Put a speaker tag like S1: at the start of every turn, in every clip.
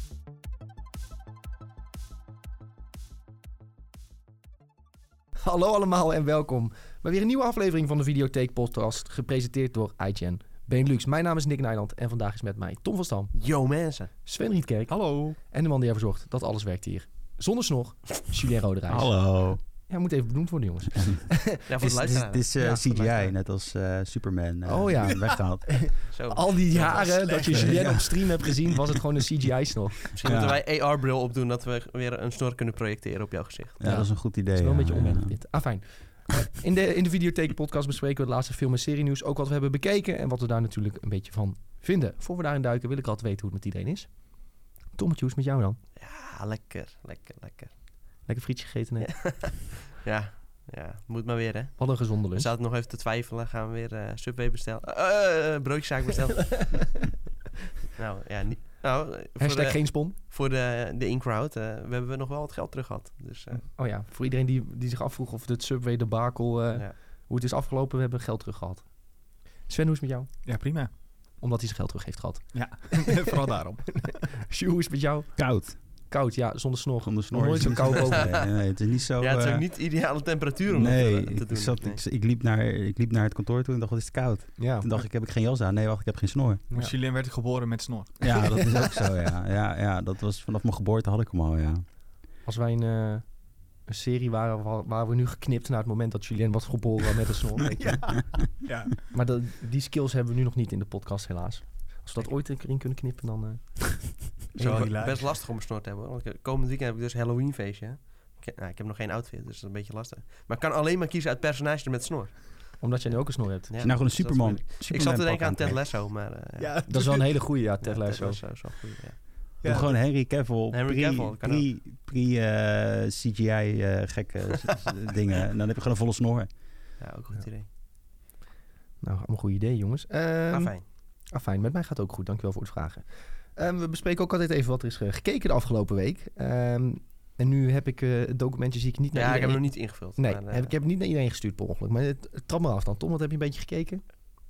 S1: Hallo allemaal en welkom bij weer een nieuwe aflevering van de Videotheek Podcast, gepresenteerd door IGN Benelux. Mijn naam is Nick Nijland en vandaag is met mij Tom van Stam,
S2: Yo mensen.
S1: Sven Rietkerk
S3: Hallo.
S1: en de man die ervoor zorgt dat alles werkt hier. Zonder snor, Julien Roderijs.
S3: Hallo.
S1: Ja, moet even benoemd worden jongens.
S2: Ja, voor
S3: Dit
S2: de
S3: is,
S2: luisteraar.
S3: dit is eh,
S1: Ja, voor de
S3: CGI,
S1: luisteraar.
S3: net als eh, Superman eh,
S1: Oh ja.
S3: weggehaald.
S2: Zo.
S1: Al die
S2: Ja, dat is
S1: jaren dat je
S2: slecht, hè?
S1: Julien
S3: Ja.
S1: op stream hebt gezien, was het gewoon een CGI-snor.
S2: Misschien
S3: Ja.
S2: moeten wij AR-bril opdoen dat we weer een snor kunnen projecteren op jouw gezicht.
S3: Ja,
S1: Ja.
S3: dat is een goed idee.
S1: Het is wel een beetje
S3: ja.
S1: onwennig dit. Ah, fijn. In de, in de Videotheek podcast bespreken we het laatste film- en serienieuws. Ook wat we hebben bekeken en wat we daar natuurlijk een beetje van vinden. Voor we daarin duiken wil ik altijd weten hoe het met iedereen is. Tom, hoe is het met jou dan?
S2: Ja, lekker, lekker, lekker.
S1: Lekker frietje gegeten net.
S2: Ja, ja, moet maar weer hè.
S1: Wat een gezonde
S2: We
S1: lunch.
S2: zaten nog even te twijfelen, gaan we weer eh, Subway bestellen. Eh, eh, broodjeszaak bestellen. nou, ja, niet. Nou, eh, voor
S1: Hashtag
S2: de,
S1: geen spon.
S2: voor de, de in-crowd eh, we hebben nog wel wat geld terug gehad. Dus eh,
S1: Oh ja, voor iedereen die, die zich afvroeg of het Subway debakel, eh
S2: ja.
S1: hoe het is afgelopen, we hebben geld terug gehad. Sven, hoe is het met jou?
S4: Ja, prima.
S1: Omdat hij zijn geld terug heeft gehad.
S4: Vooral daarom.
S1: Sjoe, hoe is het met jou?
S3: Koud.
S1: Koud, ja, zonder snor.
S3: Onder snor.
S1: Nooit
S3: is
S1: zo
S3: niet
S1: koud
S3: best.
S1: boven.
S3: Nee, nee, het is niet zo...
S2: ja, het is
S3: eh,
S2: ook niet de ideale temperatuur om
S3: nee,
S2: dat eh, te, te
S3: ik,
S2: doen.
S3: zat,
S2: Nee. Oh.
S3: ik, ik liep naar, ik liep naar het kantoor toe en dacht, wat is het koud?
S1: Ja.
S3: Toen dacht ik, heb ik geen jas aan? Nee, wacht, ik heb geen snor.
S4: Ja. Julien werd geboren met snor.
S3: Ja, dat is ook zo, ja. ja, ja dat was, vanaf mijn geboorte had ik hem al, ja.
S1: Als wij een, eh, een serie waren, wa- waren we nu geknipt naar het moment dat Julien was geboren met een snor. weet je.
S4: Ja.
S1: Maar dat- die skills hebben we nu nog niet in de podcast, helaas. Als we dat ooit een keer in kunnen knippen, dan... eh,
S2: Het is wel
S4: Heel
S2: best lastig om een snor te hebben. hoor. Want ik- komend weekend heb ik dus Halloween feestje. Ik, nou, ik heb nog geen outfit, dus dat is een beetje lastig. Maar ik kan alleen maar kiezen uit personages met snor.
S1: omdat jij nu ook een snor hebt.
S2: Ja,
S3: Als je nou gewoon een
S2: dus dat is
S3: Superman...
S2: moeilijk.
S3: Superman
S2: Ik zat te denken aan
S3: pak
S2: Ted
S3: aantrekt.
S2: Lasso, maar... eh, ja.
S1: Dat is wel een hele goede, ja, Ted
S2: Ja,
S1: Lasso.
S2: is wel goed, ja.
S3: Doe gewoon Henry Cavill,
S2: Henry
S3: pre,
S2: Cavill, kan
S3: pre, eh, CGI-gekke dingen. En dan heb je gewoon een volle snor.
S2: Ja, ook een goed idee.
S1: Nou, allemaal goede idee, jongens. Ehm,
S2: maar fijn.
S1: Ah, fijn, met mij gaat het ook goed. Dankjewel voor het vragen. Ehm, we bespreken ook altijd even wat er is eh, gekeken de afgelopen week. Ehm, en nu heb ik eh, het documentje zie ik niet naar
S2: Ja, ik heb hem nog
S1: iedereen...
S2: niet ingevuld.
S1: Nee,
S2: maar, eh,
S1: heb, ik heb het niet naar iedereen gestuurd per ongeluk. Maar het, het trap maar af dan. Tom, wat heb je een beetje gekeken?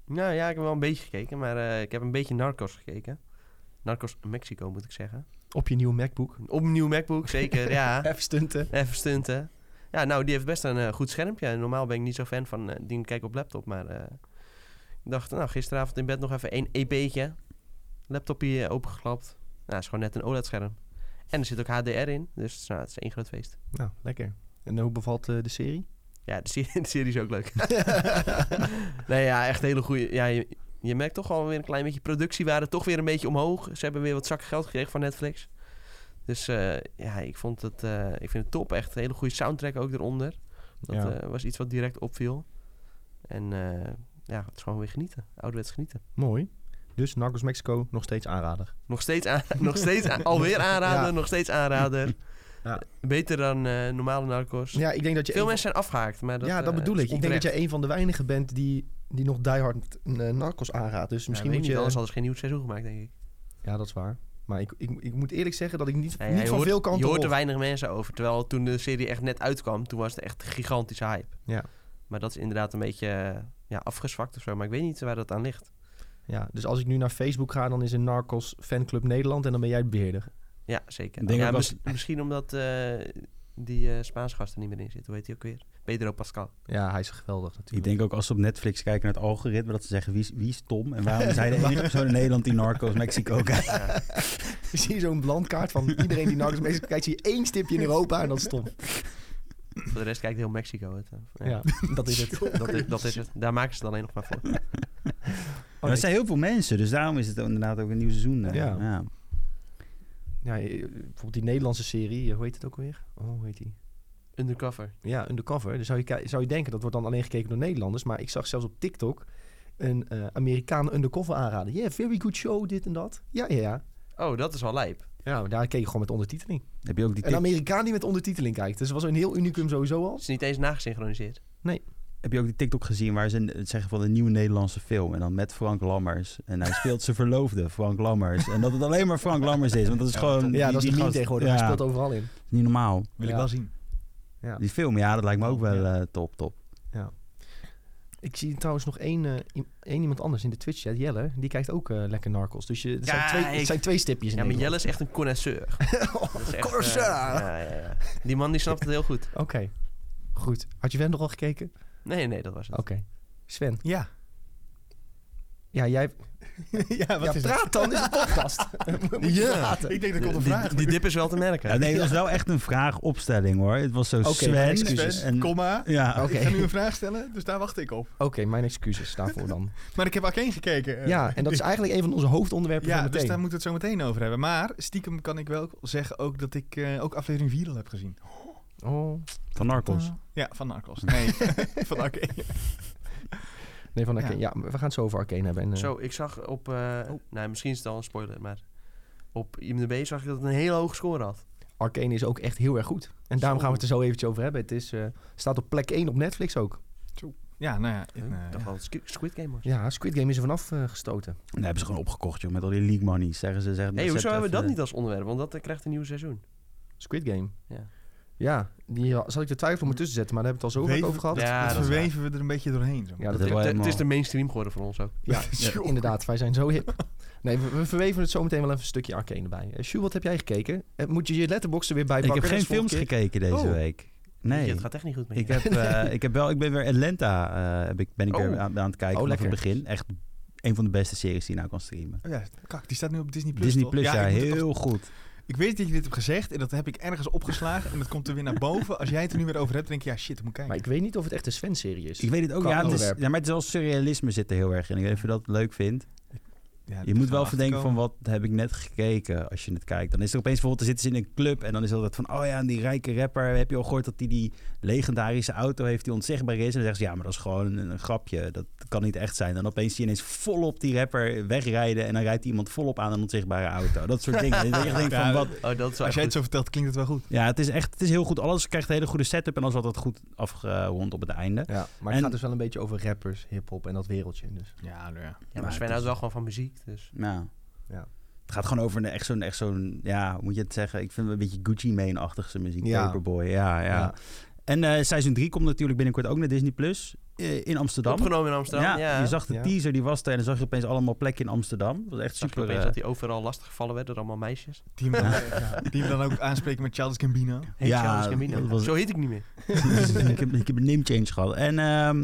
S2: Nou ja, ik heb wel een beetje gekeken, maar eh, ik heb een beetje Narcos gekeken. Narcos Mexico, moet ik zeggen.
S1: Op je nieuwe MacBook.
S2: Opnieuw MacBook, zeker, ja.
S1: Even stunten.
S2: Even stunten. Ja, nou, die heeft best een eh, goed schermpje. Normaal ben ik niet zo fan van eh, dingen kijken op laptop, maar... eh, ik dacht, nou, gisteravond in bed nog even één EP'tje. Laptopje eh, opengeklapt. Nou, is gewoon net een OLED-scherm. En er zit ook HDR in, dus nou, het is één groot feest.
S1: Nou, lekker. En hoe bevalt eh, de serie?
S2: Ja, de serie, de serie is ook leuk. nee, ja, echt hele goede. Ja, je, je merkt toch wel weer een klein beetje productiewaarde toch weer een beetje omhoog. Ze hebben weer wat zakken geld gekregen van Netflix. Dus eh, ja, ik vond het, eh, ik vind het top. Echt een hele goede soundtrack ook eronder. Dat
S1: Ja.
S2: eh, was iets wat direct opviel. En eh, ja, het is gewoon weer genieten. Ouderwets genieten.
S1: Mooi. Dus Narcos Mexico nog steeds aanrader.
S2: Nog steeds, aan, nog steeds aan- alweer aanraden, nog steeds aanraden.
S1: Ja.
S2: Beter dan eh, normale narcos.
S1: Ja, ik denk dat je
S2: Veel
S1: een-
S2: mensen zijn afgehaakt, maar dat,
S1: ja, dat
S2: eh,
S1: bedoel
S2: is
S1: ik. Ik denk
S2: onterecht.
S1: dat jij een van de weinigen bent die, die nog diehard eh, Narcos aanraadt. Dus misschien
S2: ja,
S1: moet je...
S2: weet niet, anders hadden ze geen nieuw seizoen gemaakt, denk ik.
S1: Ja, dat is waar. Maar ik, ik, ik moet eerlijk zeggen dat ik niet,
S2: Ja, ja,
S1: niet
S2: je
S1: van
S2: hoort-
S1: veel
S2: Je
S1: kanten
S2: hoort er
S1: hoor.
S2: weinig mensen over. Terwijl toen de serie echt net uitkwam, toen was het echt gigantische hype.
S1: Ja.
S2: Maar dat is inderdaad een beetje eh, ja, afgezwakt of zo. Maar ik weet niet waar dat aan ligt.
S1: Ja, dus als ik nu naar Facebook ga, dan is een Narcos fanclub Nederland en dan ben jij het beheerder.
S2: Ja, zeker.
S3: Ik denk
S2: ja,
S3: ook
S2: mis-
S3: als-
S2: Misschien omdat eh, die eh, Spaanse gast er niet meer in zit. Hoe heet hij ook weer? Pedro Pascal.
S1: Ja, hij is geweldig
S3: Ik
S1: natuurlijk.
S3: denk ook als ze op Netflix kijken naar het algoritme, dat ze zeggen wie is, wie is Tom en waarom is hij de enige persoon in Nederland die Narcos
S1: Oh,
S3: Mexico kijkt.
S2: Ja,
S1: Ik zie zo'n landkaart van iedereen die Narcos meestal kijkt, zie je één stipje in Europa en dat is Tom.
S2: voor de rest kijkt heel Mexico het. eh.
S1: Ja, dat is het.
S2: Dat, is, dat is het. Daar maken ze het alleen nog maar voor.
S1: nee.
S3: Maar er zijn heel veel mensen, dus daarom is het inderdaad ook een nieuw seizoen. eh,
S1: Ja.
S3: Ja.
S1: Ja, eh, bijvoorbeeld die Nederlandse serie, eh, hoe heet het ook alweer? Oh, hoe heet die?
S2: Undercover.
S1: Ja, Undercover. Dan zou je, ki- zou je denken, dat wordt dan alleen gekeken door Nederlanders. Maar ik zag zelfs op TikTok een eh, Amerikaan Undercover aanraden. Yeah, very good show, dit en dat. Ja, ja, ja.
S2: Oh, dat is wel lijp.
S1: Ja, maar daar keek ik gewoon met ondertiteling.
S3: Heb je ook die,
S1: Een
S3: tik-
S1: Amerikaan die met ondertiteling kijkt. Dus dat was een heel unicum sowieso al.
S2: Het is niet eens nagesynchroniseerd.
S3: heb je ook die TikTok gezien waar ze het zeggen van een nieuwe Nederlandse film en dan met Frank Lammers en hij speelt zijn verloofde Frank Lammers en dat het alleen maar Frank Lammers is, want dat is gewoon
S1: Ja,
S3: die-
S1: dat is de
S3: die
S1: meme
S3: gast-
S1: tegenwoordig.
S3: Ja,
S1: Hij speelt overal in.
S3: niet normaal.
S4: Wil
S1: Ja.
S4: ik wel zien.
S3: Die film, ja, dat lijkt me ook wel eh, top, top.
S1: Ik zie trouwens nog één, eh, i- één iemand anders in de Twitch chat, Jelle. Die kijkt ook eh, lekker Narcos. Dus je, het, zijn twee,
S2: Kijk.
S1: het zijn twee stipjes in Oh,
S2: Ja, maar
S1: Nederland.
S2: Jelle is echt een connoisseur. Dat is echt, eh,
S1: Connoisseur.
S2: ja, ja, ja. Die man die snapt het heel goed.
S1: Oké. Goed. Had je Wendel al gekeken?
S2: Nee, nee, dat was het.
S1: Oké. Sven,
S4: Ja.
S1: ja, jij
S4: ja, wat
S1: ja,
S4: is
S1: praat
S4: het?
S1: dan, is een podcast. We moeten
S2: Ja.
S1: praten.
S4: Ik denk dat komt een
S2: Die-
S4: vraag.
S2: Die, dip is wel te merken.
S3: Ja, nee, dat was wel echt een vraagopstelling hoor. Het was zo
S1: Oké,
S3: Sven.
S1: mijn
S4: Sven,
S1: excuses.
S3: en-
S4: komma.
S3: ja,
S1: Oké.
S4: Ik ga nu een vraag stellen, dus daar wacht ik op.
S1: Oké, mijn excuses daarvoor dan.
S4: Maar ik heb Arcane gekeken. eh.
S1: Ja, en dat is eigenlijk een van onze hoofdonderwerpen
S4: Ja,
S1: van meteen.
S4: dus daar moeten we het zo meteen over hebben. Maar stiekem kan ik wel zeggen ook dat ik eh, ook aflevering 4 al heb gezien.
S1: Oh,
S3: van Narcos.
S4: Ja, van Narcos. Nee, van Arcane.
S1: nee, van
S4: Ja.
S1: Arcane. Ja. we gaan het zo over Arcane hebben. En, eh,
S2: Zo, ik zag op... eh Nee, misschien is het al een spoiler, maar... Op IMDb zag ik dat het een hele hoge score had.
S1: Arcane is ook echt heel erg goed. En daarom
S2: Zo.
S1: gaan we het er zo eventjes over hebben. Het is, eh, staat op plek 1 op Netflix ook.
S4: Ja, nou ja. in,
S2: Ik
S4: eh,
S2: dacht wel dat het Squid Game was.
S1: Ja, Squid Game is er vanaf eh, gestoten.
S3: Nee, hebben ze gewoon opgekocht joh, met al die league money. Zeggen ze, zeggen
S2: Hé, hey,
S3: zet
S2: hoezo hebben we dat
S3: even-
S2: niet als onderwerp? Want dat eh, krijgt een nieuw seizoen.
S1: Squid Game.
S2: Ja.
S1: Ja, die ha- zat ik de twijfel om ertussen te zetten, maar daar hebben we het al zo
S4: Weet-
S1: vaak over gehad.
S4: Dat,
S2: Ja,
S4: dat
S2: dat is
S4: verweven we er een beetje doorheen. Zo.
S1: Ja, dat,
S3: Dat
S2: Het,
S3: wel
S2: het is
S3: helemaal-
S2: de mainstream geworden voor ons ook.
S1: ja,
S4: Ja.
S1: inderdaad, wij zijn zo hip. Nee, we, we verweven het zo meteen wel even een stukje arcane erbij. Eh, Sjoerd, wat heb jij gekeken? Eh, moet je je letterbox er weer bij
S3: Ik
S1: pakken?
S3: heb geen
S1: net als
S3: films
S1: vorige keer?
S3: gekeken deze
S1: Oh.
S3: week.
S2: Weet je,
S3: Nee.
S2: het gaat echt niet goed met
S3: Ik,
S2: je.
S3: heb, eh, ik, heb wel, ik ben weer Atlanta eh, heb ik, ben ik weer
S2: Oh.
S3: aan, aan het kijken
S1: Oh,
S3: vanaf het
S1: lekker.
S3: begin. Echt een van de beste series die je nou kan streamen.
S4: Oh ja, kak, die staat nu op Disney Plus.
S3: Disney
S4: toch?
S3: Plus, ja,
S4: ik moet het
S3: heel goed.
S4: toch- ik weet dat je dit hebt gezegd en dat heb ik ergens opgeslagen en dat komt er weer naar boven. Als jij het er nu weer over hebt, denk je, ja shit, ik moet kijken.
S1: Maar ik weet niet of het echt een Sven-serie is.
S3: Ik weet het ook,
S1: Qua
S3: ja, het is,
S1: onderwerp.
S3: ja, maar het is wel surrealisme zit er heel erg in. Ik weet niet of je dat leuk vindt.
S4: Ja, dat
S3: Je
S4: is
S3: moet wel
S4: achter
S3: verdenken van
S4: komen.
S3: wat heb ik net gekeken als je het kijkt. Dan is er opeens bijvoorbeeld, dan zitten ze in een club en dan is het altijd van, oh ja, en die rijke rapper, heb je al gehoord dat die die legendarische auto heeft die ontzegbaar is? En dan zeggen ze, ja, maar dat is gewoon een, een grapje, dat kan niet echt zijn. En opeens zie je ineens volop die rapper wegrijden en dan rijdt iemand volop aan een onzichtbare auto. Dat soort dingen. Dat je echt denkt van,
S4: Ja,
S3: wat...
S2: Oh, dat is wel
S4: Als jij het
S2: echt
S4: zo vertelt, klinkt het wel goed.
S3: Ja, het is echt, het is heel goed. Alles krijgt een hele goede setup en alles altijd goed afgerond op het einde.
S1: Ja, maar het
S3: En-
S1: gaat dus wel een beetje over rappers, hip-hop en dat wereldje. Dus.
S4: Ja, nou ja.
S2: goed. Ja,
S3: maar
S2: maar Sven
S3: het is-
S2: houdt wel gewoon van muziek, dus...
S3: Ja.
S1: Ja.
S3: Het gaat gewoon over een, echt zo'n, echt zo'n, ja, hoe moet je het zeggen? Ik vind het een beetje Gucci Mane-achtige muziek,
S1: Ja.
S3: Paperboy. Ja, ja.
S1: Ja.
S3: En eh seizoen 3 komt natuurlijk binnenkort ook naar Disney+, Plus eh, in Amsterdam.
S2: Opgenomen in Amsterdam, ja.
S3: je zag de
S1: Ja.
S3: teaser, die was er en dan zag je opeens allemaal plekken in Amsterdam. Dat was echt
S2: Zag je
S3: super.
S2: opeens
S3: eh,
S2: dat hij overal lastig gevallen werd door allemaal meisjes.
S4: Die hem dan, ja, die hem dan ook aanspreken met Charles Gambino.
S2: Hey,
S3: Ja,
S2: Charles Gambino.
S3: dat was-
S2: Zo heet ik niet meer.
S3: dus ik, heb, ik heb een name change gehad. En ehm,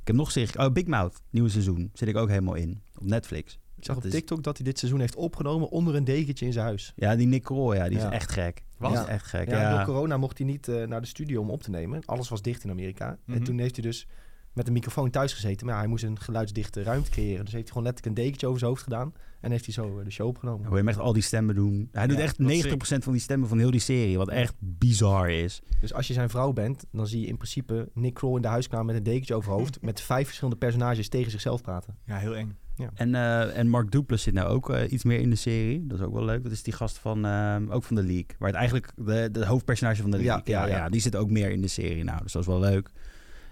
S3: ik heb nog zich, oh, Big Mouth, nieuw seizoen, zit ik ook helemaal in, op Netflix.
S1: Ik zag op
S3: Dat is-
S1: TikTok dat hij dit seizoen heeft opgenomen onder een dekentje in zijn huis.
S3: Ja, die Nick Kroll, ja, die is
S1: Ja.
S3: echt gek.
S1: Wat?
S3: Die is echt gek,
S1: Ja,
S3: ja.
S1: Door corona mocht hij niet eh, naar de studio om op te nemen. Alles was dicht in Amerika.
S4: Mhm.
S1: En toen heeft hij dus met een microfoon thuis gezeten. Maar ja, hij moest een geluidsdichte ruimte creëren. Dus heeft hij gewoon letterlijk een dekentje over zijn hoofd gedaan. En heeft hij zo eh, de show opgenomen.
S3: Hoe je hem echt al die stemmen doen. Hij doet
S4: Ja,
S3: echt
S4: dat
S3: 90%
S4: is
S3: van die stemmen van heel die serie. Wat echt bizar is.
S1: Dus als je zijn vrouw bent, dan zie je in principe Nick Kroll in de huiskamer met een dekentje over haar hoofd. met vijf verschillende personages tegen zichzelf praten.
S4: Ja, heel eng.
S3: En, eh, en Mark Duplass zit nou ook eh, iets meer in de serie. Dat is ook wel leuk. Dat is die gast van, ehm, ook van de League. Waar het eigenlijk de, de hoofdpersonage van de
S1: Ja,
S3: League. Ja, ja,
S1: ja, ja.
S3: die zit ook meer in de serie nou. Dus dat is wel leuk.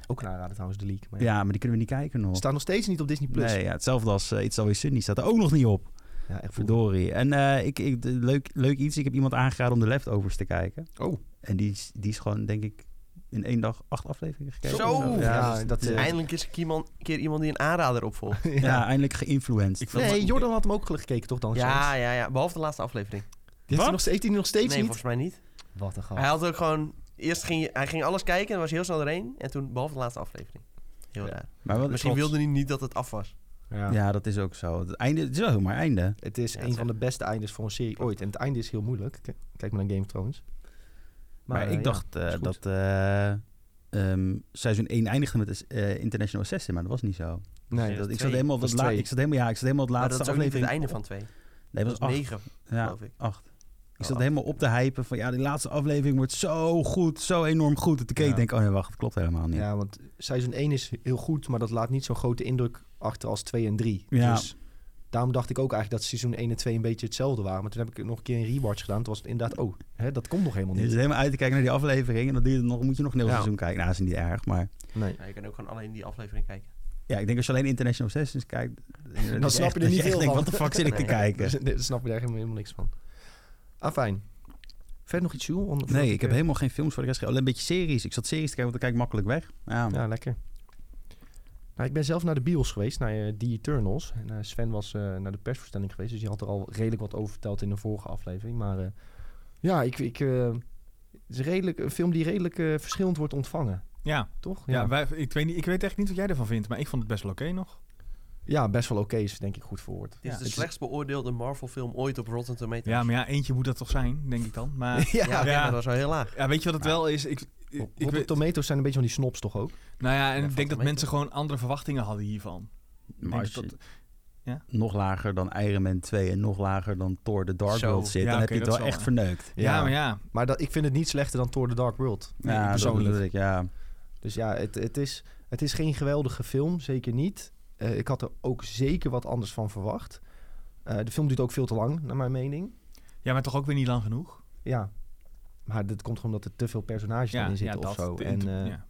S1: Ook een aanrader trouwens, de leak. Maar ja.
S3: Ja, maar die kunnen we niet kijken nog.
S1: Staat nog steeds niet op Disney Plus.
S3: Nee, ja, hetzelfde als eh, It's Always Sunny. Staat er ook nog niet op.
S1: Ja, echt verdomme.
S3: Verdorie. En eh, ik, ik, de- leuk, leuk iets. Ik heb iemand aangeraden om de leftovers te kijken.
S1: Oh.
S3: En die, is- die is gewoon, denk ik, in één dag acht afleveringen gekeken.
S2: Zo!
S3: Ja,
S1: Ja,
S3: dus
S1: dat,
S3: het is
S1: eh,
S2: Eindelijk is er iemand- een keer iemand die een aanrader opvolgt.
S3: Ja, eindelijk geïnfluenced.
S4: Ik vond-
S1: Nee, Jordan had hem ook gekeken, toch
S3: Oh,
S1: dan?
S2: Ja, ja, ja. Behalve de laatste aflevering.
S1: Die heeft
S3: Wat?
S1: hij nog steeds, heeft hij nog steeds
S2: nee,
S1: niet.
S2: volgens mij niet.
S1: Wat een
S3: Oh.
S1: grap.
S2: Hij had ook gewoon... Eerst ging je- hij ging alles kijken en was heel snel doorheen. En toen, behalve de laatste aflevering. Heel
S3: Ja.
S2: raar.
S3: maar wat,
S2: Misschien
S3: trots.
S2: wilde hij niet dat het af was.
S1: Ja.
S3: Ja, dat is ook zo. Het, einde, het is wel helemaal einde.
S1: Het is
S2: Ja,
S1: een
S2: het
S1: van de beste eindes voor een serie ooit. En het einde is heel moeilijk. K- Kijk maar naar Game of Thrones.
S3: Maar,
S1: eh,
S3: ik
S1: ja.
S3: dacht eh,
S1: is goed.
S3: dat eh, ehm, seizoen 1 eindigde met eh, International Assassin, maar dat was niet zo.
S1: Nee, dat,
S2: Ja,
S3: Dat, ik,
S2: twee.
S3: zat helemaal op
S1: Dat
S3: dat
S1: is
S3: la-
S1: twee.
S3: ik zat helemaal ja, ik zat helemaal op het
S2: Maar
S3: laatste
S2: dat is ook niet het
S3: aflevering.
S2: einde van twee.
S3: Nee, dat was
S2: dat is
S3: acht.
S2: negen,
S3: Ja,
S2: geloof ik.
S3: acht. Ik
S2: Oh,
S3: zat
S2: acht.
S3: helemaal op te hypen van ja, die laatste aflevering wordt zo goed, zo enorm goed. En toen keek
S4: Ja.
S3: ik denk, oh nee, wacht, dat klopt helemaal niet.
S1: ja, want seizoen 1 is heel goed, maar dat laat niet zo'n grote indruk achter als 2 en 3.
S3: Ja.
S1: Dus daarom dacht ik ook eigenlijk dat seizoen 1 en 2 een beetje hetzelfde waren. Maar toen heb ik nog een keer een rewatch gedaan. Toen was het inderdaad, oh, hè, dat komt nog helemaal
S3: Je zit
S1: niet.
S3: helemaal uit te kijken naar die aflevering en dan duurt het nog, moet je nog een heel
S1: Ja.
S3: seizoen kijken. Nou, dat is niet erg, maar
S1: Nee.
S2: Ja, je kan ook gewoon alleen die aflevering kijken.
S3: ja, ik denk als je alleen International Assassins kijkt, dan,
S1: snap je er niet veel van.
S3: Wat de fuck zit ik te
S2: Nee.
S3: kijken?
S1: Dus, daar snap je daar helemaal, helemaal niks van. Ah, fijn. Verder nog iets, Jules? eh, Want-
S3: Nee, ik heb helemaal geen films voor de rest gekeken. Alleen een beetje series. Ik zat series te kijken, want dan kijk ik makkelijk weg. Ja.
S4: Oh.
S1: Ja, lekker. Nou, ik ben zelf naar de bios geweest, naar eh, The Eternals. En eh, Sven was eh, naar de persvoorstelling geweest, dus die had er al redelijk wat over verteld in de vorige aflevering. Maar eh, ja, ik, ik, eh, is redelijk, een film die redelijk eh, verschillend wordt ontvangen,
S4: Ja,
S1: toch?
S4: ja. wij, ik, weet niet, ik weet echt niet wat jij ervan vindt, maar ik vond het best wel oké nog.
S1: Ja, best wel oké is denk ik goed verwoord.
S2: Het is
S4: Ja.
S2: de
S4: Het is-
S2: slechtst beoordeelde Marvel-film ooit op Rotten Tomatoes.
S4: Ja, maar ja, eentje moet dat toch zijn, denk ik dan. Maar
S1: ja,
S2: ja,
S1: ja.
S2: oké,
S4: Ja.
S2: maar dat is wel heel laag.
S4: ja, weet je wat het wel is? Ik, ik, ik weet,
S1: tomatoes zijn een beetje van die snobs toch ook?
S4: nou ja, en
S2: Ja,
S4: ik
S2: valt
S4: denk dat
S2: mee,
S4: mensen gewoon andere verwachtingen hadden hiervan. Ik
S3: Maar
S4: denk
S3: als
S4: dat
S3: je
S4: dat- ja?
S3: nog lager dan Iron Man 2 en nog lager dan Thor The Dark
S2: Zo.
S3: World zit,
S4: Ja,
S3: dan
S4: oké,
S3: heb je het
S4: dat
S3: wel
S4: is wel
S3: echt
S4: waar.
S3: verneukt.
S4: Ja, maar ja.
S1: Maar dat, ik vind het niet slechter dan Thor The Dark World.
S4: Nee,
S3: ja,
S4: persoonlijk.
S3: persoonlijk. ik, ja.
S1: Dus ja, het, het, is, het is geen geweldige film, zeker niet. Eh, ik had er ook zeker wat anders van verwacht. Eh, de film duurt ook veel te lang, naar mijn mening.
S4: ja, maar toch ook weer niet lang genoeg.
S1: Ja, maar dat komt gewoon omdat er te veel personages
S4: Ja,
S1: in
S4: ja,
S1: zitten of
S4: dat.
S1: zo.
S4: De-
S1: En eh, ja.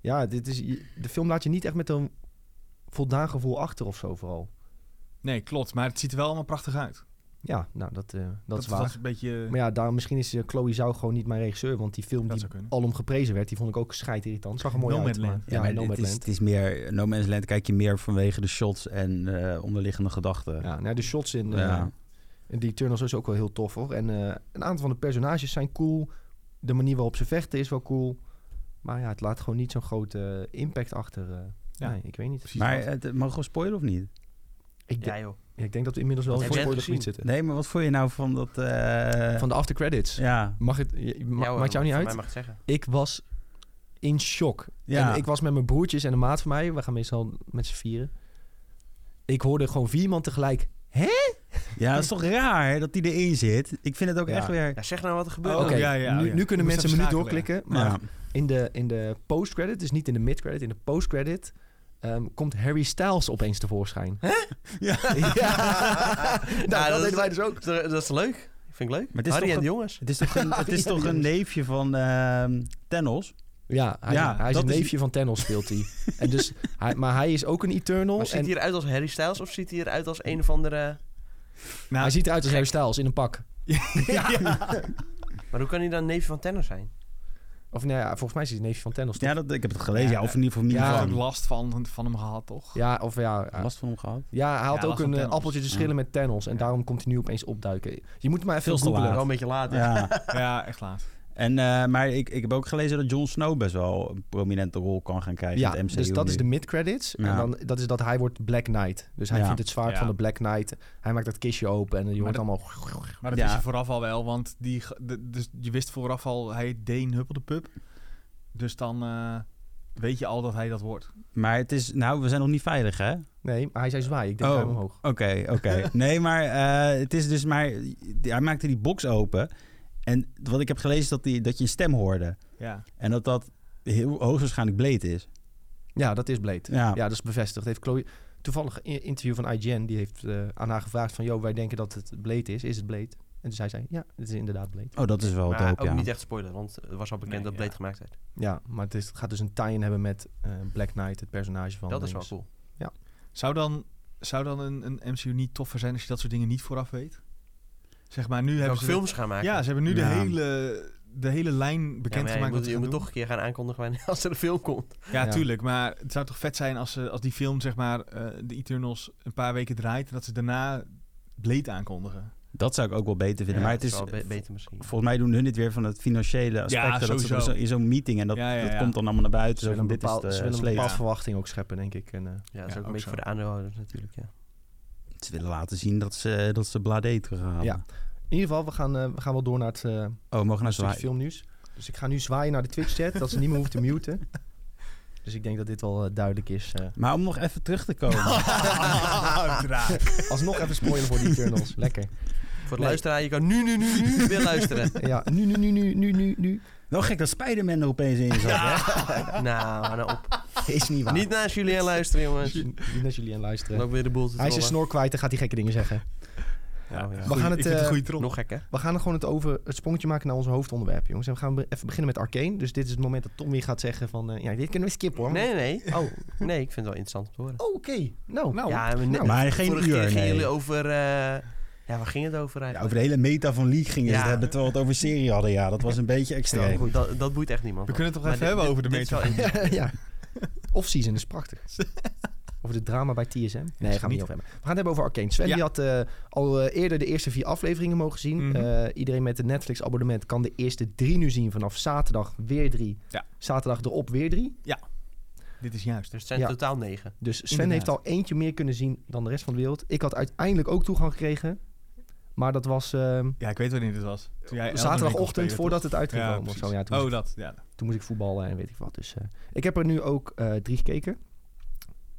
S4: ja.
S1: dit is, je- de film laat je niet echt met een voldaan gevoel achter of zo vooral.
S4: Nee, klopt. Maar het ziet er wel allemaal prachtig uit.
S1: Ja, nou, dat, eh, dat, is waar.
S4: Dat is een beetje...
S1: Maar ja, daar, misschien is eh, Chloe Zhao gewoon niet mijn regisseur. Want die film
S4: dat
S1: die
S4: zou kunnen.
S1: alom geprezen werd, die vond ik ook scheidirritant. Zag er mooi
S4: No
S1: uit.
S4: Man's
S1: maar-
S4: Land.
S3: Ja, maar
S1: Ja, No
S3: het,
S1: Man's
S3: is,
S1: Land.
S3: het is meer... No Man's Land kijk je meer vanwege de shots en eh, onderliggende gedachten.
S1: Ja, nou, de shots in, eh,
S3: Ja.
S1: in die Eternals is ook wel heel tof, hoor. En eh, een aantal van de personages zijn cool. De manier waarop ze vechten is wel cool. Maar ja, het laat gewoon niet zo'n grote impact achter. eh.
S4: Ja.
S1: Nee, ik weet niet.
S4: Precies.
S3: Maar het, mag ik gewoon spoilen of niet?
S1: Ik,
S2: Ja, joh.
S1: Ja, ik denk dat we inmiddels wel
S2: Wat
S1: een
S2: heb jij
S1: spoiler
S2: gezien?
S1: gebied zitten.
S3: Nee, maar wat vond je nou van dat... eh,
S1: Van de aftercredits.
S3: Ja,
S1: Mag het, je- ma-
S2: Ja, hoor,
S1: maakt jou niet
S2: van
S1: uit?
S2: Mij mag het zeggen.
S1: Ik was in shock.
S3: ja.
S1: En ik was met mijn broertjes en een maat van mij. We gaan meestal met z'n vieren. Ik hoorde gewoon vier man tegelijk.
S3: ja, dat is toch raar hè, dat die erin zit? Ik vind het ook
S1: Ja.
S3: echt weer...
S2: Ja, zeg nou wat er gebeurt.
S1: eh, Oké,
S4: Oh, ja, ja,
S1: nu,
S4: ja.
S1: nu kunnen
S4: Je moest
S1: mensen een minuut
S4: schakelen.
S1: doorklikken. Maar
S3: Ja.
S1: in de, in de post-credit, dus niet in de mid-credit, in de post-credit... ehm, komt Harry Styles opeens tevoorschijn.
S3: Ja.
S1: Ja. Nou,
S2: Nou,
S1: dat
S2: dat
S1: deden
S2: is-
S1: wij dus ook.
S2: Dat, is- dat is leuk. Ik vind ik leuk.
S3: Maar het is
S2: Harry
S3: toch
S2: en de
S3: een-
S2: jongens.
S3: Het is toch een, het is toch een neefje van ehm Thanos?
S1: Ja, hij,
S3: Ja,
S1: hij is
S3: dat
S1: een
S3: is-
S1: neefje van Thanos speelt hij. en dus, hij. Maar hij is ook een Eternal.
S2: Maar ziet
S1: en
S2: hij eruit als Harry Styles of ziet hij eruit als een of andere...
S4: Nou,
S1: hij ziet eruit als Harry Styles in een pak.
S2: Maar hoe kan hij dan neef van Tenner zijn?
S1: Of nou ja, volgens mij is hij een neefje van Thanos. toch?
S3: Ja, dat, ik heb het gelezen.
S4: Ja,
S3: Ja, of in ieder geval niet
S1: ja,
S4: ja, ook
S3: van.
S4: last van, van hem gehad, toch?
S1: Ja, of ja. ja.
S3: Last van hem gehad?
S1: Ja, hij had
S4: Ja,
S1: ook
S4: last van
S1: een eh,
S4: Thanos.
S1: appeltje te schillen met Thanos. En
S4: Ja.
S1: daarom komt hij nu opeens opduiken. Je moet maar even
S3: Veel te
S1: googlen.
S3: laat.
S2: Wel een beetje later.
S3: Ja.
S4: Ja, echt laat.
S3: En, eh, maar ik, ik heb ook gelezen dat Jon Snow best wel een prominente rol kan gaan krijgen
S1: Ja,
S3: in het MCU.
S1: dus dat is de
S3: nu.
S1: mid-credits. En
S3: Ja.
S1: dan, dat is dat hij wordt Black Knight. Dus hij
S3: Ja.
S1: vindt het zwaard
S4: Ja.
S1: van de Black Knight. Hij maakt dat kistje open en je hoort
S4: dat-
S1: allemaal...
S4: Maar dat
S3: Ja.
S4: wist je vooraf al wel, want die, ge- de- dus je wist vooraf al, hij heet Deen Huppeldepup. Dus dan eh, weet je al dat hij dat wordt.
S3: Maar het is, nou, we zijn nog niet veilig, hè?
S1: Nee, maar hij zei zwaai. Ik denk
S3: Oh.
S1: ruim omhoog.
S3: Oké, oké. nee, maar eh, het is dus maar, hij maakte die box open. En wat ik heb gelezen is dat, die, dat je een stem hoorde.
S4: Ja.
S3: En dat dat heel hoogstwaarschijnlijk bleed is.
S1: Ja, dat is Blade.
S3: Ja.
S1: Ja, dat is bevestigd. Heeft Chloe... Toevallig in- interview van IGN, die heeft eh, aan haar gevraagd van... Yo, wij denken dat het Blade is. Is het Blade? En dus hij zei, ja, het is inderdaad Blade.
S3: Oh, dat is wel
S2: Maar
S3: dope,
S2: ook
S3: ja.
S2: niet echt spoiler, want het was al bekend
S4: Nee,
S2: dat Blade
S4: ja.
S2: gemaakt werd.
S1: Ja, maar het, is, het gaat dus een tie-in hebben met eh, Black Knight, het personage van... eh,
S2: dat is wel
S1: James.
S2: cool.
S4: Zou dan, zou dan een, een MCU niet toffer zijn als je dat soort dingen niet vooraf weet? Zeg maar, nu
S2: Welke
S4: hebben ze... de-
S2: films gaan maken?
S4: ja, ze hebben nu de,
S3: Ja.
S4: hele, de hele lijn
S2: Ja, maar ja,
S4: bekendgemaakt.
S2: je
S4: wat
S2: moet,
S4: ze
S2: je
S4: gaan
S2: moet
S4: doen.
S2: toch een keer gaan aankondigen wanneer- als er een film komt.
S4: Ja,
S1: Ja.
S4: tuurlijk. Maar het zou toch vet zijn als, ze, als die film, zeg maar, eh, de Eternals een paar weken draait... en dat ze daarna Blade aankondigen.
S3: Dat zou ik ook wel beter vinden.
S2: Ja,
S3: maar het
S2: dat
S3: is,
S2: wel be- beter misschien.
S3: volgens mij doen hun dit weer van het financiële aspect.
S4: Ja,
S3: dat ze
S4: sowieso.
S3: op zo- in zo'n meeting en dat,
S4: Ja, ja,
S3: dat
S4: ja.
S3: komt dan allemaal naar buiten.
S1: Ze
S3: Zo
S1: willen
S3: van,
S1: een
S3: dit is
S1: bepaald-
S3: de
S1: ze willen een
S3: eh, sleet.
S1: bepaalde
S4: Ja.
S1: verwachting ook scheppen, denk ik. En, eh,
S2: Ja, dat is
S4: Ja,
S2: ook een
S4: ook
S2: beetje
S4: zo.
S2: voor de aandeelhouders natuurlijk. Ja.
S3: Ze willen laten zien dat ze, dat ze bladé terughalen.
S1: Ja. In ieder geval, we gaan, eh, we gaan wel door naar het eh
S3: Oh, we mogen nou
S1: stukje
S3: zwaaien.
S1: filmnieuws. Dus ik ga nu zwaaien naar de Twitch-chat, dat ze niet meer hoeven te muten. Dus ik denk dat dit wel eh, duidelijk is. eh.
S3: Maar om nog even terug te komen.
S1: Alsnog even spoilen voor die Eternals. Lekker.
S2: Voor de
S1: Nee.
S2: luisteraar, je kan nu, nu, nu, nu weer luisteren.
S1: Ja, nu, nu, nu, nu, nu, nu, nu.
S3: Wel gek dat Spider-Man er opeens in zat. hè?
S2: nou, hou nou op.
S1: Is niet waar.
S2: Niet naar Julien luisteren, jongens.
S1: Niet naar jullie aan
S2: Dan
S1: luisteren.
S2: ook weer de boel te
S1: Hij is zijn
S2: trollen.
S1: snor kwijt en gaat die gekke dingen zeggen.
S2: Oh, ja.
S1: We gaan het, eh,
S4: goede troll.
S2: Nog gekker.
S1: We gaan er gewoon het, over, het sprongetje maken naar ons hoofdonderwerp, jongens. En we gaan be- even beginnen met Arcane. Dus dit is het moment dat Tom weer gaat zeggen van... eh, ja, dit kunnen we skippen, hoor.
S2: Nee, nee.
S1: Oh, oh,
S2: Nee, ik vind het wel interessant om te horen.
S1: oké. Nou,
S4: Nou,
S2: ja, we-
S1: nou,
S3: Maar geen
S2: vorige
S3: uur,
S2: keer gingen
S3: nee.
S2: jullie over... eh, ja, waar ging het over
S3: Ja,
S2: eigenlijk?
S3: over de hele meta van League gingen ze
S2: Ja.
S3: het hebben, terwijl we het over serie hadden. Ja, dat was een beetje
S1: Ja,
S3: extreem.
S1: goed.
S2: dat, dat boeit echt niemand.
S4: We kunnen het toch
S2: Maar
S4: even
S2: dit-
S4: hebben over de
S2: dit- dit is
S4: meta.
S2: wel-
S1: ja. Off-season is prachtig. Over het drama bij TSM? Nee, gaan we niet
S4: niet.
S1: over hebben. We gaan het hebben over Arcane. Sven
S4: Ja.
S1: die had eh, al eh, eerder de eerste vier afleveringen mogen zien.
S4: Mhm.
S1: Eh, iedereen met een Netflix abonnement kan de eerste drie nu zien. Vanaf zaterdag weer drie.
S4: Ja.
S1: Zaterdag erop weer drie.
S4: Dit is juist.
S2: Dus het zijn
S1: Ja.
S2: totaal negen.
S1: Dus Sven
S4: Inderdaad.
S1: heeft al eentje meer kunnen zien dan de rest van de wereld. Ik had uiteindelijk ook toegang gekregen. Maar dat was eh,
S4: Ja, ik weet wanneer dit was. Toen jij Elden Ring kon
S1: zaterdagochtend
S4: spelen,
S1: voordat het
S4: toch? Ja,
S1: uitgekomen was.
S4: precies.
S1: Zo, ja, toen,
S4: oh, dat. Ja.
S1: toen moest ik voetballen en weet ik wat. Dus eh, ik heb er nu ook eh, drie gekeken.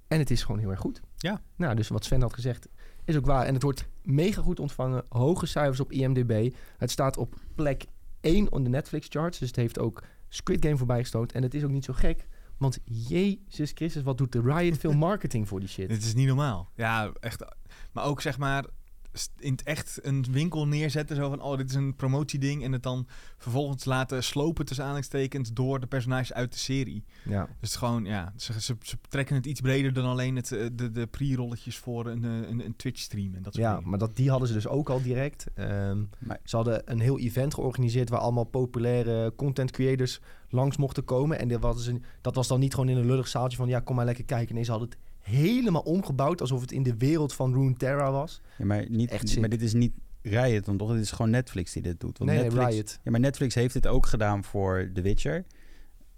S1: En het is gewoon heel erg goed.
S4: Ja.
S1: Nou, dus wat Sven had gezegd is ook waar. En het wordt mega goed ontvangen. Hoge cijfers op IMDb. Het staat op plek 1 op de Netflix charts. Dus het heeft ook Squid Game voorbij gestoten. En het is ook niet zo gek. Want Jezus Christus, wat doet de Riot veel marketing voor die shit?
S4: Dit is niet normaal. Ja, echt. Maar ook zeg maar st- in het echt een winkel neerzetten. Zo van, oh, dit is een promotieding. En het dan vervolgens laten slopen tussen aanhalingstekens door de personages uit de serie.
S1: Ja.
S4: Dus het gewoon, ja, ze, ze, ze trekken het iets breder dan alleen het, eh, de, de pre-rolletjes voor een, eh, een, een Twitch-stream en dat soort
S1: Ja,
S4: dingen.
S1: maar dat, die hadden ze dus ook al direct. Ehm,
S3: Maar-
S1: Ze hadden een heel event georganiseerd waar allemaal populaire content creators langs mochten komen. En dit was een, dat was dan niet gewoon in een lullig zaaltje van ja, kom maar lekker kijken. Nee, ze hadden het helemaal omgebouwd alsof het in de wereld van Runeterra was.
S3: Ja, maar, niet,
S1: Echt ziek.
S3: maar dit is niet Riot dan toch? Dit is gewoon Netflix die dit doet. Want
S1: nee, nee,
S3: Netflix,
S1: Riot.
S3: Ja, maar Netflix heeft dit ook gedaan voor The Witcher.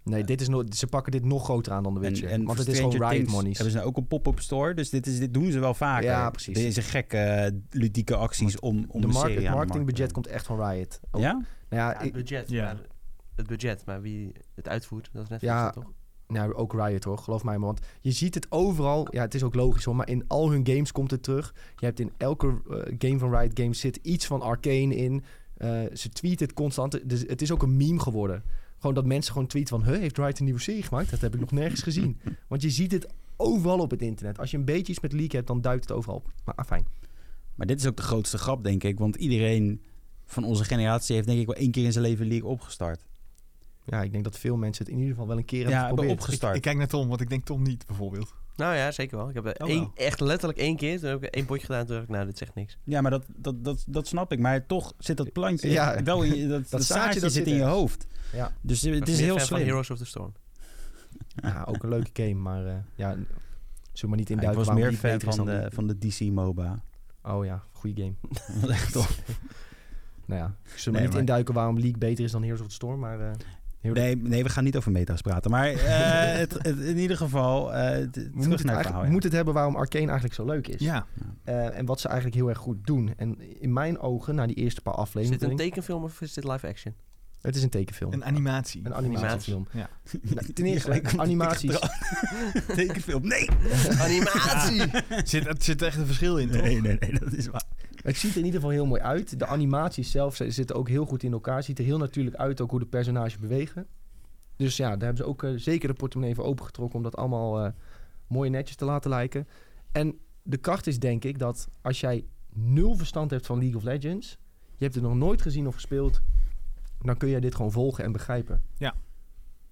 S1: Nee, dit is nog ze pakken dit nog groter aan dan de Witcher. want het is
S3: Stranger
S1: gewoon Riot
S3: Things
S1: monies.
S3: Hebben ze nou ook een pop-up store? Dus dit, is, dit doen ze wel vaker.
S1: Ja, precies.
S3: Deze gekke eh, ludieke acties om, om
S1: de
S3: een
S1: mark- het
S3: serie aan de markt te
S1: marketingbudget
S3: brengen.
S1: komt echt van Riot. Ook-
S3: Ja?
S1: Nou ja,
S2: Ja, het
S1: ik-
S2: budget.
S4: Ja.
S2: Maar, het budget, maar wie het uitvoert, dat is Netflix
S1: Ja.
S2: dan toch?
S1: Nou, ook Riot hoor, geloof mij maar. Want je ziet het overal. Ja, het is ook logisch hoor. Maar in al hun games komt het terug. Je hebt in elke eh, game van Riot Games zit iets van Arcane in. Eh, ze tweet het constant. Dus het is ook een meme geworden. Gewoon dat mensen gewoon tweeten van... Huh, heeft Riot een nieuwe serie gemaakt? Dat heb ik nog nergens gezien. Want je ziet het overal op het internet. Als je een beetje iets met leak hebt, dan duikt het overal op. Maar ah, fijn.
S3: Maar dit is ook de grootste grap, denk ik. Want iedereen van onze generatie heeft denk ik wel één keer in zijn leven League opgestart.
S1: Ja, ik denk dat veel mensen het in ieder geval wel een keer hebben
S3: Ja, hebben
S1: geprobeerd.
S3: opgestart.
S4: Ik kijk naar Tom, want ik denk Tom niet, bijvoorbeeld.
S2: Nou ja, zeker wel. Ik heb er
S4: Oh,
S2: één-
S4: wel.
S2: echt letterlijk één keer. Toen heb ik één potje gedaan. Toen dacht ik, nou, dit zegt niks.
S3: Ja, maar dat, dat, dat, dat snap ik. Maar toch zit dat plantje
S1: Ja.
S3: wel in je, dat, dat,
S1: zaadje
S3: zaadje
S1: dat
S3: zit
S1: zit
S3: in je
S1: ergens.
S3: hoofd.
S1: Ja.
S3: Dus eh,
S2: Ik
S3: het
S2: was
S3: is
S2: meer
S3: heel
S2: fan van
S3: slim.
S2: Heroes of the Storm.
S1: Ja, ook een leuke game. Maar eh, ja, zullen we maar niet
S3: Ja, ik
S1: induiken
S3: was
S1: waarom
S3: meer
S1: die
S3: fan
S1: beter is
S3: van
S1: dan
S3: de,
S1: die.
S3: van de DC MOBA.
S1: Oh ja, goede game.
S3: Wat echt op-
S1: Nou ja, ik zullen
S3: Nee,
S1: niet
S3: maar-
S1: induiken waarom League beter is dan Heroes of the Storm, maar... eh, heel-
S3: Nee, nee, we gaan niet over meta's praten. Maar eh, het, het- in ieder geval, eh, t-
S1: We
S3: terug
S1: moeten,
S3: naar
S1: het
S3: het
S1: eigenlijk-
S3: verhaal.
S1: we
S3: ja.
S1: moeten het hebben waarom Arcane eigenlijk zo leuk is.
S4: Ja,
S1: Eh, en wat ze eigenlijk heel erg goed doen. En in mijn ogen, na die eerste paar
S2: Is dit een
S1: afleveringen...
S2: tekenfilm of is dit live action?
S1: het is een tekenfilm.
S4: een animatie.
S1: Een animatiefilm.
S4: Ja.
S1: Nou, ten eerste, animaties.
S3: Tekenfilm, nee!
S2: Animatie!
S4: Zit, er zit echt een verschil in, toch?
S3: Nee, nee, nee, dat is waar.
S1: Het ziet er in ieder geval heel mooi uit. De animaties zelf z- zitten ook heel goed in elkaar. Ziet er heel natuurlijk uit ook hoe de personages bewegen. Dus ja, daar hebben ze ook eh, zeker de portemonnee voor opengetrokken... om dat allemaal eh, mooi netjes te laten lijken. En de kracht is denk ik dat als jij nul verstand hebt van League of Legends... je hebt het nog nooit gezien of gespeeld... dan kun jij dit gewoon volgen en begrijpen.
S4: Ja.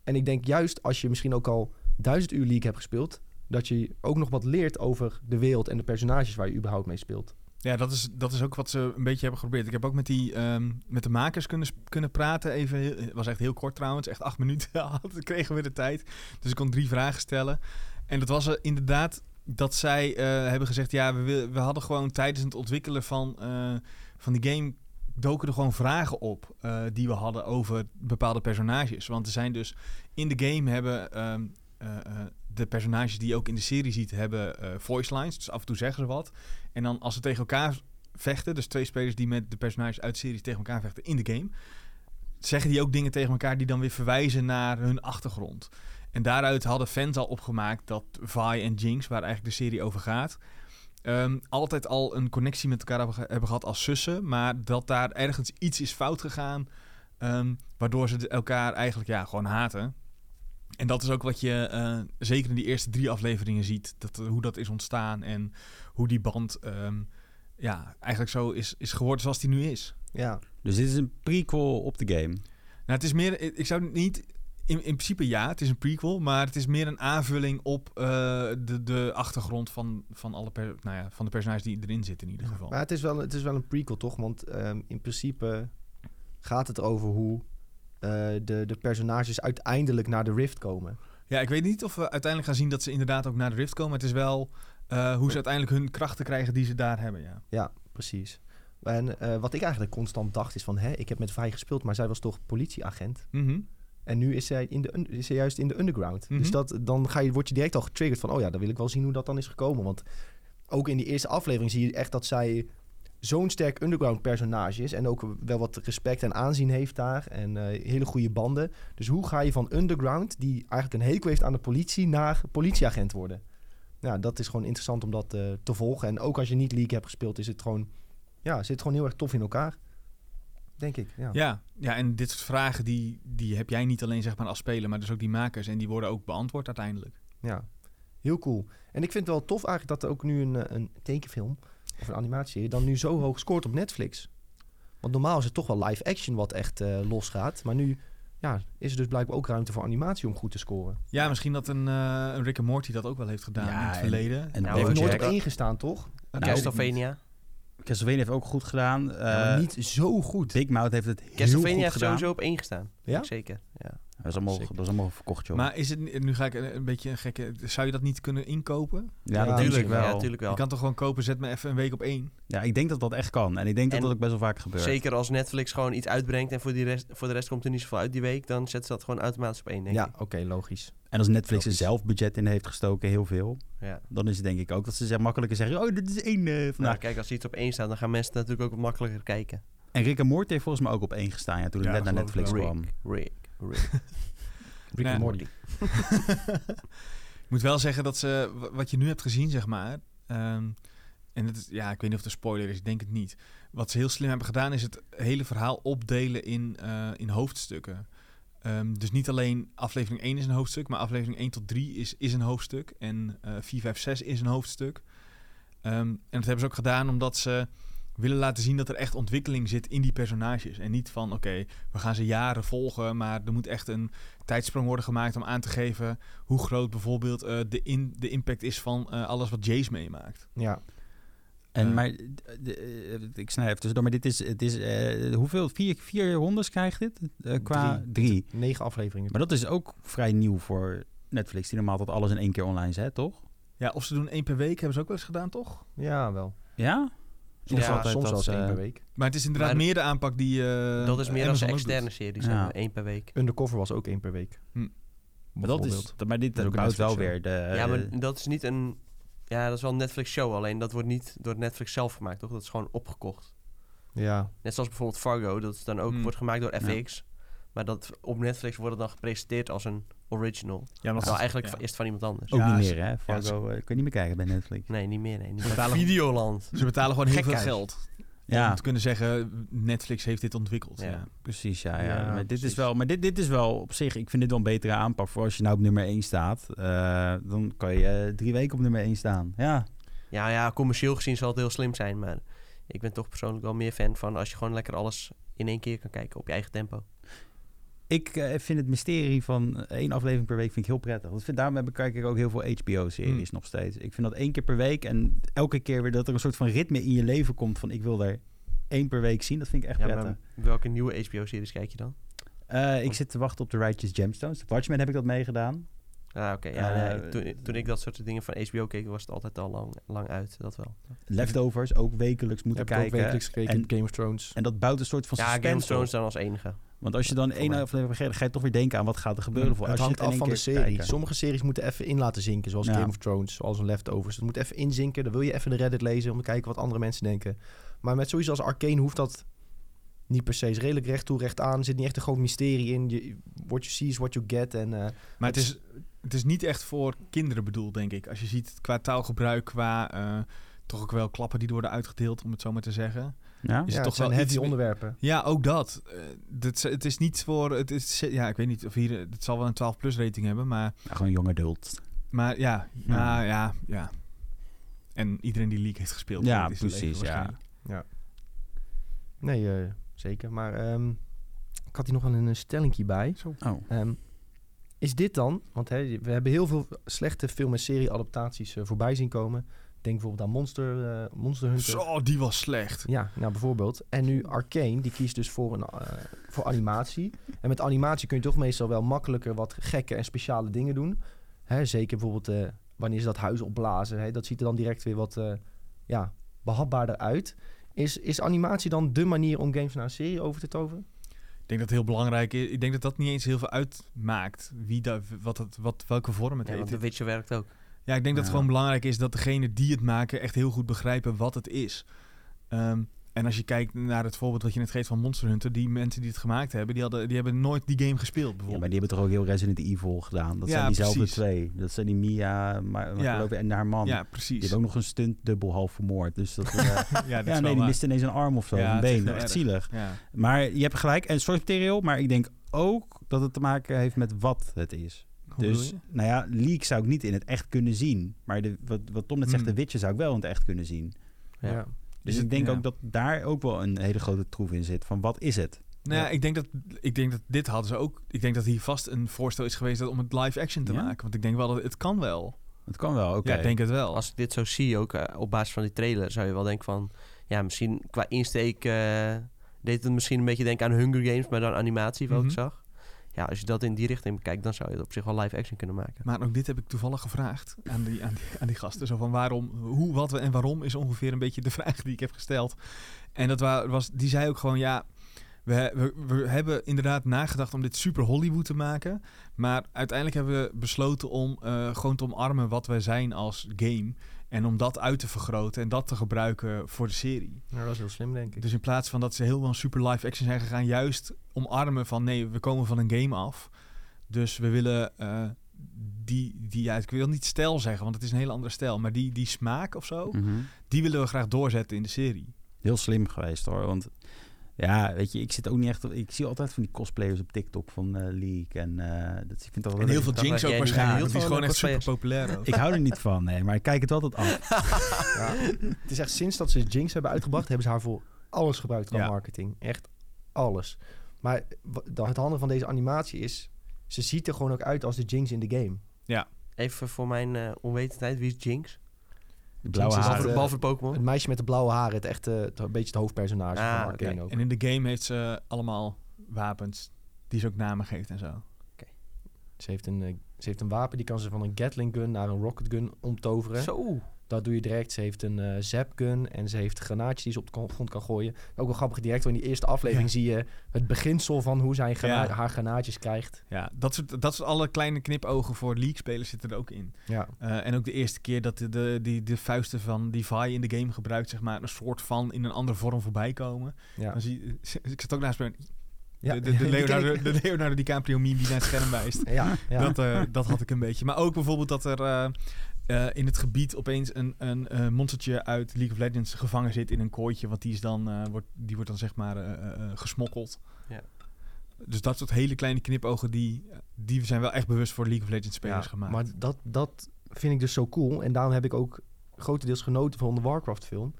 S1: En ik denk juist als je misschien ook al duizend uur League hebt gespeeld... dat je ook nog wat leert over de wereld en de personages waar je überhaupt mee speelt.
S4: Ja, dat is, dat is ook wat ze een beetje hebben geprobeerd. Ik heb ook met, die, ehm, met de makers kunnen, sp- kunnen praten. Even, heel- het was echt heel kort trouwens, echt acht minuten. Had, kregen we de tijd. Dus ik kon drie vragen stellen. En dat was er inderdaad dat zij eh, hebben gezegd... ja, we, wil- we hadden gewoon tijdens het ontwikkelen van, eh, van die game... doken er gewoon vragen op eh, die we hadden over bepaalde personages. Want er zijn dus in de game hebben... ehm, eh, eh, de personages die je ook in de serie ziet, hebben eh, voice lines. Dus af en toe zeggen ze wat. En dan als ze tegen elkaar vechten, dus twee spelers die met de personages uit series tegen elkaar vechten in de game, zeggen die ook dingen tegen elkaar die dan weer verwijzen naar hun achtergrond. En daaruit hadden fans al opgemaakt dat Vi en Jinx, waar eigenlijk de serie over gaat, ehm, altijd al een connectie met elkaar hebben, ge- hebben gehad als zussen, maar dat daar ergens iets is fout gegaan, ehm, waardoor ze de- elkaar eigenlijk ja, gewoon haten. En dat is ook wat je eh, zeker in die eerste drie afleveringen ziet, dat, hoe dat is ontstaan en hoe die band ehm, ja, eigenlijk zo is, is geworden zoals die nu is.
S1: Ja,
S3: Dus dit is een prequel op de game.
S4: Nou, het is meer, ik ik zou het niet, in, in principe ja, het is een prequel, maar het is meer een aanvulling op eh, de, de achtergrond van, van, alle per, nou ja, van de personages die erin zitten in ieder geval.
S1: Maar het is wel, het is wel een prequel, toch? Want ehm, in principe gaat het over hoe eh, de, de personages uiteindelijk naar de Rift komen.
S4: Ja, ik weet niet of we uiteindelijk gaan zien dat ze inderdaad ook naar de Rift komen. Het is wel eh, hoe ze uiteindelijk hun krachten krijgen die ze daar hebben, ja.
S1: Precies. En eh, wat ik eigenlijk constant dacht is van... Hè, ik heb met Vai gespeeld, maar zij was toch politieagent?
S4: Mhm.
S1: En nu is zij, in de, un- is zij juist in de underground.
S4: Mhm.
S1: Dus dat, dan ga je, word je direct al getriggerd van... oh ja, dan wil ik wel zien hoe dat dan is gekomen. Want ook in die eerste aflevering zie je echt dat zij... zo'n sterk underground personage is... en ook wel wat respect en aanzien heeft daar... en eh, hele goede banden. Dus hoe ga je van underground... die eigenlijk een hekel heeft aan de politie... naar politieagent worden? Ja, dat is gewoon interessant om dat eh, te volgen. En ook als je niet League hebt gespeeld... is het gewoon... ja, zit gewoon heel erg tof in elkaar. Denk ik, ja.
S4: Ja, ja, en dit soort vragen die, die heb jij niet alleen zeg maar als speler, maar dus ook die makers. En die worden ook beantwoord uiteindelijk.
S1: Ja, heel cool. En ik vind het wel tof eigenlijk dat er ook nu een, eh, een tekenfilm of een animatieserie dan nu zo hoog scoort op Netflix. Want normaal is het toch wel live action wat echt los losgaat. Maar nu ja, is er dus blijkbaar ook ruimte voor animatie om goed te scoren.
S4: Ja, misschien dat een, eh, een Rick en Morty dat ook wel heeft gedaan
S3: Ja,
S4: in het
S3: en-
S4: verleden.
S3: En
S1: Heeft
S2: Nou, Bojack.
S1: nooit
S3: Bojack.
S1: op één gestaan, toch?
S3: Nou,
S2: Castlevania.
S3: Castlevania heeft ook goed gedaan. Eh,
S1: Ja, maar niet zo goed.
S3: Big Mouth heeft het heel goed gedaan.
S2: Castlevania heeft sowieso op één gestaan.
S1: Ja?
S2: Zeker. Ja.
S3: Dat is allemaal,
S2: Zeker.
S3: dat is allemaal verkocht, joh.
S4: Maar is het, ni- nu ga ik een, een beetje een gekke... Zou je dat niet kunnen inkopen?
S3: ja,
S1: Ja,
S3: dat
S1: tuurlijk
S3: natuurlijk wel.
S2: Ja, tuurlijk wel.
S4: Je kan toch gewoon kopen, zet me even een week op één.
S3: Ja, ik denk dat dat echt kan. En ik denk dat
S2: En-
S3: dat ook best wel vaak gebeurt.
S2: Zeker als Netflix gewoon iets uitbrengt en voor, die rest, voor de rest komt er niet zoveel uit die week, dan zetten ze dat gewoon automatisch op één, denk
S1: Ja,
S2: ik.
S1: oké, logisch.
S3: En als Netflix er
S1: Logisch.
S3: zelf budget in heeft gestoken, heel veel,
S2: Ja.
S3: dan is het denk ik ook dat ze zeg- makkelijker zeggen: Oh, dit is één eh,
S2: Nou,
S3: vandaag.
S2: kijk, als iets op één staat, dan gaan mensen natuurlijk ook wat makkelijker kijken.
S3: En Rick en Morty heeft volgens mij ook op één gestaan ja, toen
S4: Ja,
S3: ik net naar
S4: geloof ik
S3: Netflix
S2: wel.
S3: kwam.
S2: Rick, Rick,
S1: Rick
S4: Ja.
S1: and Morty.
S4: Ik moet wel zeggen dat ze... wa- Wat je nu hebt gezien, zeg maar... ehm, en het is, ja, ik weet niet of het een spoiler is, ik denk het niet. Wat ze heel slim hebben gedaan is het hele verhaal opdelen in, eh, in hoofdstukken. Ehm, dus niet alleen aflevering 1 is een hoofdstuk, maar aflevering 1 tot 3 is, is een hoofdstuk. En eh 4, 5, 6 is een hoofdstuk. Ehm, en dat hebben ze ook gedaan omdat ze willen laten zien dat er echt ontwikkeling zit in die personages. En niet van, oké, we gaan ze jaren volgen, maar er moet echt een tijdsprong worden gemaakt om aan te geven hoe groot bijvoorbeeld eh, de, in, de impact is van eh, alles wat Jace meemaakt.
S1: Ja,
S3: En
S4: Ja.
S3: maar, d- d- eh, ik snij even tussendoor, maar dit is, het is eh, hoeveel? Vier, vier rondes krijgt dit? Eh, qua
S1: Drie.
S3: drie.
S1: negen afleveringen.
S3: Maar dat is ook vrij nieuw voor Netflix, die normaal dat alles in één keer online zet, toch?
S4: Ja, of ze doen één per week, hebben ze ook wel eens gedaan, toch?
S1: Ja, wel.
S3: Ja?
S1: Soms,
S2: Ja,
S1: wel- soms
S3: dat eh,
S1: wel eens
S3: ze-
S1: één per week.
S4: Maar het is inderdaad
S2: Maar-
S4: meer de aanpak die eh,
S2: dat is meer als
S4: Amazon
S2: een
S4: ook doet.
S2: externe serie, zeg
S3: Ja.
S2: maar, één per week.
S1: Undercover was ook één per week.
S4: Hm.
S3: Maar, dat is,
S1: Bijvoorbeeld.
S3: maar dit
S1: Dat is ook een
S3: bouwt wel
S1: Netflix-show.
S3: weer de...
S4: Eh,
S3: eh,
S2: ja, maar dat is niet een... Ja, dat is wel een Netflix-show, alleen dat wordt niet door Netflix zelf gemaakt, toch? Dat is gewoon opgekocht.
S1: Ja,
S2: Net zoals bijvoorbeeld Fargo, dat is dan ook
S4: Hmm.
S2: wordt gemaakt door
S3: Ja.
S2: FX. Maar dat op Netflix wordt het dan gepresenteerd als een original.
S4: Ja, maar
S2: Terwijl Nou, eigenlijk
S4: ja.
S2: van- eerst van iemand anders.
S3: Ook
S4: Ja,
S3: niet
S4: ze-
S3: meer, hè? Fargo, eh, kun je niet meer kijken bij Netflix.
S2: Nee, niet meer. Nee, niet meer.
S4: Betalen-
S2: Videoland.
S4: Ze betalen gewoon heel veel
S2: Gekhuis.
S4: geld. Om
S3: Ja,
S4: te kunnen zeggen, Netflix heeft dit ontwikkeld.
S2: Ja.
S4: Ja.
S3: precies. Ja, ja.
S1: Ja,
S3: maar, dit
S1: precies.
S3: Is wel, maar dit, dit is wel op zich, ik vind dit wel een betere aanpak. Voor als je nou op nummer 1 staat, eh, dan kan je eh, drie weken op nummer 1 staan. Ja,
S2: Ja, ja, commercieel gezien zal het heel slim zijn, maar ik ben toch persoonlijk wel meer fan van als je gewoon lekker alles in één keer kan kijken op je eigen tempo.
S3: ik eh, vind het mysterie van één aflevering per week vind ik heel prettig. Dat vind, daarom heb ik, kijk ik ook heel veel
S1: Hmm.
S3: HBO-series nog steeds. Ik vind dat één keer per week en elke keer weer dat er een soort van ritme in je leven komt van ik wil daar één per week zien. Dat vind ik echt
S2: Ja,
S3: prettig.
S2: maar welke nieuwe HBO-series kijk je dan?
S3: Eh, ik zit te wachten op The Righteous Gemstones. Watchmen heb ik dat meegedaan.
S2: Ah, oké. ja,
S3: Eh,
S2: nee, toen, toen ik dat soort dingen van HBO keek, was het altijd al lang, lang uit. Dat wel.
S3: Leftovers, ook wekelijks moeten
S1: heb ik ook
S3: kijken.
S1: wekelijks gekeken.
S3: En-
S1: Game of Thrones.
S3: En dat bouwt een soort van
S2: Ja, Game of
S3: suspense op.
S2: Thrones dan als enige.
S3: Want als je dan één
S2: mij.
S3: aflevering vergeet, ga je toch weer denken aan wat gaat er gebeuren.
S4: Mm,
S3: voor
S1: Hmm, Het
S3: als je
S1: hangt
S3: in
S1: af
S3: één
S1: van de
S3: keer
S1: serie.
S3: kijken.
S1: Sommige series moeten even in laten zinken, zoals
S3: Ja.
S1: Game of Thrones, zoals een Leftovers. Het moet even inzinken, dan wil je even de Reddit lezen om te kijken wat andere mensen denken. Maar met zoiets als Arcane hoeft dat niet per se. Is redelijk recht toe, recht aan. Er zit niet echt een groot mysterie in. Je, what you see is what you get. En, eh,
S4: Maar het is, het is niet echt voor kinderen bedoeld, denk ik. Als je ziet qua taalgebruik, qua eh, toch ook wel klappen die worden uitgedeeld, om het zo maar te zeggen.
S3: Ja?
S4: Is
S1: ja,
S4: het
S1: het
S4: toch wel
S1: zijn heavy
S4: iets meer-
S1: onderwerpen.
S4: Ja, ook dat. Eh, dat is- het is niet voor... Het is, ja, ik weet niet of hier... Het zal wel een 12-plus rating hebben, maar,
S3: Ja, gewoon jong adult.
S4: maar ja,
S3: Ja.
S4: ja, ja, ja. En iedereen die League heeft gespeeld.
S3: Ja,
S4: weet, is het
S3: precies,
S4: even
S3: ja.
S4: waarschijnlijk.
S1: Nee, eh, zeker. Maar ehm, ik had hier nog wel een, een stellingje bij.
S4: Zo.
S3: Oh.
S1: Ehm, is dit dan, want hè, we hebben heel veel slechte film- en serie-adaptaties eh, voorbij zien komen. Denk bijvoorbeeld aan Monster, eh, Monster Hunter.
S4: Zo, die was slecht.
S1: Ja, nou bijvoorbeeld. En nu Arcane, die kiest dus voor, een, eh, voor animatie. En met animatie kun je toch meestal wel makkelijker wat gekke en speciale dingen doen. Hè, zeker bijvoorbeeld eh, wanneer ze dat huis opblazen. Hè, dat ziet er dan direct weer wat eh, ja, behapbaarder uit. Is, is animatie dan de manier om games naar een serie over te toveren?
S4: Ik denk dat het heel belangrijk is. Ik denk dat dat niet eens heel veel uitmaakt. Wie daar wat het, wat, welke vorm het
S2: Ja, want
S4: heeft.
S2: de Witcher werkt ook.
S4: Ja, ik denk dat het
S3: Ja.
S4: gewoon belangrijk is dat degenen die het maken echt heel goed begrijpen wat het is. Ehm, en als je kijkt naar het voorbeeld wat je net geeft van Monster Hunter, die mensen die het gemaakt hebben, die, hadden, die hebben nooit die game gespeeld
S3: Ja,
S4: bijvoorbeeld.
S3: maar die hebben toch ook heel Resident Evil gedaan. Dat
S4: Ja,
S3: zijn diezelfde
S4: precies.
S3: twee. Dat zijn die Mia maar, maar
S4: Ja.
S3: geloof ik, en haar man.
S4: Ja,
S3: Die
S4: precies.
S3: hebben ook nog een stunt dubbel half vermoord. Dus dat, eh,
S4: Ja, dat
S3: ja,
S4: is
S3: nee,
S4: wel
S3: die
S4: waar.
S3: mist ineens een arm of zo,
S4: Ja,
S3: een
S4: het is
S3: been.
S4: heel
S3: Echt
S4: erg.
S3: zielig.
S4: Ja.
S3: Maar je hebt gelijk, en soort materiaal, maar ik denk ook dat het te maken heeft met wat het is.
S4: Hoe bedoel
S3: dus,
S4: je?
S3: nou ja, leak zou ik niet in het echt kunnen zien. Maar de, wat, wat Tom net zegt,
S4: Hmm.
S3: de Witcher zou ik wel in het echt kunnen zien.
S2: Ja.
S3: Dus
S4: Dus
S3: ik denk
S4: ja.
S3: ook dat daar ook wel een hele grote troef in zit. Van wat is het?
S4: Nou ja,
S3: Ja.
S4: ik denk, dat, ik denk dat dit hadden ze ook. Ik denk dat hier vast een voorstel is geweest dat om het live action te
S3: Ja?
S4: maken. Want ik denk wel dat het kan wel.
S3: Het kan wel, oké.
S4: Ja, ik denk het wel.
S2: Als ik dit zo zie, ook eh, op basis van die trailer, zou je wel denken van... Ja, misschien qua insteek eh, deed het misschien een beetje denken aan Hunger Games, maar dan animatie, wat
S4: Mhm.
S2: ik zag. Ja, als je dat in die richting bekijkt, dan zou je het op zich wel live action kunnen maken.
S4: Maar ook dit heb ik toevallig gevraagd aan die, aan die, aan die gasten. Zo van waarom, hoe, wat we en waarom is ongeveer een beetje de vraag die ik heb gesteld. En dat wa- was, die zei ook gewoon ja, we, we, we hebben inderdaad nagedacht om dit super Hollywood te maken. Maar uiteindelijk hebben we besloten om eh, gewoon te omarmen wat wij zijn als game. En om dat uit te vergroten en dat te gebruiken voor de serie.
S1: Nou, dat is heel slim, denk ik.
S4: Dus in plaats van dat ze heel wel super live action zijn gegaan, juist omarmen van nee, we komen van een game af. Dus we willen eh, die, die ja, ik wil niet stijl zeggen, want het is een hele andere stijl. Maar die, die smaak of zo,
S3: Mhm.
S4: die willen we graag doorzetten in de serie.
S3: Heel slim geweest hoor. Want ja, weet je, ik zit ook niet echt. Ik zie altijd van die cosplayers op TikTok van eh Leak. En eh, dat, ik vind dat wel
S4: En heel
S3: leuk.
S4: veel
S2: dat
S4: Jinx
S2: jij
S4: ook
S2: niet
S4: waarschijnlijk, want
S2: houdt
S4: die
S2: van
S4: is gewoon echt
S2: de
S4: super populair ook.
S3: Ik hou er niet van, nee, maar ik kijk het altijd af.
S1: Ja. het is echt sinds dat ze Jinx hebben uitgebracht, hebben ze haar voor alles gebruikt qua
S4: Ja.
S1: marketing. Echt alles. Maar wa- da- het handige van deze animatie is, ze ziet er gewoon ook uit als de Jinx in de game.
S2: Even voor mijn eh, onwetendheid, wie is Jinx?
S3: De blauwe
S1: Jinx is
S3: haren.
S1: altijd-
S2: Behalve,
S1: eh,
S2: behalve Pokémon.
S1: Het meisje met de blauwe haren, het echte, het- een beetje het hoofdpersonage
S2: Ah,
S1: van Arcane
S2: oké.
S1: ook.
S4: En in de game heeft ze allemaal wapens die ze ook namen geeft en zo.
S1: Ze heeft, een, eh, ze heeft een wapen, die kan ze van een Gatling gun naar een rocket gun omtoveren.
S2: Zo.
S1: Dat doe je direct. Ze heeft een eh zap gun en ze heeft granaatjes die ze op de kon- grond kan gooien. Ook wel grappig, direct in die eerste aflevering zie je het beginsel van hoe zij grana-
S4: Ja.
S1: haar granaatjes krijgt.
S4: Ja, dat soort, dat soort alle kleine knipogen voor League-spelers zitten er ook in.
S1: Ja.
S4: Eh, en ook de eerste keer dat de, de, die, de vuisten van Devi in de game gebruikt, zeg maar, een soort van in een andere vorm voorbij komen.
S1: Ja.
S4: Dan zie, ik zat ook naast me.
S1: Ja.
S4: De, de, de, Leonardo, de Leonardo DiCaprio meme die naar het scherm wijst.
S1: Ja, ja.
S4: Dat, eh, dat had ik een beetje. Maar ook bijvoorbeeld dat er eh, eh, in het gebied opeens een, een eh, monstertje uit League of Legends gevangen zit in een kooitje. Want die, is dan, eh, wordt, die wordt dan zeg maar eh, eh, eh, gesmokkeld.
S2: Ja.
S4: Dus dat soort hele kleine knipogen, die, die zijn wel echt bewust voor League of Legends spelers
S1: Ja,
S4: gemaakt.
S1: Maar dat, dat vind ik dus zo cool. En daarom heb ik ook grotendeels genoten van de Warcraft film.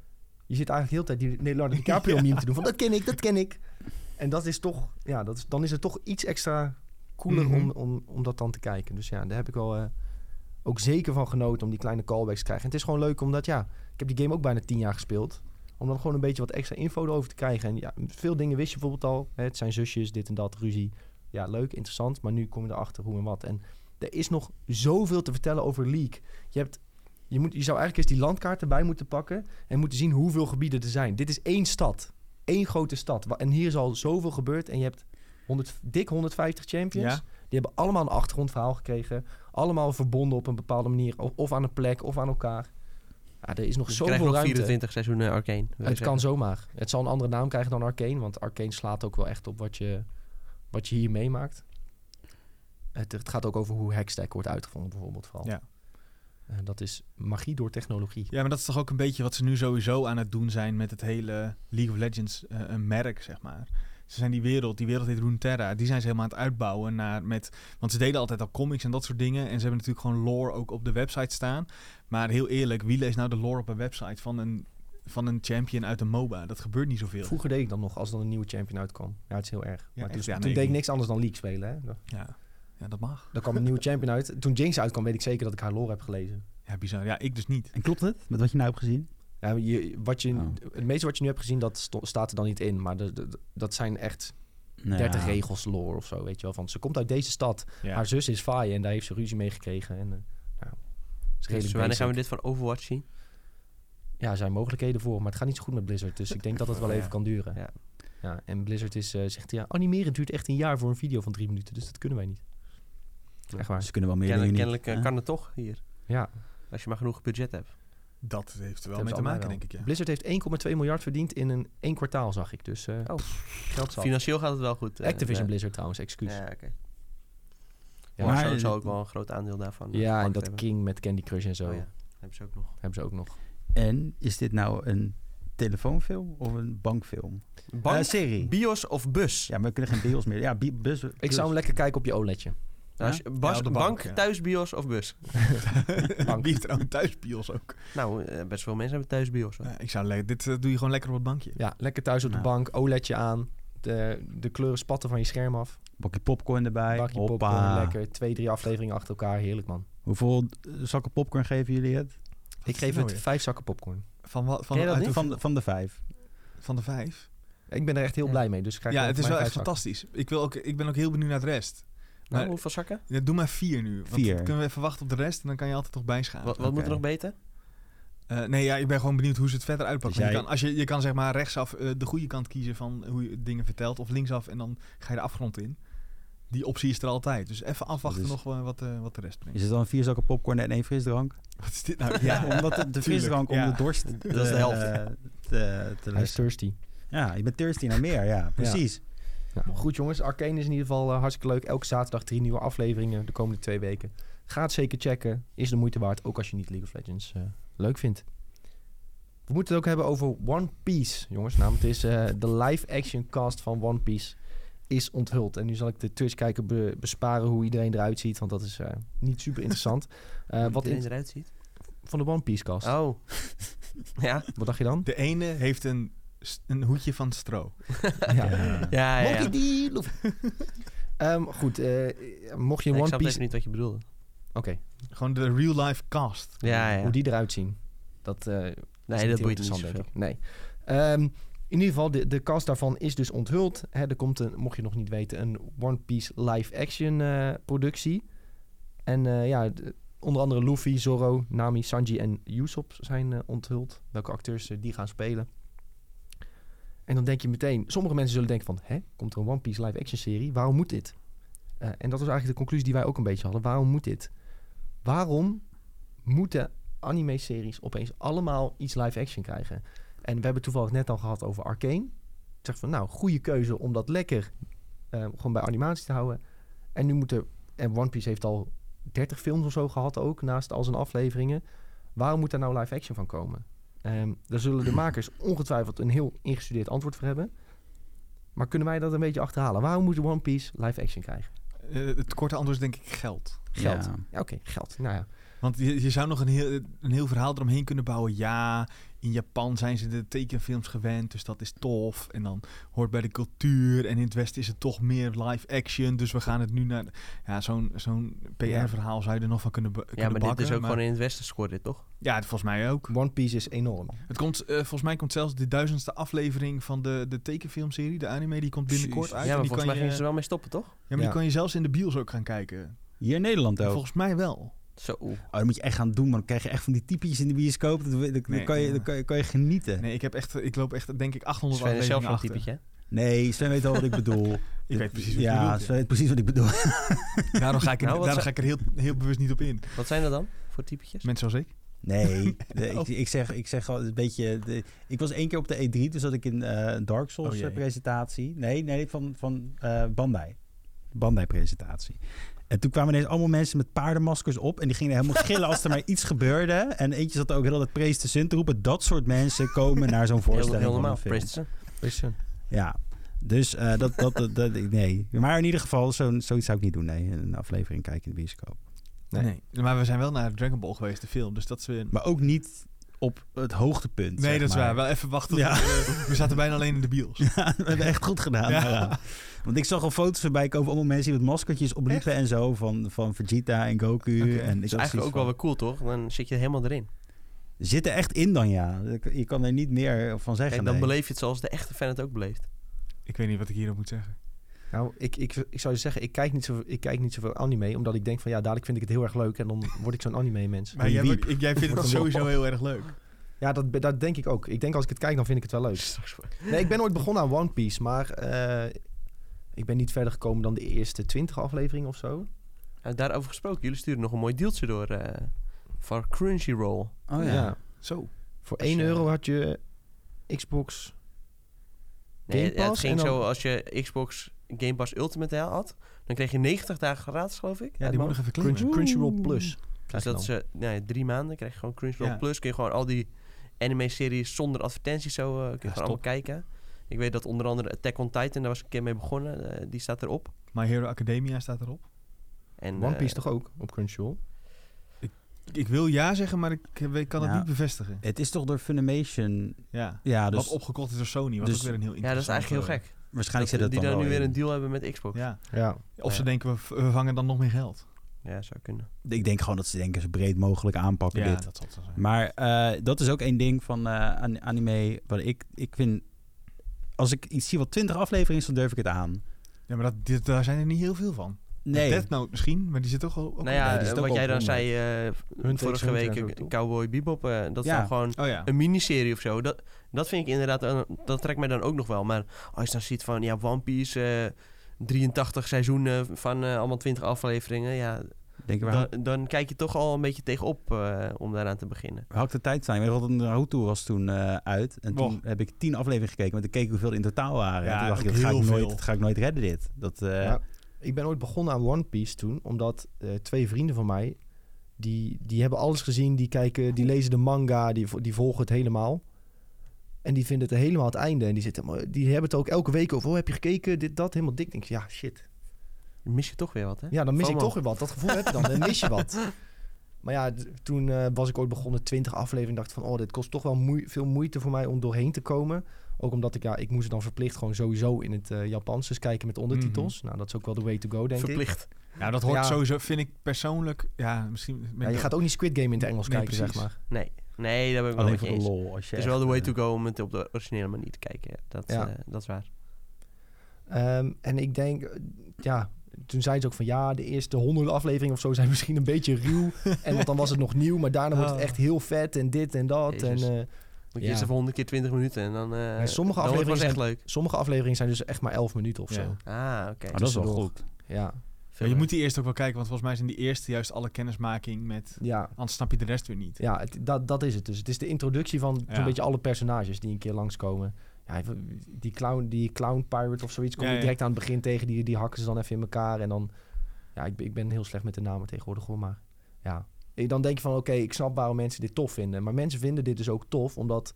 S1: Je zit eigenlijk de hele tijd die Leonardo DiCaprio meme te doen. Van dat ken ik, dat ken ik. En dat is toch, ja, dat is, dan is het toch iets extra cooler om,
S4: Mhm.
S1: om, om dat dan te kijken. Dus ja, daar heb ik wel eh, ook zeker van genoten om die kleine callbacks te krijgen. En het is gewoon leuk omdat, ja, ik heb die game ook bijna tien jaar gespeeld. Om dan gewoon een beetje wat extra info erover te krijgen. En ja, veel dingen wist je bijvoorbeeld al. Hè, het zijn zusjes, dit en dat, ruzie. Ja, leuk, interessant. Maar nu kom je erachter hoe en wat. En er is nog zoveel te vertellen over League. Je, hebt, je, moet, je zou eigenlijk eens die landkaart erbij moeten pakken en moeten zien hoeveel gebieden er zijn. Dit is één stad. Eén grote stad. Wa- En hier is al zoveel gebeurd. En je hebt 100, dik 150 champions.
S4: Ja.
S1: Die hebben allemaal een achtergrondverhaal gekregen. Allemaal verbonden op een bepaalde manier. Of, of aan een plek of aan elkaar. Ja, er is nog
S2: Dus we
S1: zoveel
S2: krijgen nog
S1: ruimte.
S2: 24 seizoenen Arcane. Dus, eh, wil je
S1: Het kan
S2: zeggen.
S1: zomaar. Het zal een andere naam krijgen dan Arcane, want Arcane slaat ook wel echt op wat je, wat je hier meemaakt. Het, het gaat ook over hoe Hackstack wordt uitgevonden, bijvoorbeeld. Vooral.
S4: Ja.
S1: En dat is magie door technologie.
S4: Ja, maar dat is toch ook een beetje wat ze nu sowieso aan het doen zijn met het hele League of Legends eh, een merk, zeg maar. Ze zijn die wereld, die wereld heet Runeterra, die zijn ze helemaal aan het uitbouwen naar met... Want ze deden altijd al comics en dat soort dingen. En ze hebben natuurlijk gewoon lore ook op de website staan. Maar heel eerlijk, wie leest nou de lore op een website van een, van een champion uit een MOBA? Dat gebeurt niet zoveel.
S1: Vroeger deed ik dan nog, als er dan een nieuwe champion uitkwam. Ja, het is heel erg. maar
S4: echt?
S1: toen,
S4: Ja, nee,
S1: toen
S4: ik
S1: deed ik
S4: niet.
S1: niks anders dan League spelen. Hè?
S4: Ja. ja, dat mag.
S1: Dan kwam een nieuwe champion uit. Toen Jinx uitkwam, weet ik zeker dat ik haar lore heb gelezen.
S4: Ja, Ja, bizar. Ja, ik dus niet.
S3: En klopt het met wat je nou hebt gezien?
S1: Ja, maar je, wat je,
S3: Oh.
S1: Het meeste wat je nu hebt gezien, dat sto- staat er dan niet in. Maar de- de- dat zijn echt
S3: Nou
S1: 30 regels lore of zo, weet je wel. Van, ze komt uit deze stad.
S4: Ja.
S1: Haar zus is Faye en daar heeft ze ruzie mee gekregen. En, eh, nou, is redelijk
S2: Dus wanneer
S1: basic.
S2: gaan we dit van Overwatch zien?
S1: Ja, er zijn mogelijkheden voor, maar het gaat niet zo goed met Blizzard. Dus ik denk dat dat wel
S4: Ja.
S1: even kan duren.
S2: Ja.
S1: Ja. en Blizzard is, eh, zegt, ja, animeren duurt echt een jaar voor een video van drie minuten. Dus dat kunnen wij niet. Echt waar.
S3: Ze kunnen wel meer
S2: Kennelijk,
S3: dingen niet.
S2: kennelijk, eh,
S3: Ja.
S2: kan het toch hier.
S1: Ja,
S2: Als je maar genoeg budget hebt.
S4: Dat heeft er
S1: hebben
S4: wel mee
S1: ze
S4: te
S1: allemaal
S4: maken,
S1: wel.
S4: denk ik. Ja.
S1: Blizzard heeft 1,2 miljard verdiend in een één kwartaal, zag ik. Dus eh
S2: Oh.
S1: geld zat.
S2: Financieel gaat het wel goed. eh,
S1: Activision
S2: eh,
S1: Blizzard trouwens, excuus.
S2: Ja, oké.
S1: Ja.
S2: Warzone
S3: Maar-
S2: zal ook wel een groot aandeel daarvan. eh,
S1: Ja, en
S2: gepakt
S1: dat
S2: hebben.
S1: King met Candy Crush en zo
S2: Oh ja, dat hebben ze ook nog.
S1: hebben ze ook nog.
S3: En is dit nou een telefoonfilm of een bankfilm?
S2: Bank,
S3: Eh, serie.
S2: bios of bus?
S3: ja, maar we kunnen geen deals meer. Ja, bi- bus.
S1: Ik zou hem lekker kijken op je E OLEDje.
S2: Nou, als je-
S4: Ja?
S2: Bas-
S4: Ja, op de
S2: bank,
S4: bank, ja.
S2: thuis bios of bus?
S1: Bank.
S4: Die heeft trouwens thuis bios ook.
S2: Nou, eh, best veel mensen hebben thuis bios. hoor.
S4: Ja, ik zou le- dit eh, doe je gewoon lekker op het bankje.
S1: Ja, lekker thuis op de
S3: Ja.
S1: bank, OLEDje aan. De, de kleuren spatten van je scherm af.
S3: Bakje popcorn erbij.
S1: Bakje
S3: Hoppa.
S1: popcorn, lekker. Twee, drie afleveringen achter elkaar. Heerlijk, man.
S3: Hoeveel eh, zakken popcorn geven jullie het?
S1: Ik geef
S4: nou
S1: het vijf zakken popcorn.
S4: Van, wat, van,
S1: Ken je dat
S4: uit
S1: niet?
S4: hoeveel-
S3: Van, de- van de vijf.
S4: van de vijf.
S1: Ik ben er echt heel
S2: Ja.
S1: blij mee, dus ik krijg
S4: Ja,
S1: ook
S4: het is
S1: mijn
S4: wel echt
S1: vijf zakken.
S4: fantastisch. Ik, wil ook, ik ben ook heel benieuwd naar de rest.
S2: Nou,
S4: Maar-
S2: hoeveel zakken?
S4: Ja, doe maar vier nu. Want
S3: Vier.
S4: dan kunnen we even wachten op de rest en dan kan je altijd nog bijschalen.
S2: Wat, wat moet
S3: oké.
S2: er nog beter?
S4: Eh, nee, ja, ik ben gewoon benieuwd hoe ze het verder uitpakken.
S3: Dus
S4: Want
S3: jij-
S4: je, kan, als je, je kan zeg maar rechtsaf eh, de goede kant kiezen van hoe je dingen vertelt. Of linksaf en dan ga je de afgrond in. Die optie is er altijd. Dus even afwachten
S3: is-
S4: nog eh, wat, eh, wat de rest brengt.
S3: Is het dan vier zakken popcorn en één frisdrank?
S4: Wat is dit nou?
S3: Ja, omdat de, de frisdrank om
S4: ja. eh,
S3: de dorst te,
S2: Dat is de helft.
S3: te, te
S1: Hij is
S3: lessen.
S1: thirsty.
S3: Ja, je bent thirsty naar meer. Ja, precies.
S1: Nou, goed jongens, Arcane is in ieder geval eh, hartstikke leuk. Elke zaterdag drie nieuwe afleveringen de komende twee weken. Ga het zeker checken. Is de moeite waard, ook als je niet League of Legends eh, leuk vindt. We moeten het ook hebben over One Piece, jongens. Namelijk het is eh, de live-action cast van One Piece is onthuld. En nu zal ik de Twitch-kijker be- besparen hoe iedereen eruit ziet, want dat is eh, niet super interessant. Eh,
S2: Hoe
S1: wat
S2: iedereen
S1: in,
S2: eruit ziet?
S1: van de One Piece-cast.
S2: Oh. ja.
S1: Wat dacht je dan?
S4: De ene heeft een, s- een hoedje van stro.
S1: Ja.
S2: Ja, ja, ja.
S1: Monkey D. Luffy. Ehm, goed, eh, mocht je
S2: Nee, ik
S1: One
S2: snap
S1: Piece...
S2: even
S1: Oké,
S2: niet wat je bedoelde.
S4: Gewoon de real life cast.
S2: Ja, ja.
S1: hoe die eruit zien. Dat, eh, is
S2: Nee, dat
S1: heel
S2: boeit niet
S1: interessant,
S2: zoveel.
S1: ik. Nee. Ehm, in ieder geval, de, de cast daarvan is dus onthuld. Hè, er komt, een, mocht je nog niet weten, een One Piece live-action eh, productie. En eh, ja, de- onder andere Luffy, Zoro, Nami, Sanji en Usopp zijn eh, onthuld. Welke acteurs eh, die gaan spelen. En dan denk je meteen, sommige mensen zullen denken van... hè, komt er een One Piece live-action serie? Waarom moet dit? Eh, en dat was eigenlijk de conclusie die wij ook een beetje hadden. Waarom moet dit? Waarom moeten anime-series opeens allemaal iets live-action krijgen. En we hebben toevallig net al gehad over Arcane. Ik zeg van, nou, goede keuze om dat lekker eh, gewoon bij animatie te houden. En nu moeten... En One Piece heeft al 30 films of zo gehad ook, naast al zijn afleveringen. Waarom moet daar nou live-action van komen? Ehm, daar zullen de makers ongetwijfeld een heel ingestudeerd antwoord voor hebben. Maar kunnen wij dat een beetje achterhalen? Waarom moet One Piece live-action krijgen?
S4: Eh, het korte antwoord is denk ik geld.
S1: Geld.
S3: Ja.
S1: Ja, oké, geld. Nou ja.
S4: Want je, je zou nog een heel, een heel verhaal eromheen kunnen bouwen. Ja, in Japan zijn ze de tekenfilms gewend, dus dat is tof. En dan hoort bij de cultuur. En in het Westen is het toch meer live action. Dus we gaan het nu naar... Ja, zo'n zo'n PR-verhaal zou je er nog van kunnen, be-
S2: Ja,
S4: kunnen
S2: maar dit
S4: bakken.
S2: is ook gewoon in het westen scoort dit, toch?
S4: Ja, volgens mij ook.
S1: One Piece is enorm.
S4: Het komt, eh, volgens mij komt zelfs de duizendste aflevering van de, de tekenfilmserie, de anime, die komt binnenkort
S3: Jezus.
S4: uit.
S2: Ja,
S4: En
S2: maar
S4: die
S2: volgens
S4: kan
S2: mij
S4: je, eh,
S2: gingen ze er wel mee stoppen, toch?
S4: ja, maar die
S1: Ja.
S4: kan je zelfs in de bios ook gaan kijken.
S3: Hier in Nederland ook.
S4: Volgens mij wel.
S2: Zo.
S3: Oh, dat moet je echt gaan doen, man. Dan krijg je echt van die typetjes in de bioscoop. Dat, dat, dat
S4: Nee,
S3: kan, je,
S4: ja.
S3: dat kan, je- kan je genieten. Nee,
S4: Nee, ik, heb echt, ik loop echt, denk ik, 800
S2: Sven is zelf
S4: afleveringen
S2: wel een
S4: achter.
S2: typetje, hè?
S3: Sven weet al wat ik bedoel.
S4: Ik weet precies wat je
S3: ja,
S4: bedoelt, ja.
S3: Sven weet precies wat ik bedoel.
S4: Daarom ga ik, er-
S2: Nou, wat
S4: daarom
S2: zou-
S4: ga ik er heel, heel bewust niet op in.
S2: Wat zijn dat dan voor typetjes?
S4: Mensen zoals ik.
S3: Nee, de-
S4: Oh.
S3: ik, ik zeg, ik zeg al een beetje... de- ik was één keer op de E3, dus zat ik in eh, een Dark Souls
S4: Oh, jee.
S3: eh, presentatie. Nee, nee, van, van eh, Bandai. Bandai presentatie. En toen kwamen ineens allemaal mensen met paardenmaskers op. En die gingen helemaal gillen als er maar iets gebeurde. En eentje zat ook heel dat Praise the Sun te roepen. Dat soort mensen komen naar zo'n
S2: Heel-
S3: voorstelling
S2: Heel,
S3: van
S2: normaal.
S3: een film.
S2: Preston.
S1: Listen.
S3: Ja, dus eh, dat, dat, dat, dat- nee. Maar in ieder geval, zo, zoiets zou ik niet doen. Nee, een aflevering kijken in de bioscoop.
S1: Nee.
S4: Nee. Maar we zijn wel naar Dragon Ball geweest, de film. Dus dat is weer...
S3: Maar ook niet op het hoogtepunt.
S4: Nee,
S3: zeg
S4: dat is
S3: maar.
S4: waar. Wel even wachten. tot-
S3: Ja.
S4: eh, we zaten bijna alleen in de bios.
S3: Ja, we hebben echt goed gedaan.
S4: Ja.
S3: daaraan. Want ik zag al foto's voorbij komen van allemaal mensen die met maskertjes opliepen en zo. Van, van Vegeta en Goku.
S4: Oké. Dus
S3: En ik
S2: is
S3: had
S2: eigenlijk ook
S3: zoiets
S2: wel weer cool, toch? Dan zit je er helemaal erin.
S3: van, Zit er echt in dan, ja. Je kan er niet meer van zeggen.
S2: Kijk, dan
S3: nee.
S2: beleef je het zoals de echte fan het ook beleeft.
S4: Ik weet niet wat ik hierop moet zeggen.
S1: Nou, ik, ik, ik zou je zeggen, ik kijk, niet zo, ik kijk niet zoveel anime, omdat ik denk van ja, dadelijk vind ik het heel erg leuk en dan word ik zo'n anime-mens.
S4: Maar jij,
S3: Wiep.
S4: wordt- ik- jij vindt het
S1: Wordt een
S4: sowieso heel erg leuk.
S1: Ja, dat, dat denk ik ook. Ik denk als ik het kijk, dan vind ik het wel leuk.
S2: Straks voor-
S1: Nee, ik ben ooit begonnen aan One Piece, maar eh, ik ben niet verder gekomen dan de eerste 20 afleveringen of zo.
S2: Nou, daarover gesproken, jullie sturen nog een mooi deeltje door eh van Crunchyroll.
S3: Oh ja.
S4: Zo.
S1: Voor
S2: Als
S1: 1
S2: je-
S1: euro had je Xbox.
S2: Nee,
S1: Game
S2: het- het
S1: Pass
S2: ging
S1: en dan-
S2: zo, als je Xbox Game Pass Ultimate had, dan kreeg je 90 dagen gratis, geloof ik.
S4: Ja,
S2: uit
S4: die
S2: mijn
S4: moet nog even klinken.
S1: Crunch, Crunchyroll Plus.
S2: Dus
S1: krijg je
S2: dat is
S1: dan.
S2: eh, nee, drie maanden. Krijg je gewoon Crunchyroll
S4: Ja.
S2: Plus. Kun je gewoon al die anime-series zonder advertenties zo eh, kun je gewoon
S3: stop.
S2: allemaal kijken. Ik weet dat onder andere Attack on Titan, daar was ik een keer mee begonnen. eh, die staat erop.
S4: My Hero Academia staat erop.
S2: En,
S1: One
S2: eh,
S1: Piece toch ook op Crunchyroll?
S4: Ik wil ja zeggen, maar ik, eh, ik kan het
S3: Ja.
S4: niet bevestigen.
S3: Het is toch door Funimation.
S4: Ja.
S3: Ja, dus
S4: Wat opgekocht is door Sony, wat
S3: dus-
S4: ook weer een heel
S2: Ja, dat is
S4: interessant... eh,
S2: eigenlijk heel gek.
S3: waarschijnlijk
S2: Dat
S3: zit het
S2: die
S3: dan
S2: dan nu
S3: wel
S2: weer
S3: in.
S2: een deal hebben met Xbox. Ja,
S4: Ja.
S1: Ja.
S4: Of ze
S2: Ja.
S4: denken, we, v- we vangen dan nog meer geld.
S2: zou kunnen.
S3: Ik denk gewoon dat ze denken zo breed mogelijk aanpakken dit.
S4: dat zal het wel zijn.
S3: Maar eh, dat is ook één ding van eh, an- anime. Wat ik, ik vind. Als ik iets zie wat 20 afleveringen is, dan durf ik het aan.
S4: Ja, maar dat, dit- daar zijn er niet heel veel van.
S3: Nee.
S4: Death Note misschien, maar die zit toch al... ook-
S2: nou ja,
S3: nee, die
S2: eh,
S3: zit ook
S2: wat
S3: al
S2: jij
S3: op
S2: dan
S3: 100.
S2: zei eh,
S1: Takes
S2: vorige
S1: Hunt
S2: week,
S1: krijgen we
S2: eh,
S1: toch?
S2: Cowboy Bebop, eh, dat is
S3: Ja.
S2: dan gewoon
S4: Oh ja.
S2: een miniserie of zo. Dat, dat vind ik inderdaad, eh, dat trekt mij dan ook nog wel. Maar als je dan ziet van, ja, One Piece, eh, 83 seizoenen van eh, allemaal 20 afleveringen. Ja,
S3: Denk je, waar,
S2: dan, dan kijk je toch al een beetje tegenop eh, om daaraan te beginnen.
S3: waar had ik de tijd zijn? Ik weet nog dat Naruto was toen eh, uit. En toen
S4: Wow.
S3: heb ik 10 afleveringen gekeken. Want ik keek hoeveel er in totaal waren.
S4: Ja,
S3: en toen dacht ik,
S4: ook
S3: dat ga ik,
S4: heel
S3: nooit,
S4: veel.
S3: dat ga ik nooit redden dit. Dat, eh,
S1: Ja. Ik ben ooit begonnen aan One Piece toen, omdat eh, twee vrienden van mij, die, die hebben alles gezien, die kijken, die lezen de manga, die, vo- die volgen het helemaal. En die vinden het helemaal het einde. En die, zitten, maar- die hebben het ook elke week over, oh, heb je gekeken, dit, dat, helemaal dik. Ik Denk ja, shit.
S2: Dan mis je toch weer wat, hè?
S1: Ja, dan mis
S2: FOMO.
S1: ik toch weer wat. Dat gevoel heb je dan, dan mis je wat. Maar ja, d- toen eh, was ik ooit begonnen, 20 afleveringen, dacht van, oh, dit kost toch wel moe- veel moeite voor mij om doorheen te komen. Ook omdat ik, ja, ik moest het dan verplicht gewoon sowieso in het eh, Japans dus kijken met ondertitels. Nou, dat is ook wel de way to go, denk ik.
S2: Mhm. Verplicht.
S4: Nou, dat hoort
S1: Ja.
S4: sowieso, vind ik persoonlijk... Ja, misschien...
S1: Ja, je gaat ook niet Squid Game in het Engels
S4: Nee,
S1: kijken,
S4: precies.
S1: zeg maar.
S2: Nee, nee, daar ben ik wel
S3: Alleen
S2: met
S3: voor
S2: je eens.
S3: de lol. Als je
S2: Het is
S3: echt,
S2: wel de way
S3: eh,
S2: to go om het op de originele manier te kijken. ja. Dat,
S1: Ja.
S2: eh, dat is waar.
S1: Ehm, en ik denk, eh, ja, toen zei ze ook van ja, de eerste honderd afleveringen of zo zijn misschien een beetje ruw. en want dan was het nog nieuw, maar daarna wordt het
S4: Ah.
S1: echt heel vet en dit en dat. En,
S2: Jezus.
S1: eh,
S2: Moet je
S1: Ja.
S2: eerst even 100 keer 20 minuten en dan. eh
S1: Ja, sommige
S2: dan wordt het pas
S1: afleveringen
S2: echt leuk.
S1: sommige afleveringen zijn dus echt maar elf minuten of
S4: Ja.
S1: zo.
S2: Ah, oké.
S3: ah, dat is wel
S1: tussendoor.
S3: goed.
S1: Ja,
S4: Maar je moet die eerst ook wel kijken, want volgens mij zijn die eerste juist alle kennismaking met...
S1: ja.
S4: Anders snap je de rest weer niet.
S1: ja het- dat, dat is het dus. Het is de introductie van
S4: Ja.
S1: zo'n beetje alle personages die een keer langskomen. Ja, die clown, die clown pirate of zoiets kom
S4: Ja,
S1: je
S4: ja.
S1: direct aan het begin tegen. Die, die hakken ze dan even in elkaar. En dan... Ja, ik, ben- ik ben heel slecht met de namen tegenwoordig hoor, maar... Ja. Ik- Dan denk je van, oké, ik snap waarom mensen dit tof vinden. Maar mensen vinden dit dus ook tof, omdat...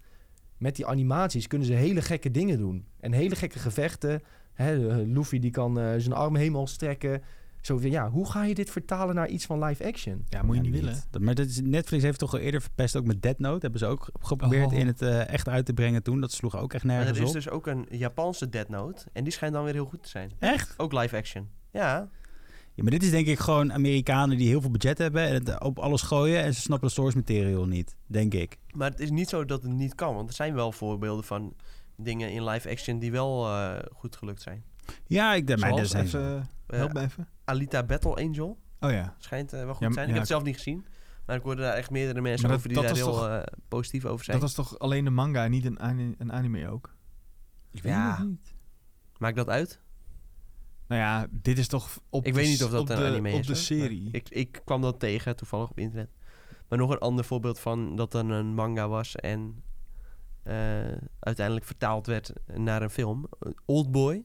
S1: Met die animaties kunnen ze hele gekke dingen doen. En hele gekke gevechten. Hè, eh, Luffy die kan eh, zijn arm helemaal strekken. Zo van, ja, hoe ga je dit vertalen naar iets van live action?
S4: Ja, moet je
S3: Ja,
S4: niet willen.
S3: Dat, maar dat is, Netflix heeft toch al eerder verpest, ook met Dead Note. Hebben ze ook geprobeerd
S4: Oh.
S3: in het eh, echt uit te brengen toen. Dat sloeg ook echt
S2: maar er
S3: nergens
S2: is
S3: op.
S2: dus ook een Japanse Dead Note. En die schijnt dan weer heel goed te zijn.
S3: Echt?
S2: Ook live action. Ja,
S3: Ja, maar dit is denk ik gewoon Amerikanen die heel veel budget hebben en het eh, op alles gooien en ze snappen de source material niet, denk ik.
S2: maar het is niet zo dat het niet kan. Want er zijn wel voorbeelden van dingen in live action die wel eh, goed gelukt zijn.
S3: Ja, ik denk, maar er
S4: Zoals,
S3: zijn
S4: even,
S2: Eh,
S4: help me even.
S2: Alita Battle Angel
S4: Oh ja.
S2: schijnt eh, wel goed
S4: Ja,
S2: te
S4: maar-
S2: zijn. Ik
S4: ja,
S2: heb het zelf niet gezien. Maar ik hoorde daar echt meerdere mensen
S4: Maar dat-
S2: over die
S4: dat
S2: daar heel
S4: was
S2: eh, positief over zijn.
S4: Dat was toch alleen de manga en niet een, ani- een anime ook?
S3: Ik
S2: weet Ja. het Maakt dat uit?
S4: Nou ja, dit is toch op
S2: Ik
S4: de,
S2: weet niet of dat
S4: op
S2: een
S4: de,
S2: anime
S4: op
S2: is,
S4: de
S2: hoor.
S4: serie.
S2: Ik, ik kwam dat tegen toevallig op internet. Maar nog een ander voorbeeld van dat er een manga was en eh, uiteindelijk vertaald werd naar een film. Oldboy.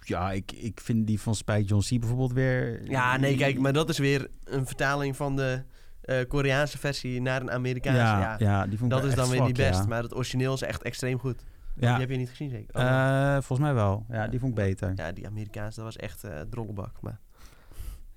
S3: Ja, ik, ik vind die van Spike John C bijvoorbeeld weer...
S2: Ja, nee, kijk, maar dat is weer een vertaling van de eh, Koreaanse versie naar een Amerikaanse. Ja,
S3: ja, ja, die vond ik
S2: Dat is
S3: echt
S2: dan weer niet
S3: zwak,
S2: best,
S3: ja.
S2: maar het origineel is echt extreem goed.
S3: Ja.
S2: Die heb je niet gezien, zeker? Oh,
S3: Eh, volgens mij wel. Ja, die vond ik beter.
S2: Ja, die Amerikaanse, dat was echt eh drollenbak. Maar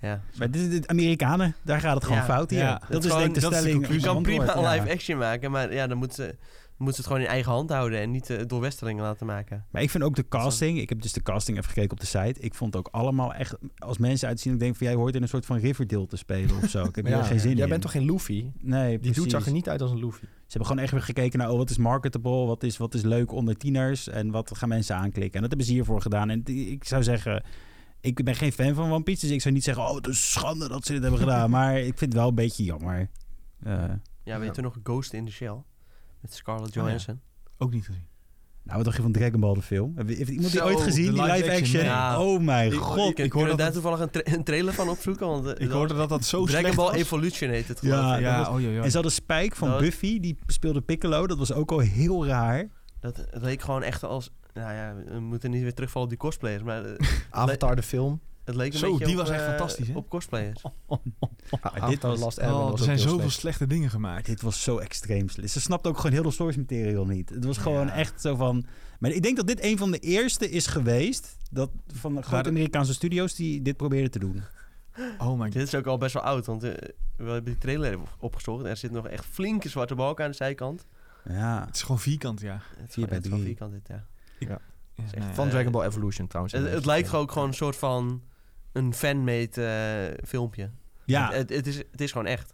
S2: Ja.
S3: Maar dit, dit Amerikanen, daar gaat het gewoon
S2: Ja,
S3: fout hier.
S4: ja.
S3: Dat,
S2: Dat
S3: is
S2: gewoon-
S3: denk ik de
S4: dat is de
S3: stelling.
S2: Je
S4: conclusie.
S2: kan prima
S3: Antwoord, ja.
S2: live action maken, maar ja, dan moeten ze, moeten ze het gewoon in eigen hand houden en niet eh, door Westerlingen laten maken.
S3: Maar ik vind ook de casting. Ik heb dus de casting even gekeken op de site. Ik vond ook allemaal echt. Als mensen uitzien, ik denk van jij hoort in een soort van Riverdale te spelen of zo. Ik heb
S1: Maar
S3: hier geen zin in.
S1: Jij bent toch geen Luffy? Die
S3: Nee, precies.
S1: dude zag er niet uit als een Luffy.
S3: Ze hebben gewoon echt weer gekeken naar oh, wat is marketable, wat is, wat is leuk onder tieners en wat gaan mensen aanklikken. En dat hebben ze hiervoor gedaan. En die- ik zou zeggen, ik ben geen fan van One Piece, dus ik zou niet zeggen, oh, het is schande dat ze dit hebben gedaan. Maar ik vind het wel een beetje jammer. Eh,
S2: Ja, weet
S1: Ja.
S2: je nog Ghost in the Shell? Met Scarlett Johansson.
S4: Ook niet gezien.
S3: nou, wat dacht je van Dragon Ball, de film? Heb- Heeft iemand die
S2: Zo,
S3: ooit gezien,
S4: de
S3: die
S4: live
S3: live
S4: action,
S3: action?
S2: ja.
S3: Oh mijn god.
S2: ik, ik
S4: hoor
S2: hoorde
S4: dat
S2: daar
S4: het-
S2: toevallig een, tra- een trailer van opzoeken. Want, eh,
S4: Ik
S2: dat-
S4: hoorde dat dat zo
S2: Dragon
S4: slecht
S2: Ball
S4: was.
S2: Evolution heet het
S3: Ja,
S2: geloof ik.
S4: ja, oh, joh, joh.
S3: En ze hadden Spike van
S2: Dat-
S3: Buffy, die speelde Piccolo. Dat was ook al heel raar.
S2: Dat leek gewoon echt als... Nou ja, we moeten niet weer terugvallen op die cosplayers, maar eh,
S1: Avatar de film.
S2: het leek een
S4: Zo,
S2: beetje
S4: die
S2: op,
S4: was echt
S2: eh,
S4: fantastisch, hè?
S2: Op cosplayers.
S3: Maar dit
S1: Ah, Avatar
S3: was,
S1: Last Airbender
S4: Oh,
S1: was
S4: er
S1: ook
S4: zijn
S1: heel
S4: zoveel
S1: slecht.
S4: slechte dingen gemaakt.
S3: dit was zo extreem. slecht. Ze snapt ook gewoon heel de source material niet. Het was gewoon
S4: Ja.
S3: echt zo van... Maar ik denk dat dit een van de eerste is geweest... Dat van de grote
S4: Waar-
S3: Amerikaanse studios die dit proberen te doen.
S4: Oh my god.
S2: Dit is ook al best wel oud, want eh, we hebben die trailer even opgezocht. Er zit nog echt flinke zwarte balken aan de zijkant.
S3: Ja.
S4: Het is gewoon vierkant, ja.
S2: Het is
S3: Vier
S2: gewoon-
S3: bij
S2: het is gewoon
S3: drie.
S2: vierkant dit, ja.
S4: Ja,
S2: echt
S4: nou ja.
S1: Van
S2: Eh,
S1: Dragon Ball Evolution trouwens.
S2: Het, het lijkt ook gewoon een soort van een fanmade eh, filmpje.
S3: Ja,
S2: Het, het, het is, het is gewoon echt.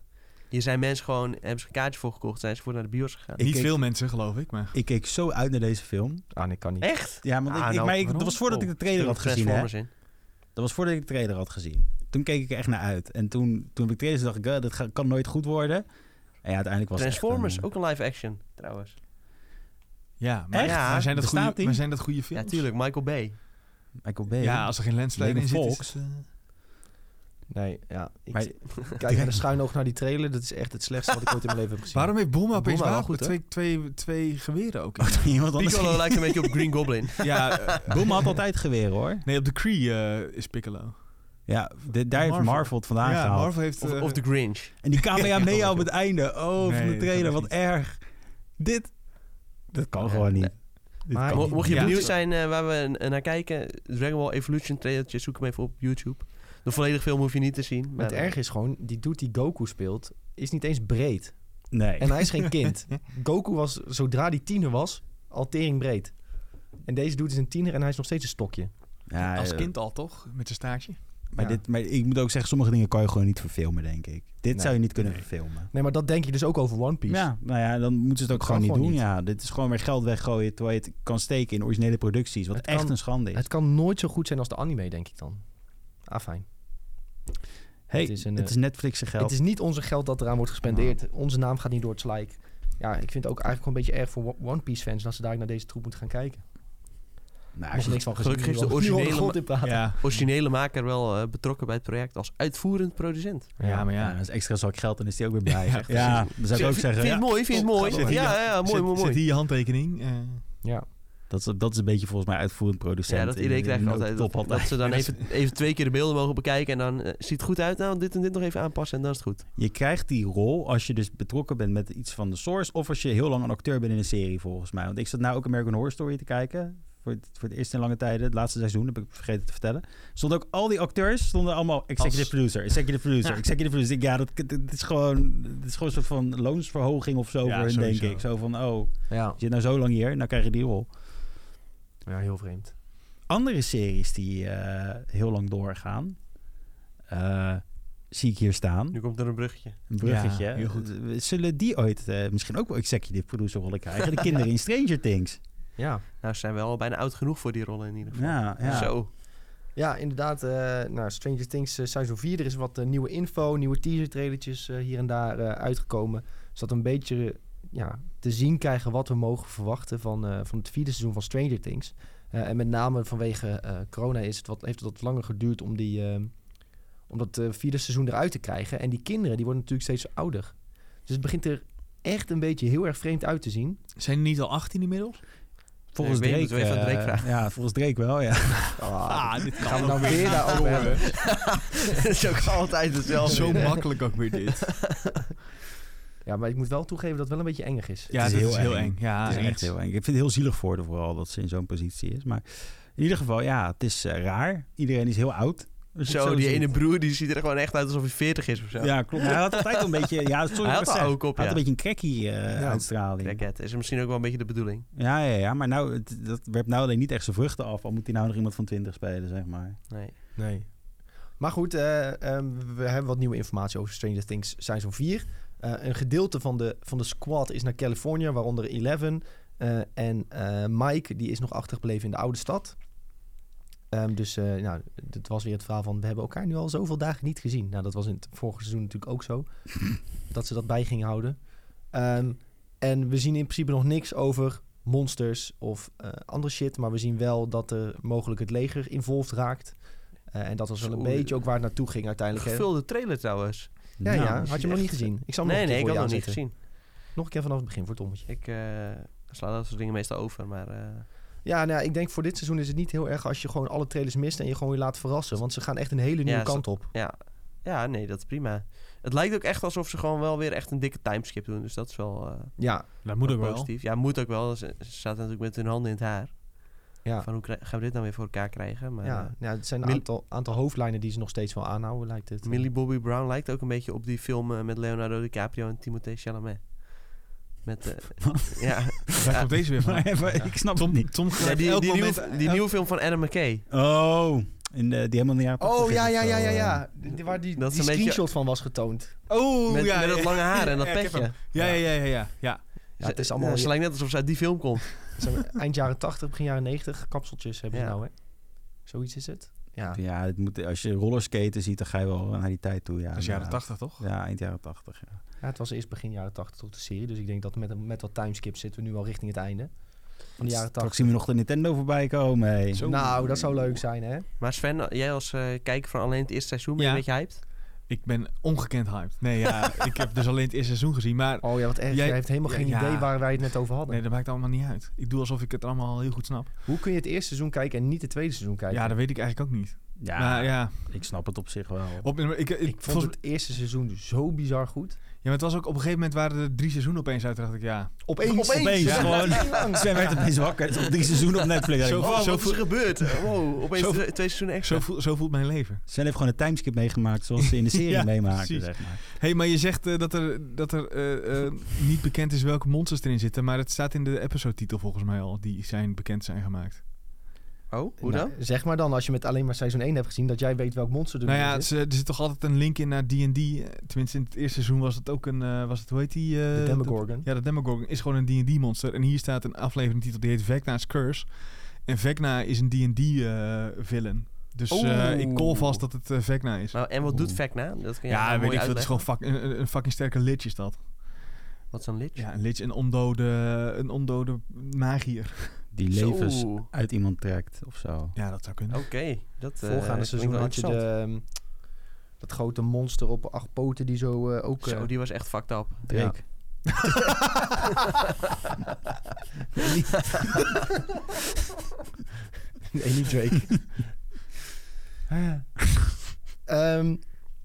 S2: Hier zijn mensen gewoon, hebben ze een kaartje voor gekocht, zijn ze voor naar de bios gegaan.
S3: Ik
S4: Niet
S3: keek-
S4: veel mensen, geloof ik, maar...
S3: ik keek zo uit naar deze film.
S1: Ah, nee, kan niet.
S2: Echt?
S3: Ja, want
S2: Ah,
S3: ik, ik-
S2: nou,
S3: maar ik, dat
S2: waarom?
S3: was voordat
S2: Oh,
S3: ik de trailer had gezien, hè.
S2: Transformers in.
S3: Dat was voordat ik de trailer had gezien. Toen keek ik er echt naar uit. En toen, toen heb ik trailers dacht ik, eh, dit ga- kan nooit goed worden. En ja, uiteindelijk was het echt
S2: Transformers,
S3: een-
S2: ook een live action, trouwens.
S4: Ja, maar,
S3: Echt?
S4: maar zijn, dat
S3: Bestaat
S4: goede,
S3: die?
S4: maar zijn dat goede films?
S2: Ja, tuurlijk, Michael Bay.
S3: Michael Bay.
S4: Ja, als er geen lensflare
S3: Lego
S4: in zit, is
S3: Fox.
S4: het, eh,
S1: Nee, ja. Ik
S3: Maar-
S1: kijk met een schuin oog naar die trailer. Dat is echt het slechtste wat ik ooit in mijn leven heb gezien.
S4: Waarom heeft Boom opeens
S1: Bulma wel
S4: wapen?
S1: goed, hè?
S4: twee, twee, twee geweren ook.
S3: Iemand anders.
S2: eh, Piccolo lijkt een beetje op Green Goblin.
S4: ja, eh,
S3: Boom had altijd geweren, hoor.
S4: nee, op de Cree eh, is Piccolo.
S3: Ja, de- daar heeft
S4: Marvel.
S3: Marvel het vandaan
S4: ja,
S3: gehaald.
S4: Marvel heeft...
S2: Of,
S4: eh,
S2: of de Grinch.
S3: En die camera mee op het einde. Oh, van
S4: Nee,
S3: de
S4: dat
S3: trailer,
S4: kan
S3: wat erg. Dit, dat kan
S2: Nee,
S3: gewoon niet.
S2: nee.
S4: dit
S1: Maar-
S4: kan
S2: Mo-
S4: niet.
S2: mocht je
S4: Ja.
S2: benieuwd zijn eh, waar we n- naar kijken, Dragon Ball Evolution trailertje, zoek hem even op YouTube. De volledige film hoef je niet te zien.
S1: Maar
S2: Maar
S1: het erg is gewoon, die dude die Goku speelt, is niet eens breed.
S3: Nee.
S1: En hij is geen kind. Goku was, zodra die tiener was, al tering breed. En deze dude is een tiener en hij is nog steeds een stokje.
S3: Ja,
S4: Als
S3: eh,
S4: kind al, toch? Met zijn staartje.
S3: Maar,
S1: Ja.
S3: dit, maar ik moet ook zeggen, sommige dingen kan je gewoon niet verfilmen, denk ik. Dit
S1: Nee.
S3: zou je niet kunnen
S4: Nee.
S3: verfilmen.
S1: Nee, maar dat denk je dus ook over One Piece.
S3: Ja, nou ja, dan moeten ze het ook
S1: Dat
S3: gewoon
S1: kan
S3: niet doen.
S1: gewoon niet.
S3: Ja, dit is gewoon weer geld weggooien terwijl je het kan steken in originele producties. Wat
S1: Het
S3: echt
S1: kan-
S3: een schande is.
S1: Het kan nooit zo goed zijn als de anime, denk ik dan. Ah, fijn.
S3: hey,
S1: het is
S3: het is,
S1: een, eh,
S3: Netflix geld.
S1: Het is niet onze geld dat eraan wordt gespendeerd. Onze naam gaat niet door het slijk. Ja, ik vind het ook eigenlijk wel een beetje erg voor One Piece fans... dat ze daar naar deze troep moeten gaan kijken.
S3: nou,
S1: Als
S3: als
S1: je
S3: je-
S1: niks van gezien.
S2: Gelukkig is
S1: nu
S2: de
S1: al- nu al
S2: originele
S1: grond in praten.
S4: Ja.
S2: originele maker wel eh, betrokken bij het project als uitvoerend producent.
S4: ja, maar
S3: ja,
S4: ja.
S3: dat is extra zak geld en is die ook weer blij.
S4: Ja,
S3: Ja, ja dan zou ik ook
S2: Vind-
S3: zeggen,
S2: Vind je
S3: ja,
S2: het mooi? Vind je het
S4: Oh,
S2: mooi?
S4: gaat door.
S2: Ja, ja, ja, mooi,
S4: zit,
S2: mooi,
S4: Zit
S2: mooi.
S4: hier je handtekening. eh.
S1: Ja.
S3: dat, is, dat is een beetje volgens mij uitvoerend producent.
S2: Ja, dat idee krijg ik altijd.
S3: Top
S2: Dat, dat
S3: altijd.
S2: ze dan
S4: En als-
S2: even, even twee keer de beelden mogen bekijken en dan eh, ziet het goed uit. Nou, dit en dit nog even aanpassen en dan is het goed.
S3: Je krijgt die rol als je dus betrokken bent met iets van de source. Of als je heel lang een acteur bent in een serie, volgens mij. Want ik zat nou ook American Horror Story te kijken. Voor het, voor het eerst in lange tijden. Het laatste seizoen heb ik vergeten te vertellen. Stonden ook al die acteurs, stonden allemaal executive
S4: Als-
S3: producer, executive producer,
S4: Ja.
S3: executive producer. Ik denk, Ja, dat, dat, is gewoon, dat is gewoon een soort van loonsverhoging of zo
S4: Ja,
S3: voor hun, denk
S4: sowieso.
S3: ik. Zo van, oh,
S1: Ja.
S3: je zit nou zo lang hier, nou krijg je die rol.
S1: ja, heel vreemd.
S3: Andere series die eh, heel lang doorgaan, eh, zie ik hier staan.
S2: Nu komt er een bruggetje.
S3: Een bruggetje.
S4: Ja, heel goed.
S3: Eh, Zullen die ooit eh, misschien ook wel executive producer rollen krijgen? De kinderen in Stranger Things.
S1: Ja,
S2: Nou, ze zijn wel bijna oud genoeg voor die rollen in ieder geval.
S3: Ja, ja.
S2: Zo.
S1: ja inderdaad. eh, nou, Stranger Things eh, seizoen 4. Er is wat eh, nieuwe info, nieuwe teaser trailertjes eh, hier en daar eh, uitgekomen. Zodat we een beetje eh, ja, te zien krijgen wat we mogen verwachten van, eh, van het vierde seizoen van Stranger Things. Eh, en met name vanwege eh, corona is het wat, heeft het wat langer geduurd om, die, eh, om dat eh, vierde seizoen eruit te krijgen. En die kinderen die worden natuurlijk steeds ouder. Dus het begint er echt een beetje heel erg vreemd uit te zien.
S4: Zijn er niet al 18 inmiddels?
S3: Volgens
S2: Ik weet niet,
S3: Drake.
S2: moeten we even aan
S3: eh,
S2: Drake vragen. Ah,
S3: ja, volgens Drake wel, ja. Ah,
S4: dit
S1: Ah, gaan we nou weer daarover hebben.
S2: Het is ook altijd hetzelfde.
S4: Zo makkelijk ook weer dit.
S1: Ja, maar ik moet wel toegeven dat het wel een beetje engig is.
S4: Ja,
S3: is
S4: dit
S3: heel
S4: is heel
S3: eng.
S4: eng. Ja,
S3: het is echt
S4: iets.
S3: heel eng. Ik vind het heel zielig voor haar vooral dat ze in zo'n positie is. Maar in ieder geval, ja, het is eh, raar. Iedereen is heel oud. Als je het
S2: Zo, die
S3: ziet.
S2: ene broer die ziet er gewoon echt uit alsof hij 40 is of zo.
S3: Ja, klopt. Hij had altijd een beetje... Ja, sorry,
S2: Hij had
S3: wat ik
S2: een
S3: zeg.
S2: oude kop,
S3: Hij had
S2: ja.
S3: een beetje een crackie eh,
S1: Ja.
S3: uitstraling.
S2: Crackhead. Is misschien ook wel een beetje de bedoeling.
S3: Ja, ja, ja. Maar nou, het- dat werpt nou alleen niet echt zijn vruchten af. Al moet hij nou nog iemand van 20 spelen, zeg maar.
S2: Nee.
S1: Nee. Maar goed, eh, ehm, we hebben wat nieuwe informatie over Stranger Things Seizoen 4. Eh, een gedeelte van de, van de squad is naar Californië, waaronder Eleven. eh, en eh, Mike, die is nog achtergebleven in de oude stad. Ehm, dus eh nou, dit was weer het verhaal van... we hebben elkaar nu al zoveel dagen niet gezien. Nou, dat was in het vorige seizoen natuurlijk ook zo. dat ze dat bij gingen houden. Ehm, en we zien in principe nog niks over monsters of eh andere shit. Maar we zien wel dat er mogelijk het leger involved raakt. Eh, en dat was wel een
S2: Zo,
S1: beetje ook waar het naartoe ging uiteindelijk. hè?
S2: Gevulde trailer trouwens.
S1: Ja,
S3: Nou,
S1: ja, had je hem nog
S2: echt-
S1: niet gezien. Ik zal hem
S2: Nee,
S1: nog een
S2: nee, ik
S1: keer
S2: had
S1: voor
S2: nog
S1: je
S2: niet
S1: aanzetten.
S2: gezien.
S1: Nog een keer vanaf het begin voor het ommetje.
S2: Ik eh, sla dat soort dingen meestal over, maar... eh,
S1: Ja, nou, ja, ik denk voor dit seizoen is het niet heel erg als je gewoon alle trailers mist en je gewoon je laat verrassen. Want ze gaan echt een hele nieuwe
S2: Ja,
S1: kant op.
S2: Ja. ja, nee, dat is prima. Het lijkt ook echt alsof ze gewoon wel weer echt een dikke timeskip doen. Dus dat is wel, eh,
S1: Ja,
S4: Dat moet ook
S2: wel
S4: wel.
S2: positief. Ja, moet ook wel. Ze, ze zaten natuurlijk met hun handen in het haar.
S1: ja.
S2: Van hoe krij- gaan we dit nou weer voor elkaar krijgen? Maar, eh,
S1: ja. nou
S2: ja.
S1: ja het zijn een
S2: Mil-
S1: aantal, aantal hoofdlijnen die ze nog steeds wel aanhouden, lijkt het.
S2: Millie Bobby Brown lijkt ook een beetje op die film eh, met Leonardo DiCaprio en Timothée Chalamet. Met, eh, ja,
S4: Daar komt deze weer van.
S3: Maar even, ik snap het niet.
S4: Tom
S2: Ja,
S4: grijpt
S2: die,
S4: elk
S2: die,
S4: moment...
S2: nieuwe, die
S4: elk-
S2: nieuwe film van Adam McKay.
S3: Oh, in de, die helemaal niet aan-
S1: Oh ja, ja,
S3: Zo,
S1: ja, ja,
S3: eh,
S1: ja. Die, waar die,
S2: Dat is
S1: die
S2: een beetje-
S1: screenshot van was getoond.
S4: Oh,
S2: met,
S4: ja.
S2: met dat lange haar en dat
S4: Ja, ik heb
S2: petje.
S4: hem. Ja, ja, ja, ja, ja. ja.
S1: Ja, het is allemaal-
S2: ze lijkt net alsof ze uit die film komt.
S1: Dat zijn Eind jaren 80, begin jaren 90, kapseltjes hebben ze
S2: Ja.
S1: nou, hè? Zoiets is het. Ja.
S3: Ja, het moet, als je rollerskaten ziet, dan ga je wel naar die tijd toe. Ja,
S4: Dat is jaren
S3: inderdaad.
S4: 80, toch?
S3: Ja, eind jaren 80. Ja.
S1: Ja, het was eerst begin jaren 80 tot de serie. Dus ik denk dat met, met wat timeskip zitten we nu al richting het einde van de jaren
S3: Straks
S1: 80.
S3: zien we nog de Nintendo voorbij komen. hey.
S4: Zo.
S1: Nou, dat zou leuk zijn, hè?
S2: Maar Sven, jij als eh, kijker van alleen het eerste seizoen, ben je
S4: Ja.
S2: een beetje hyped?
S4: Ik ben ongekend hyped. Nee, ja, ik heb dus alleen het eerste seizoen gezien, maar...
S1: Oh ja, wat erg. Jij,
S4: Jij-
S1: heeft helemaal
S4: Ja,
S1: geen
S4: ja.
S1: idee waar wij het net over hadden.
S4: Nee, dat maakt allemaal niet uit. Ik doe alsof ik het allemaal al heel goed snap.
S1: Hoe kun je het eerste seizoen kijken en niet het tweede seizoen kijken?
S4: Ja, dat weet ik eigenlijk ook niet.
S3: Ja,
S4: Maar ja,
S3: ik snap het op zich wel.
S4: op, ik, ik,
S1: ik vond
S4: volgens-
S1: het eerste seizoen zo bizar goed.
S4: ja, maar het was ook op een gegeven moment waren er drie seizoenen opeens uit. Toen dacht ik, ja,
S1: Opeens.
S3: Opeens,
S1: Ja.
S3: gewoon. Sven werd opeens wakker. Het is op drie seizoenen op Netflix.
S4: Zo-
S2: Oh,
S4: Zo
S2: wat is er gebeurd? Wow, opeens
S4: Zo-
S2: twee twee seizoenen
S4: zo,
S2: extra.
S4: voel- zo voelt mijn leven.
S3: Sven heeft gewoon een timeskip meegemaakt zoals ze in de serie
S4: Ja,
S3: meemaken,
S4: precies.
S3: zeg maar.
S4: Hé, hey, maar je zegt eh, dat er, dat er eh, eh, niet bekend is welke monsters erin zitten. Maar het staat in de episode-titel volgens mij al. Die zijn bekend zijn gemaakt.
S2: Oh, hoe
S1: Nou,
S2: dan?
S1: zeg maar dan, als je met alleen maar seizoen 1 hebt gezien, dat jij weet welk monster er
S4: nou
S1: nu
S4: ja,
S1: is.
S4: ze- er zit toch altijd een link in naar D&D. Eh, Tenminste, in het eerste seizoen was het ook een... eh, was het, hoe heet die? eh,
S1: De Demogorgon.
S4: dat- ja, de Demogorgon is gewoon een D&D-monster. En hier staat een afleveringtitel die heet Vecna's Curse. En Vecna is een D&D-villain. dus eh,
S2: Oeh.
S4: ik call vast dat het eh, Vecna is.
S2: Nou, en wat doet Vecna? Dat kan jij
S4: ja,
S2: nou
S4: weet
S2: mooi
S4: ik veel. Het is
S2: uitleggen.
S4: gewoon fuck- een, een- een fucking sterke lich is dat.
S2: Wat is een lich?
S4: Ja, een lich, een ondode, een ondode magier.
S3: Die
S2: Zo.
S3: levens
S2: Oké,
S3: uit iemand trekt of zo.
S4: Ja, dat zou kunnen.
S2: dat eh,
S1: Voorgaande
S2: klinkt
S1: seizoen
S2: wel
S1: had je de,
S2: interessant.
S1: ehm, dat grote monster op acht poten die zo eh, ook... eh,
S2: Zo, die was echt fucked up.
S3: Drake.
S1: nee, niet Drake. Ehm,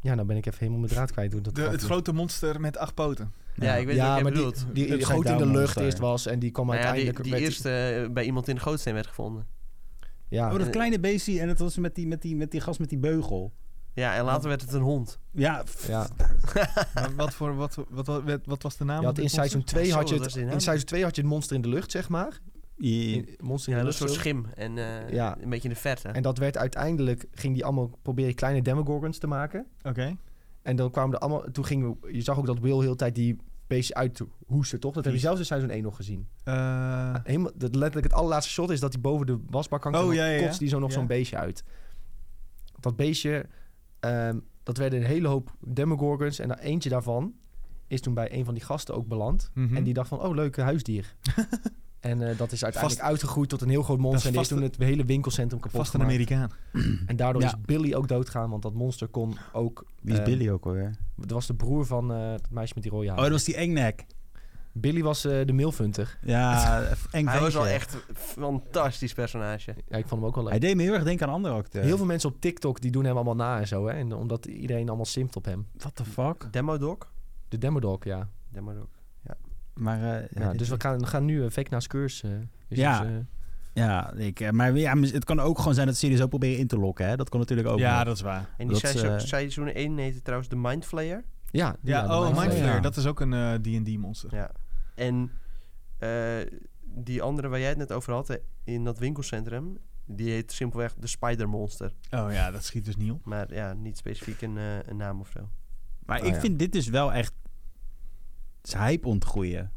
S1: ja, nou ben ik even helemaal mijn draad kwijt. Hoe dat
S4: De,
S1: gaat.
S4: het grote monster met acht poten.
S2: Ja, ik weet
S1: ja,
S2: wat jij
S1: maar die-
S2: bedoelt.
S1: Die, die
S3: Upside
S1: groot in de
S3: down
S1: lucht
S3: monster.
S1: eerst was en die kwam
S2: Nou ja, die,
S1: uiteindelijk...
S2: die
S1: met-
S2: eerste eh, bij iemand in de gootsteen werd gevonden.
S1: Ja,
S3: Oh, dat
S2: Eh,
S3: kleine beestje. En dat was met die, met, die, met die gast met die beugel.
S2: Ja, en later werd het een hond.
S3: Ja, pff,
S1: ja.
S4: maar wat, voor, wat, wat, wat, wat- wat was de naam?
S1: Je had
S4: van
S1: in
S4: dit
S1: seizoen
S4: monster?
S1: 2
S2: Ja, zo,
S1: had je
S2: dat
S1: het,
S2: was die naam.
S1: in seizoen 2 had je het monster in de lucht, zeg maar.
S3: je-
S1: In- monster in de
S2: Ja, een
S1: lucht.
S2: soort
S1: zo.
S2: schim. En eh,
S1: Ja.
S2: een beetje in de verte.
S1: En dat werd uiteindelijk, ging die allemaal proberen kleine demogorgons te maken.
S4: Oké.
S1: En dan kwamen er allemaal, toen gingen we, je zag ook dat Will heel de tijd die beestje uit hoesten, toch? Dat heb je
S4: Vies.
S1: zelfs in seizoen 1 nog gezien.
S4: Eh,
S1: Helemaal, dat letterlijk het allerlaatste shot is dat hij boven de wasbak hangt
S4: Oh,
S1: en dan
S4: ja, ja, ja.
S1: kotst die zo nog
S4: Ja.
S1: zo'n beestje uit. Dat beestje, ehm, dat werden een hele hoop demogorgons en er eentje daarvan is toen bij een van die gasten ook beland.
S4: mhm.
S1: En die dacht van, oh, leuk eh, huisdier. en eh, dat is uiteindelijk uitgegroeid tot een heel groot
S4: Dat is
S1: monster. En die is toen
S4: vast-
S1: het hele winkelcentrum kapot
S4: Vast een
S1: gemaakt.
S4: Amerikaan.
S1: En daardoor
S3: Ja.
S1: is Billy ook doodgaan, want dat monster kon ook...
S3: Wie is
S1: eh,
S3: Billy ook alweer?
S1: Dat was de broer van eh het meisje met die rode haar.
S3: Oh, dat was die engnek.
S4: Oh.
S1: Billy was eh, de milfunter.
S3: Ja,
S2: Hij
S3: eng
S2: was
S3: ventje.
S2: wel echt een fantastisch personage.
S1: Ja, ik vond hem ook wel leuk.
S3: Hij deed me heel erg denken aan andere
S4: eh.
S3: acteurs.
S1: Heel veel mensen op TikTok die doen hem allemaal na en zo. Hè? En omdat iedereen allemaal simt op hem.
S3: What the fuck?
S2: Demodog?
S1: De Demodog, ja.
S2: Demodog.
S3: Maar eh,
S1: ja
S3: dit-
S1: dus we gaan, gaan nu eh, Vecna's Curse. eh, is
S3: Ja.
S1: dus, eh,
S3: Ja, ik, eh, maar ja, het kan ook gewoon zijn dat series ook proberen in te lokken. Hè? Dat kan natuurlijk ook.
S4: ja,
S3: nog.
S4: dat is waar.
S2: En die
S3: Dat,
S2: seizoen,
S3: eh,
S2: seizoen 1 heette trouwens de Mind Flayer.
S1: Ja, die
S4: Ja,
S1: waren mijn
S4: oh,
S3: Mindflayer.
S4: Mindflayer.
S1: favoriet.
S4: Dat is ook een eh, D&D-monster.
S2: Ja. En eh, die andere waar jij het net over had, eh, in dat winkelcentrum, die heet simpelweg de Spider Monster.
S4: Oh ja, dat schiet dus niet op.
S2: Maar ja, niet specifiek een, eh, een naam of zo.
S3: Maar
S1: Ah,
S3: ik
S1: ja.
S3: vind dit dus wel echt zijn hype ontgroeien.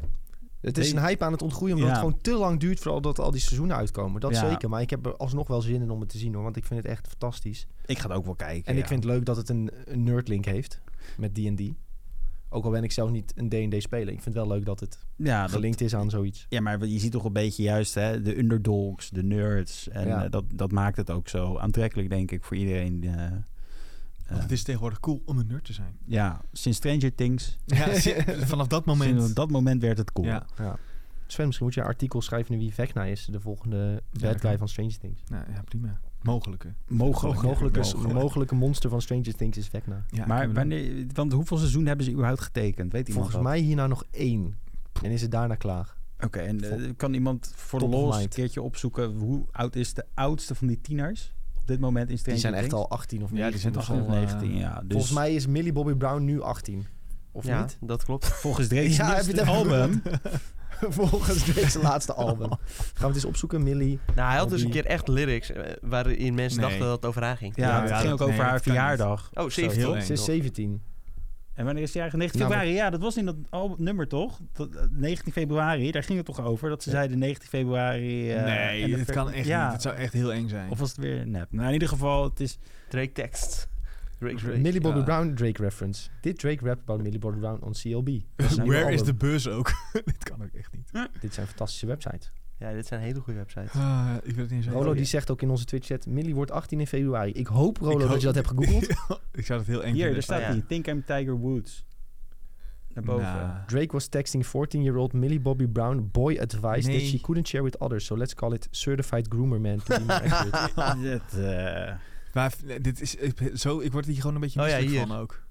S1: Het is een hype aan het ontgroeien, omdat
S3: Ja.
S1: het gewoon te lang duurt voordat al die seizoenen uitkomen. Dat
S3: Ja.
S1: zeker, maar ik heb er alsnog wel zin in om het te zien hoor, want ik vind het echt fantastisch.
S3: Ik ga het ook wel kijken.
S1: En
S3: ja.
S1: ik vind het leuk dat het een, een nerdlink heeft met D&D. Ook al ben ik zelf niet een D&D speler, ik vind het wel leuk dat het
S3: ja, Ah, dat-
S1: gelinkt is aan zoiets.
S3: ja, maar je ziet toch een beetje juist hè, de underdogs, de nerds. En
S1: Ja.
S3: eh, dat, dat maakt het ook zo aantrekkelijk, denk ik, voor iedereen. eh, eh,
S4: Want het is tegenwoordig cool om een nerd te zijn.
S3: ja, sinds Stranger Things.
S4: Ja, si- vanaf dat moment.
S3: Sinds dat moment werd het cool.
S4: Ja.
S1: Ja. Sven, misschien moet je een artikel schrijven nu wie Vecna is, de volgende
S4: dat
S1: bad guy
S4: kan.
S1: van Stranger Things.
S4: Nou, ja, prima. Mogelijke.
S3: Mogelijk.
S4: Mogelijk.
S1: Mogelijke,
S4: mogelijk.
S1: mogelijke monster van Stranger Things is Vecna.
S4: Ja,
S3: Maar
S4: kunnen we doen.
S3: wanneer, want hoeveel seizoen hebben ze überhaupt getekend? Weet iemand
S1: Volgens
S3: dat?
S1: mij hierna nog één. En is het daarna klaar.
S3: Oké, en eh, kan iemand voor de
S1: Top of
S3: los een
S1: mind.
S3: keertje opzoeken hoe oud is de oudste van die tieners op dit moment in
S1: Die
S3: Stranger
S1: zijn echt
S3: Things?
S1: al 18 of
S4: Ja, die
S1: 19
S4: zijn
S1: of
S4: toch
S1: zo.
S4: al,
S3: of 19,
S4: eh,
S3: ja. Dus
S1: Volgens mij is Millie Bobby Brown nu 18. Of
S2: ja,
S1: niet?
S2: dat klopt.
S3: volgens Drake's
S1: Ja, heb je het
S3: nieuwste
S1: even
S3: album.
S1: Volgens deze laatste album. Gaan we het eens opzoeken, Millie.
S2: Nou, hij had dus een
S1: Hobby.
S2: keer echt lyrics eh, waarin mensen
S4: Nee.
S2: dachten dat het over haar ging.
S3: Ja,
S4: Ja,
S3: het
S4: ja,
S3: ging ook
S4: dat- nee,
S3: over
S4: dat
S3: haar
S4: kan niet.
S3: verjaardag.
S2: Oh,
S3: Zo.
S2: 17.
S4: heel eng.
S1: Ze is 17.
S3: En wanneer is het jaar? 19
S1: Nou,
S3: februari, ja, dat was in dat al- nummer toch? Dat, eh, 19 februari, daar ging het toch over? Dat ze
S1: Ja.
S3: zeiden 19 februari... eh, en
S4: nee,
S3: de
S4: dit
S3: ver-
S4: kan echt
S3: ja.
S4: niet. Het zou echt heel eng zijn.
S3: Of was het weer nep? Nou, in ieder geval, het is...
S2: Drake tekst. Drake, Drake.
S1: Millie Bobby
S4: ja.
S1: Brown Drake reference. Did Drake rap about Millie Bobby Brown on CLB? Dat is een nieuwe
S4: Where is the
S1: album.
S4: bus ook? dit kan ook echt niet.
S1: Dit zijn fantastische websites.
S2: Ja, dit zijn hele goede websites.
S4: Ah, ik wil het niet eens
S1: Rolo die zegt ook in onze Twitch chat, Millie wordt 18 in februari. Ik hoop Rolo dat je dat hebt gegoogeld.
S4: ik zou dat heel
S3: Hier,
S4: eng vinden.
S3: daar staat
S2: Oh,
S3: hij.
S2: ja.
S3: Think I'm Tiger Woods. Naar boven.
S4: Nou,
S1: Drake was texting 14-year-old Millie Bobby Brown boy advice that
S4: Nee.
S1: she couldn't share with others. So let's call it certified groomer man to be more accurate.
S2: Nou.
S3: Dat, eh,
S4: maar nee, dit is ik, zo, ik word hier gewoon een beetje
S2: Oh ja,
S4: misselijk
S2: hier.
S4: van ook.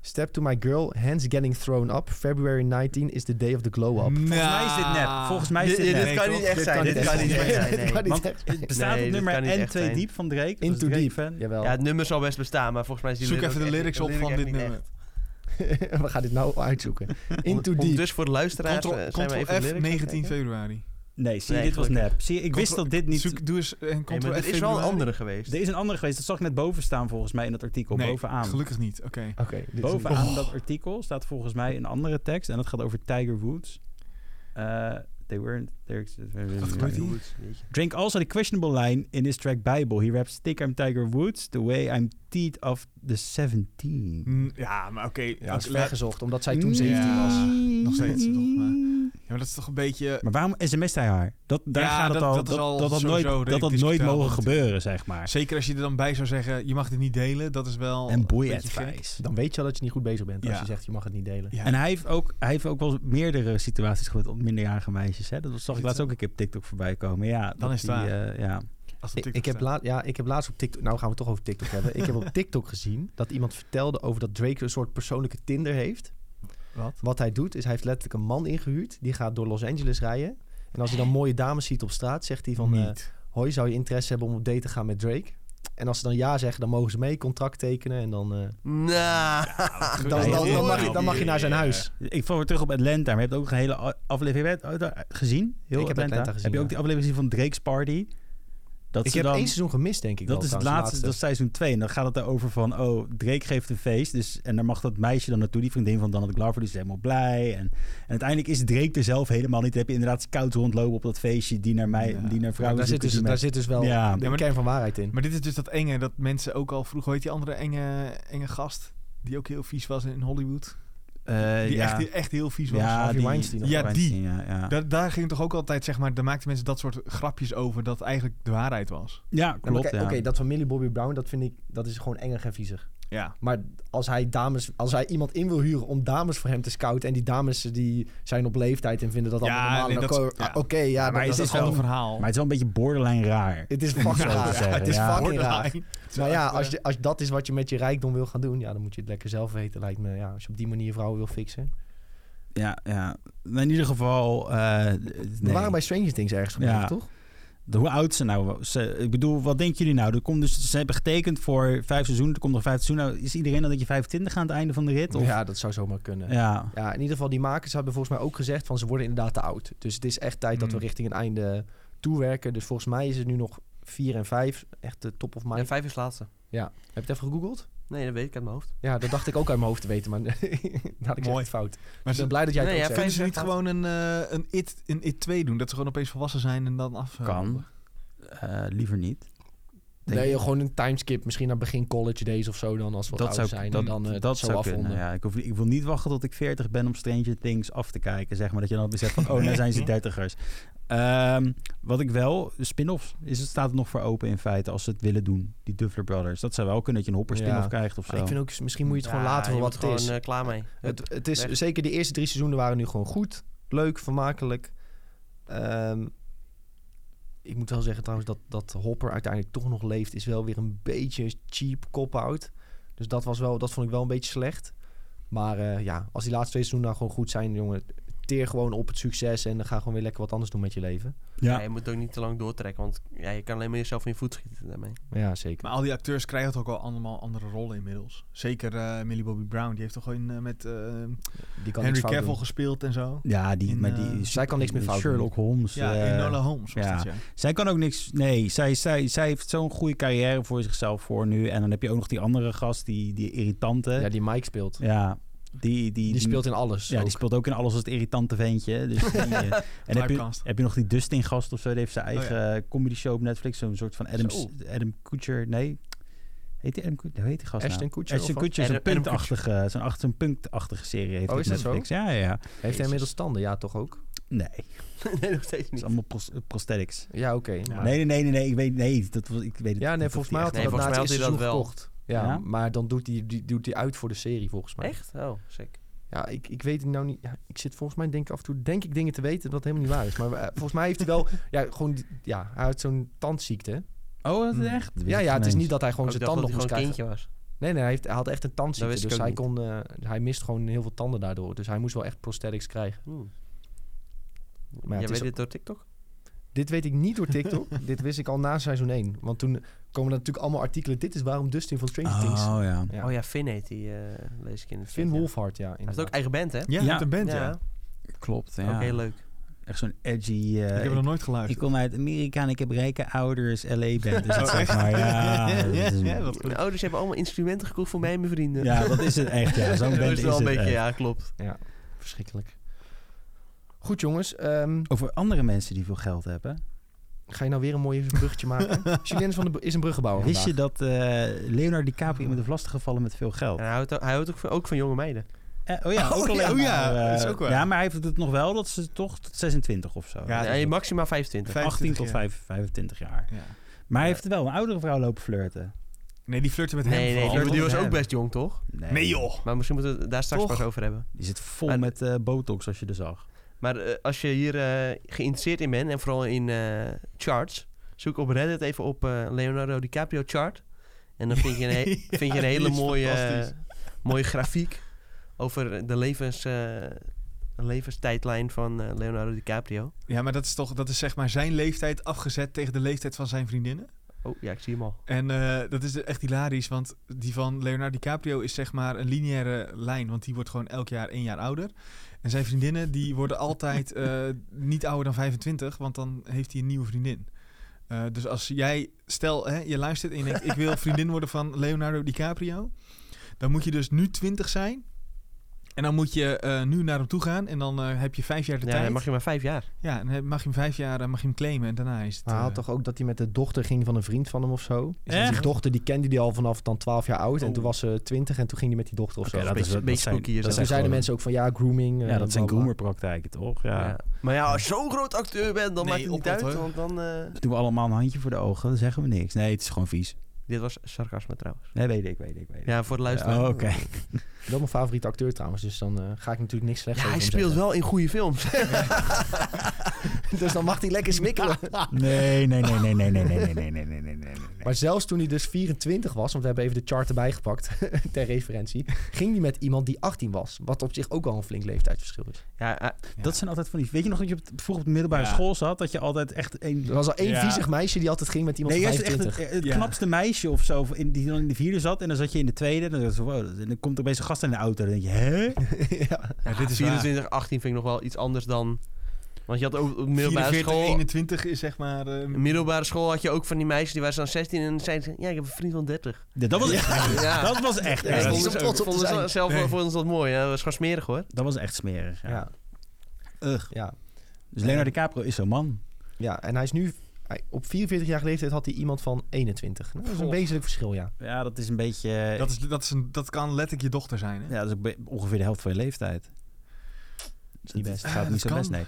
S1: Step to my girl, hands getting thrown up. February 19 is the day of the glow up.
S4: Volgens
S3: Volgens mij is dit
S4: Nou.
S3: nep. Volgens mij is
S2: dit,
S3: dit
S2: dit
S3: nep.
S4: nee,
S2: kan
S4: toch?
S2: niet echt
S1: Ah. Dit kan
S2: zijn. Dit
S1: niet
S2: kan
S1: echt
S2: niet
S1: zijn.
S2: echt zijn.
S1: Dit kan
S2: nee.
S1: niet
S3: Want
S1: echt
S3: Het
S1: zijn.
S3: bestaat
S2: Nee,
S3: op
S2: dit
S3: nummer
S2: kan niet
S3: N2
S2: echt zijn.
S3: Diep van Drake. dus
S1: Into
S3: Drake
S1: Deep.
S3: fan.
S1: Jawel.
S2: Ja, het nummer zal best bestaan, maar volgens mij is die
S4: Zoek
S2: lyric
S4: even
S2: ook
S4: de
S2: echt-
S4: lyrics op
S2: lyric
S4: van
S2: echt
S4: dit
S2: niet
S4: nummer.
S2: echt.
S1: We gaan dit nou uitzoeken. Into
S2: On-
S1: Deep.
S2: Dus voor de luisteraars eh,
S4: Ctrl,
S2: zijn we even de
S4: F,
S2: lyrics
S4: 19
S2: aankijken.
S4: februari.
S3: Nee, zie je,
S2: Nee,
S3: dit was
S2: gelukkig.
S3: nep. Zie je, ik wist
S4: Control-
S3: dat dit niet...
S4: Zoek, doe eens een
S2: Nee,
S4: Ctrl
S2: maar
S4: F
S2: er is wel een
S4: februari.
S2: andere geweest.
S3: Er is een andere geweest. Dat zag ik net boven staan volgens mij in dat artikel.
S4: Nee,
S3: bovenaan.
S4: gelukkig niet. Oké.
S1: Oké. dit is- Oh.
S3: Bovenaan dat artikel staat volgens mij een andere tekst. En dat gaat over Tiger Woods. Eh, they weren't... they're-
S4: Wat gebeurt hier?
S3: Drink also the questionable line in his track Bible. He raps, think I'm Tiger Woods, the way I'm teed of the 17.
S4: Mm, Ja, maar oké.
S1: Ja, dat is
S4: oké,
S1: ver
S4: laat-
S1: gezocht, omdat zij toen 17
S4: Ja.
S1: was.
S3: Nog
S4: steeds, toch, maar- Ja, maar dat is toch een beetje...
S3: Maar waarom sms't hij haar? Dat, daar
S4: Ja,
S3: gaat het
S4: dat-
S3: al. Dat
S4: dat is
S3: dat,
S4: al
S3: dat, nooit,
S4: sowieso
S3: dat, dat nooit
S4: discutabel
S3: mogen
S4: natuurlijk.
S3: gebeuren, zeg maar.
S4: Zeker als je er dan bij zou zeggen, je mag dit niet delen, dat is wel...
S3: En boy
S4: een beetje gek.
S3: advice.
S1: Dan weet je al dat je niet goed bezig bent als
S4: Ja.
S1: je zegt je mag het niet delen.
S4: Ja.
S3: En hij heeft, ook, hij heeft ook wel meerdere situaties gehad op minderjarige meisjes. Hè? Dat zag ik
S4: Zit
S3: laatst
S4: zo.
S3: ook een keer op TikTok voorbij komen. Ja, dat
S4: is het
S3: die,
S4: waar.
S3: eh, ja.
S4: Als
S1: Ik,
S4: dat
S1: ik
S4: TikTok
S1: heb
S4: staat.
S1: laat, ja, ik heb laatst op TikTok... Nou gaan we het toch over TikTok hebben. Ik heb op TikTok gezien dat iemand vertelde over dat Drake een soort persoonlijke Tinder heeft.
S4: Wat?
S1: Wat hij doet is hij heeft letterlijk een man ingehuurd. Die gaat door Los Angeles rijden. En als hij dan mooie dames ziet op straat, zegt hij van... eh,
S4: niet.
S1: Hoi, zou je interesse hebben om op date te gaan met Drake? En als ze dan ja zeggen, dan mogen ze mee, contract tekenen. En dan, eh, dan,
S2: Nou,
S1: dan,
S3: nee,
S1: dan,
S3: nee,
S1: mag,
S3: nee,
S1: je, dan mag je naar zijn huis.
S3: Ik val weer terug op Atlanta. Maar je hebt ook een hele a- aflevering heb je het ooit gezien. Heel
S1: Ik heb Atlanta gezien,
S3: Heb je ook
S1: ja.
S3: die aflevering gezien van Drake's Party? Dat
S1: Ik
S3: ze
S1: heb
S3: dan,
S1: één seizoen gemist, denk ik
S3: Dat
S1: wel,
S3: is het
S1: trouwens,
S3: laatste, dat is seizoen 2. En dan gaat het erover van, oh, Drake geeft een feest. Dus, en daar mag dat meisje dan naartoe, die vriendin van Donald Glover. Die is helemaal blij. En, en uiteindelijk is Drake er zelf helemaal niet. Dan heb je inderdaad scout rondlopen op dat feestje. Die naar mij,
S4: Ja.
S3: die naar
S1: Maar
S3: vrouwen
S1: daar, zit
S3: zoeken,
S1: dus,
S3: die
S1: daar
S3: met-
S1: zit dus wel
S3: Ja.
S1: de
S4: Ja, maar-
S1: kern van waarheid in.
S4: Maar dit is dus dat enge, dat mensen ook al vroeg, hoe heet die andere enge, enge gast? Die ook heel vies was in Hollywood.
S3: Eh,
S4: Die
S3: ja.
S4: echt, echt heel vies was.
S3: ja,
S1: Harvey
S3: die-
S1: Weinstein of
S4: Ja,
S3: Harvey
S4: die.
S3: Weinstein, Ja, ja.
S4: Da- daar ging toch ook altijd, zeg maar, daar maakten mensen dat soort grapjes over dat eigenlijk de waarheid was.
S3: Ja,
S1: Ja, maar
S3: klopt.
S1: kijk, Oké,
S3: ja.
S1: dat van Millie Bobby Brown, dat vind ik, dat is gewoon enger en viezig.
S4: Ja.
S1: Maar als hij, dames, als hij iemand in wil huren om dames voor hem te scouten... en die dames eh, die zijn op leeftijd en vinden dat
S4: Ja,
S1: allemaal normaal...
S4: nee,
S1: dan
S4: dat-
S1: ko-
S4: ja.
S1: ah, Oké, ja,
S4: maar
S1: dan-
S4: is
S1: dat
S4: dit
S1: is
S4: gewoon
S1: gewoon...
S4: een verhaal?
S3: Maar het is wel een beetje borderline raar.
S1: Het is fucking
S3: Ja,
S1: raar.
S3: zeggen,
S1: het is
S3: ja.
S1: fucking raar.
S4: Borderline.
S1: Maar ja, als, je, als dat is wat je met je rijkdom wil gaan doen, ja, dan moet je het lekker zelf weten, lijkt me. Ja, als je op die manier vrouwen wil fixen.
S3: Ja, ja. In ieder geval... eh, nee.
S1: We waren bij Stranger Things ergens gebleven,
S3: Ja.
S1: toch?
S3: de- hoe oud ze nou... Ze, ik bedoel, wat denken jullie nou? Er komt dus, ze hebben getekend voor vijf seizoenen. Er komt nog vijf seizoenen. Nou, Is iedereen dan dat je 25 aan het einde van de rit? Of?
S1: Ja, dat zou zomaar kunnen. Ja.
S3: ja.
S1: in ieder geval, die makers hebben volgens mij ook gezegd van ze worden inderdaad te oud. Dus het is echt tijd dat we
S4: Mm.
S1: richting een einde toewerken. Dus volgens mij is het nu nog 4 en 5. Echt de top of mind.
S2: En vijf is laatste.
S1: Heb je het even gegoogeld?
S2: Nee, dat weet ik uit mijn hoofd.
S1: Ja, dat dacht ik ook uit mijn hoofd te weten, maar dat had ik
S4: Mooi.
S1: echt fout.
S4: Maar
S1: ik
S4: ze,
S1: ben blij dat jij het
S2: Nee,
S1: ook zegt.
S2: ja,
S4: kunnen ze niet
S2: Vijf-
S4: gewoon een, eh, een, it, een It 2 doen? Dat ze gewoon opeens volwassen zijn en dan af... eh,
S3: Kan. Eh, liever niet. Denk
S1: Nee,
S3: ik.
S1: joh, gewoon een timeskip. Misschien naar begin college days of zo dan, als we wat
S3: dat
S1: ouder
S3: zou,
S1: zijn.
S3: dat,
S1: en dan eh,
S3: dat,
S1: dat zo
S3: zou
S1: afronden.
S3: kunnen. Ja, ik, hoef, niet- ik wil niet wachten tot ik 40 ben om Stranger Things af te kijken. Zeg maar dat je dan beseft van, oh, nou zijn ze dertigers. Ehm, wat ik wel, de spin-offs, is het staat er nog voor open in feite als ze het willen doen. Die Duffler Brothers. Dat zou wel kunnen dat je een hopper spin-off
S1: Ja.
S3: krijgt of zo.
S1: Maar ik vind ook, misschien moet je het
S2: Ja,
S1: gewoon laten
S2: je
S1: voor wat het
S2: wordt
S1: is.
S2: gewoon eh, klaar mee. Het,
S1: het, het is
S2: weg.
S1: zeker de eerste drie seizoenen waren nu gewoon goed, leuk, vermakelijk. Ehm, ik moet wel zeggen trouwens dat, dat Hopper uiteindelijk toch nog leeft, is wel weer een beetje cheap cop-out. Dus dat, was wel, dat vond ik wel een beetje slecht. Maar eh, ja, als die laatste twee seizoenen nou gewoon goed zijn, jongen, teer gewoon op het succes en dan ga gewoon weer lekker wat anders doen met je leven.
S3: ja.
S2: ja, je moet het ook niet te lang doortrekken, want ja, je kan alleen maar jezelf in je voet schieten daarmee.
S1: Ja, zeker.
S4: Maar al die acteurs krijgen toch ook wel allemaal andere rollen inmiddels. Zeker eh, Millie Bobby Brown, die heeft toch gewoon eh, met eh,
S1: Die kan
S4: Henry
S1: niks fout
S4: Cavill
S1: doen.
S4: gespeeld en zo.
S3: ja, die,
S4: In,
S3: maar
S4: eh,
S3: die is-
S1: zij kan niks meer fout doen.
S3: Sherlock Holmes.
S4: Ja,
S3: eh,
S4: in Nola Holmes was
S3: ja.
S4: dat, ja.
S3: Zij kan ook niks. Nee, zij, zij, zij heeft zo'n goede carrière voor zichzelf voor nu. En dan heb je ook nog die andere gast, die, die irritante. Ja,
S1: Ja, die Mike speelt.
S3: die, die,
S1: Die speelt in alles.
S3: Ja,
S1: ook.
S3: die speelt ook in alles als het irritante ventje. Dus die, eh, en heb je,
S4: Typecast.
S3: heb je nog die Dustin gast of zo? Die heeft zijn eigen eh, comedy show op Netflix. Zo'n soort van Adam,
S1: Oh, Zo.
S3: Adam Kutcher. Nee. Heet die Adam Kutcher? Hoe heet die gast nou?
S1: Ashton Kutcher
S3: Ashton
S1: of wat?
S3: Kutcher is een
S2: Adam- Adam
S3: punkachtige, zo'n acht- zo'n punkachtige serie heeft
S1: Oh,
S3: hij
S1: is
S3: op
S1: dat zo?
S3: Netflix. Ja, ja, ja.
S1: Heeft hij inmiddels tanden? Ja, toch ook?
S3: Nee, het
S2: nee, nog steeds
S3: is
S2: niet.
S3: allemaal pros- eh, prosthetics.
S1: Ja, oké. maar-
S3: Nee, nee, nee, nee, nee, Ik weet, nee, dat was, ik weet het
S1: Ja, nee,
S3: niet
S1: volgens
S3: of
S1: mij had
S3: die
S1: hij
S2: Nee,
S1: dat
S3: echt-
S1: na het
S2: volgens
S1: eerste
S2: mij had
S1: seizoen
S2: hij dat
S1: verkocht. Ja,
S3: Ja?
S1: maar dan doet hij die, doet hij uit voor de serie volgens mij.
S2: Echt? Oh, sick.
S1: Ja, ik, ik weet het nou niet. Ja, ik zit volgens mij denk ik af en toe denk ik dingen te weten dat helemaal niet waar is. Maar eh, volgens mij heeft hij wel, ja, gewoon, die- ja, hij had zo'n tandziekte. hè?
S3: Oh, dat
S4: Hmm.
S3: is echt? Dat wist
S1: Ja,
S3: ik
S1: ja, het is
S3: ineens.
S1: niet dat hij gewoon
S2: Oh, ik
S1: zijn
S2: dacht
S1: tanden
S2: dat
S1: nog
S2: hij
S1: moest
S2: gewoon een
S1: krijgen.
S2: kindje was.
S1: Nee, nee, hij, heeft, hij had echt een
S2: wist
S1: tandziekte.
S2: ik
S1: Dus
S2: ook
S1: hij,
S2: niet.
S1: kon, eh, hij mist gewoon heel veel tanden daardoor. Dus hij moest wel echt prosthetics krijgen.
S2: Hmm.
S1: het
S2: Jij
S1: is
S2: weet
S1: ook-
S2: dit door TikTok?
S1: Dit weet ik niet door TikTok. dit wist ik al na seizoen 1. Want toen komen er natuurlijk allemaal artikelen. Dit is waarom Dustin van Stranger Things.
S3: Oh, ja.
S1: Ja.
S2: Oh ja, Finn heet die, eh, lees ik in het
S1: Finn
S2: chat, ja.
S1: Wolfhard, ja.
S2: Hij heeft ook
S1: inderdaad.
S2: eigen band, hè?
S4: Ja,
S3: Ja.
S4: met een band, ja.
S3: Klopt, ja.
S2: Ook heel leuk.
S3: Echt zo'n edgy... eh,
S4: Ik heb er nog nooit geluisterd.
S3: Ik kom uit Amerika en ik heb rijke ouders. LA band dus is het,
S4: Oh,
S3: zeg
S4: echt?
S3: maar. Ja,
S4: Ja,
S3: dat Ah, is-
S4: ja, wat goed.
S2: Mijn ouders hebben allemaal instrumenten gekocht voor mij en mijn vrienden.
S3: ja, dat is het echt. Ja. Zo'n
S2: Zo
S3: band is
S2: wel
S3: het
S2: een beetje,
S3: echt.
S2: ja, klopt.
S1: Verschrikkelijk. Goed jongens, ehm,
S3: Over andere mensen die veel geld hebben.
S1: ga je nou weer een mooi bruggetje maken? Julien is, van de, br- is een bruggenbouwer
S3: Wist je
S1: Oh, vandaag.
S3: dat eh, Leonardo DiCaprio iemand heeft lastiggevallen met veel geld?
S2: En hij houdt, ook- hij houdt ook, van, ook van jonge meiden.
S3: Eh, oh ja,
S4: Oh
S3: ook
S4: ja,
S3: alleen
S4: oh ja,
S3: maar, eh,
S4: dat is ook waar.
S3: Ja, maar hij heeft het nog wel dat ze toch tot 26 of zo.
S4: Ja,
S2: Ja,
S4: dat-
S2: maximaal 25.
S3: 18 tot
S4: 25
S3: vijf- 25 jaar.
S4: Ja.
S3: Maar hij heeft wel een oudere vrouw lopen flirten.
S4: Nee, die flirten met hem
S2: Nee, nee,
S4: vooral.
S2: die- die,
S3: Flirten
S2: was
S3: met
S2: ook
S3: hem.
S2: best jong, toch?
S3: Nee,
S4: Nee, joh.
S2: Maar misschien moeten we het daar straks
S4: Toch?
S2: pas over hebben.
S3: Die zit vol
S2: Maar-
S3: met eh, botox als je er zag.
S2: Maar eh, als je hier eh, geïnteresseerd in bent, en vooral in eh, charts, zoek op Reddit even op eh, Leonardo DiCaprio chart. En dan vind je een, he-
S4: Ja,
S2: vind je een
S4: die
S2: hele
S4: is
S2: mooie,
S4: fantastisch.
S2: eh, mooie grafiek over de levens, eh, levenstijdlijn van eh, Leonardo DiCaprio.
S4: Ja, maar dat is toch dat is zeg maar zijn leeftijd afgezet tegen de leeftijd van zijn vriendinnen.
S2: Oh ja, ik zie hem al.
S4: En eh, dat is echt hilarisch, want die van Leonardo DiCaprio is zeg maar een lineaire lijn, want die wordt gewoon elk jaar één jaar ouder. En zijn vriendinnen die worden altijd eh, niet ouder dan 25, want dan heeft hij een nieuwe vriendin. Eh, dus als jij, stel hè, je luistert en je denkt ik wil vriendin worden van Leonardo DiCaprio, dan moet je dus nu 20 zijn. En dan moet je eh, nu naar hem toe gaan en dan eh, heb je vijf jaar de
S2: Ja,
S4: tijd.
S2: dan mag je maar vijf jaar.
S4: Ja, en dan mag je hem vijf jaar eh, mag je hem claimen en daarna is het...
S1: Maar hij
S2: Ah,
S1: had
S4: eh,
S1: toch ook dat hij met de dochter ging van een vriend van hem of zo? Dus
S3: Echt?
S1: die dochter die kende die al vanaf dan 12 jaar oud. En
S3: Oh.
S1: toen was ze 20 en toen ging hij met die dochter of
S3: Oké,
S1: zo.
S2: dat- beetje-
S3: wel-
S2: beetje
S3: zijn-
S2: spooky is
S1: dus
S2: dat
S1: toen
S3: zijn
S1: zeiden mensen
S3: gewoon-
S1: ook van ja, grooming. eh,
S3: Ja, dat zijn
S1: bla, bla, bla.
S3: groomerpraktijken, toch? Ja.
S2: Ja. Maar ja, als je zo'n groot acteur bent, dan
S4: Nee,
S2: maakt het niet
S4: ophot,
S2: uit.
S4: hoor.
S2: Want dan... eh,
S3: Doen we allemaal een handje voor de ogen, dan zeggen we niks. Nee, het is gewoon vies.
S2: Dit was sarcasme trouwens.
S3: Nee, weet ik, weet ik, weet ik.
S2: Ja, voor het luisteren.
S3: Oh, oké.
S1: Dat is mijn favoriete acteur trouwens. Dus dan eh, ga ik natuurlijk niks slechts
S2: Ja,
S1: over
S2: hij
S1: hem
S2: speelt
S1: zeggen.
S2: wel in goede films.
S1: dus dan mag hij lekker smikkelen.
S3: Nee, nee, nee, nee, nee, nee, nee, nee, nee, nee, nee, nee, nee.
S1: Maar zelfs toen hij dus 24 was, want we hebben even de chart erbij gepakt ter referentie, ging hij met iemand die 18 was. Wat op zich ook al een flink leeftijdsverschil is.
S2: Ja, eh,
S3: Dat zijn altijd van die... Weet je nog dat je op het- vroeger op de middelbare
S4: Ja.
S3: school zat? Dat je altijd echt een...
S1: Er was al één
S4: Ja.
S1: viezig meisje die altijd ging met iemand
S3: Nee,
S1: van
S3: jij was
S1: 25.
S3: echt het, het
S4: Ja.
S3: knapste meisje of zo, in- die dan in de vierde zat. En dan zat je in de tweede. En dan, dacht je, wow, dan komt er opeens een gast in de auto. En dan denk je, hè?
S1: ja.
S4: Ja, dit is 24,
S2: 24, 18 vind ik nog wel iets anders dan... Want je had ook op middelbare
S4: 44,
S2: school...
S4: 21 is zeg maar... eh,
S2: op middelbare school had je ook van die meisjes die waren dan 16 en zeiden ze... Ja, ik heb een vriend van 30.
S3: Ja, Dat was echt.
S2: Ja.
S3: Dat was echt.
S1: Ja,
S3: erg.
S1: dat
S3: dat,
S1: is
S3: was,
S1: om trots op te
S2: vonden
S1: zijn.
S2: ze zelf
S4: Nee.
S2: vonden ze dat mooi. Ja. Dat was gewoon smerig hoor.
S3: echt smerig. Ja.
S1: Ja.
S3: Ugh.
S1: Ja.
S3: Dus Leonardo DiCaprio is zo'n man.
S1: ja, en hij is nu... hij- Op 44-jarige leeftijd had hij iemand van 21. Nou, dat is een
S2: Goh.
S1: wezenlijk verschil, ja.
S3: Ja, dat is een beetje.
S4: dat, is, dat, is een, dat kan letterlijk je dochter zijn. Hè?
S3: Ja, dat is ook be- ongeveer de helft van je leeftijd.
S1: Is niet best.
S3: Dat gaat
S4: Ja,
S3: niet
S4: dat
S3: zo
S4: kan.
S3: best, nee.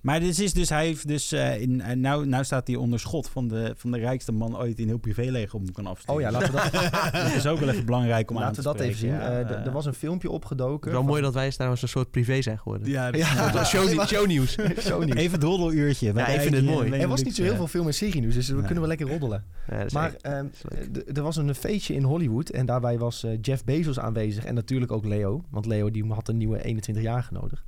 S3: Maar dit is dus, hij heeft dus, eh, in, eh, nou, nou staat hij onder schot van de, van de rijkste man ooit in heel privéleger om kan afsteken.
S1: Oh ja, laten we dat,
S3: dat is ook wel even belangrijk om aan
S1: laten
S3: te
S1: we dat even zien.
S3: spreken, ja.
S1: Eh, d- er was een filmpje
S2: Het is
S1: opgedoken.
S2: wel mooi dat wij trouwens een soort privé zijn geworden.
S4: Ja, dat-
S1: Ja.
S2: Dat is show, shownieuws.
S1: Zo niet.
S3: Even roddeluurtje.
S2: Ja, ik vind het mooi.
S1: Er was niet zo heel veel film en serie nu, dus we
S3: Nee.
S1: kunnen wel lekker roddelen.
S2: Ja, dat is
S1: Maar
S2: echt-
S1: ehm,
S2: is leuk.
S1: d- er was een feestje in Hollywood en daarbij was eh, Jeff Bezos aanwezig en natuurlijk ook Leo, want Leo die had een nieuwe 21-jarige nodig.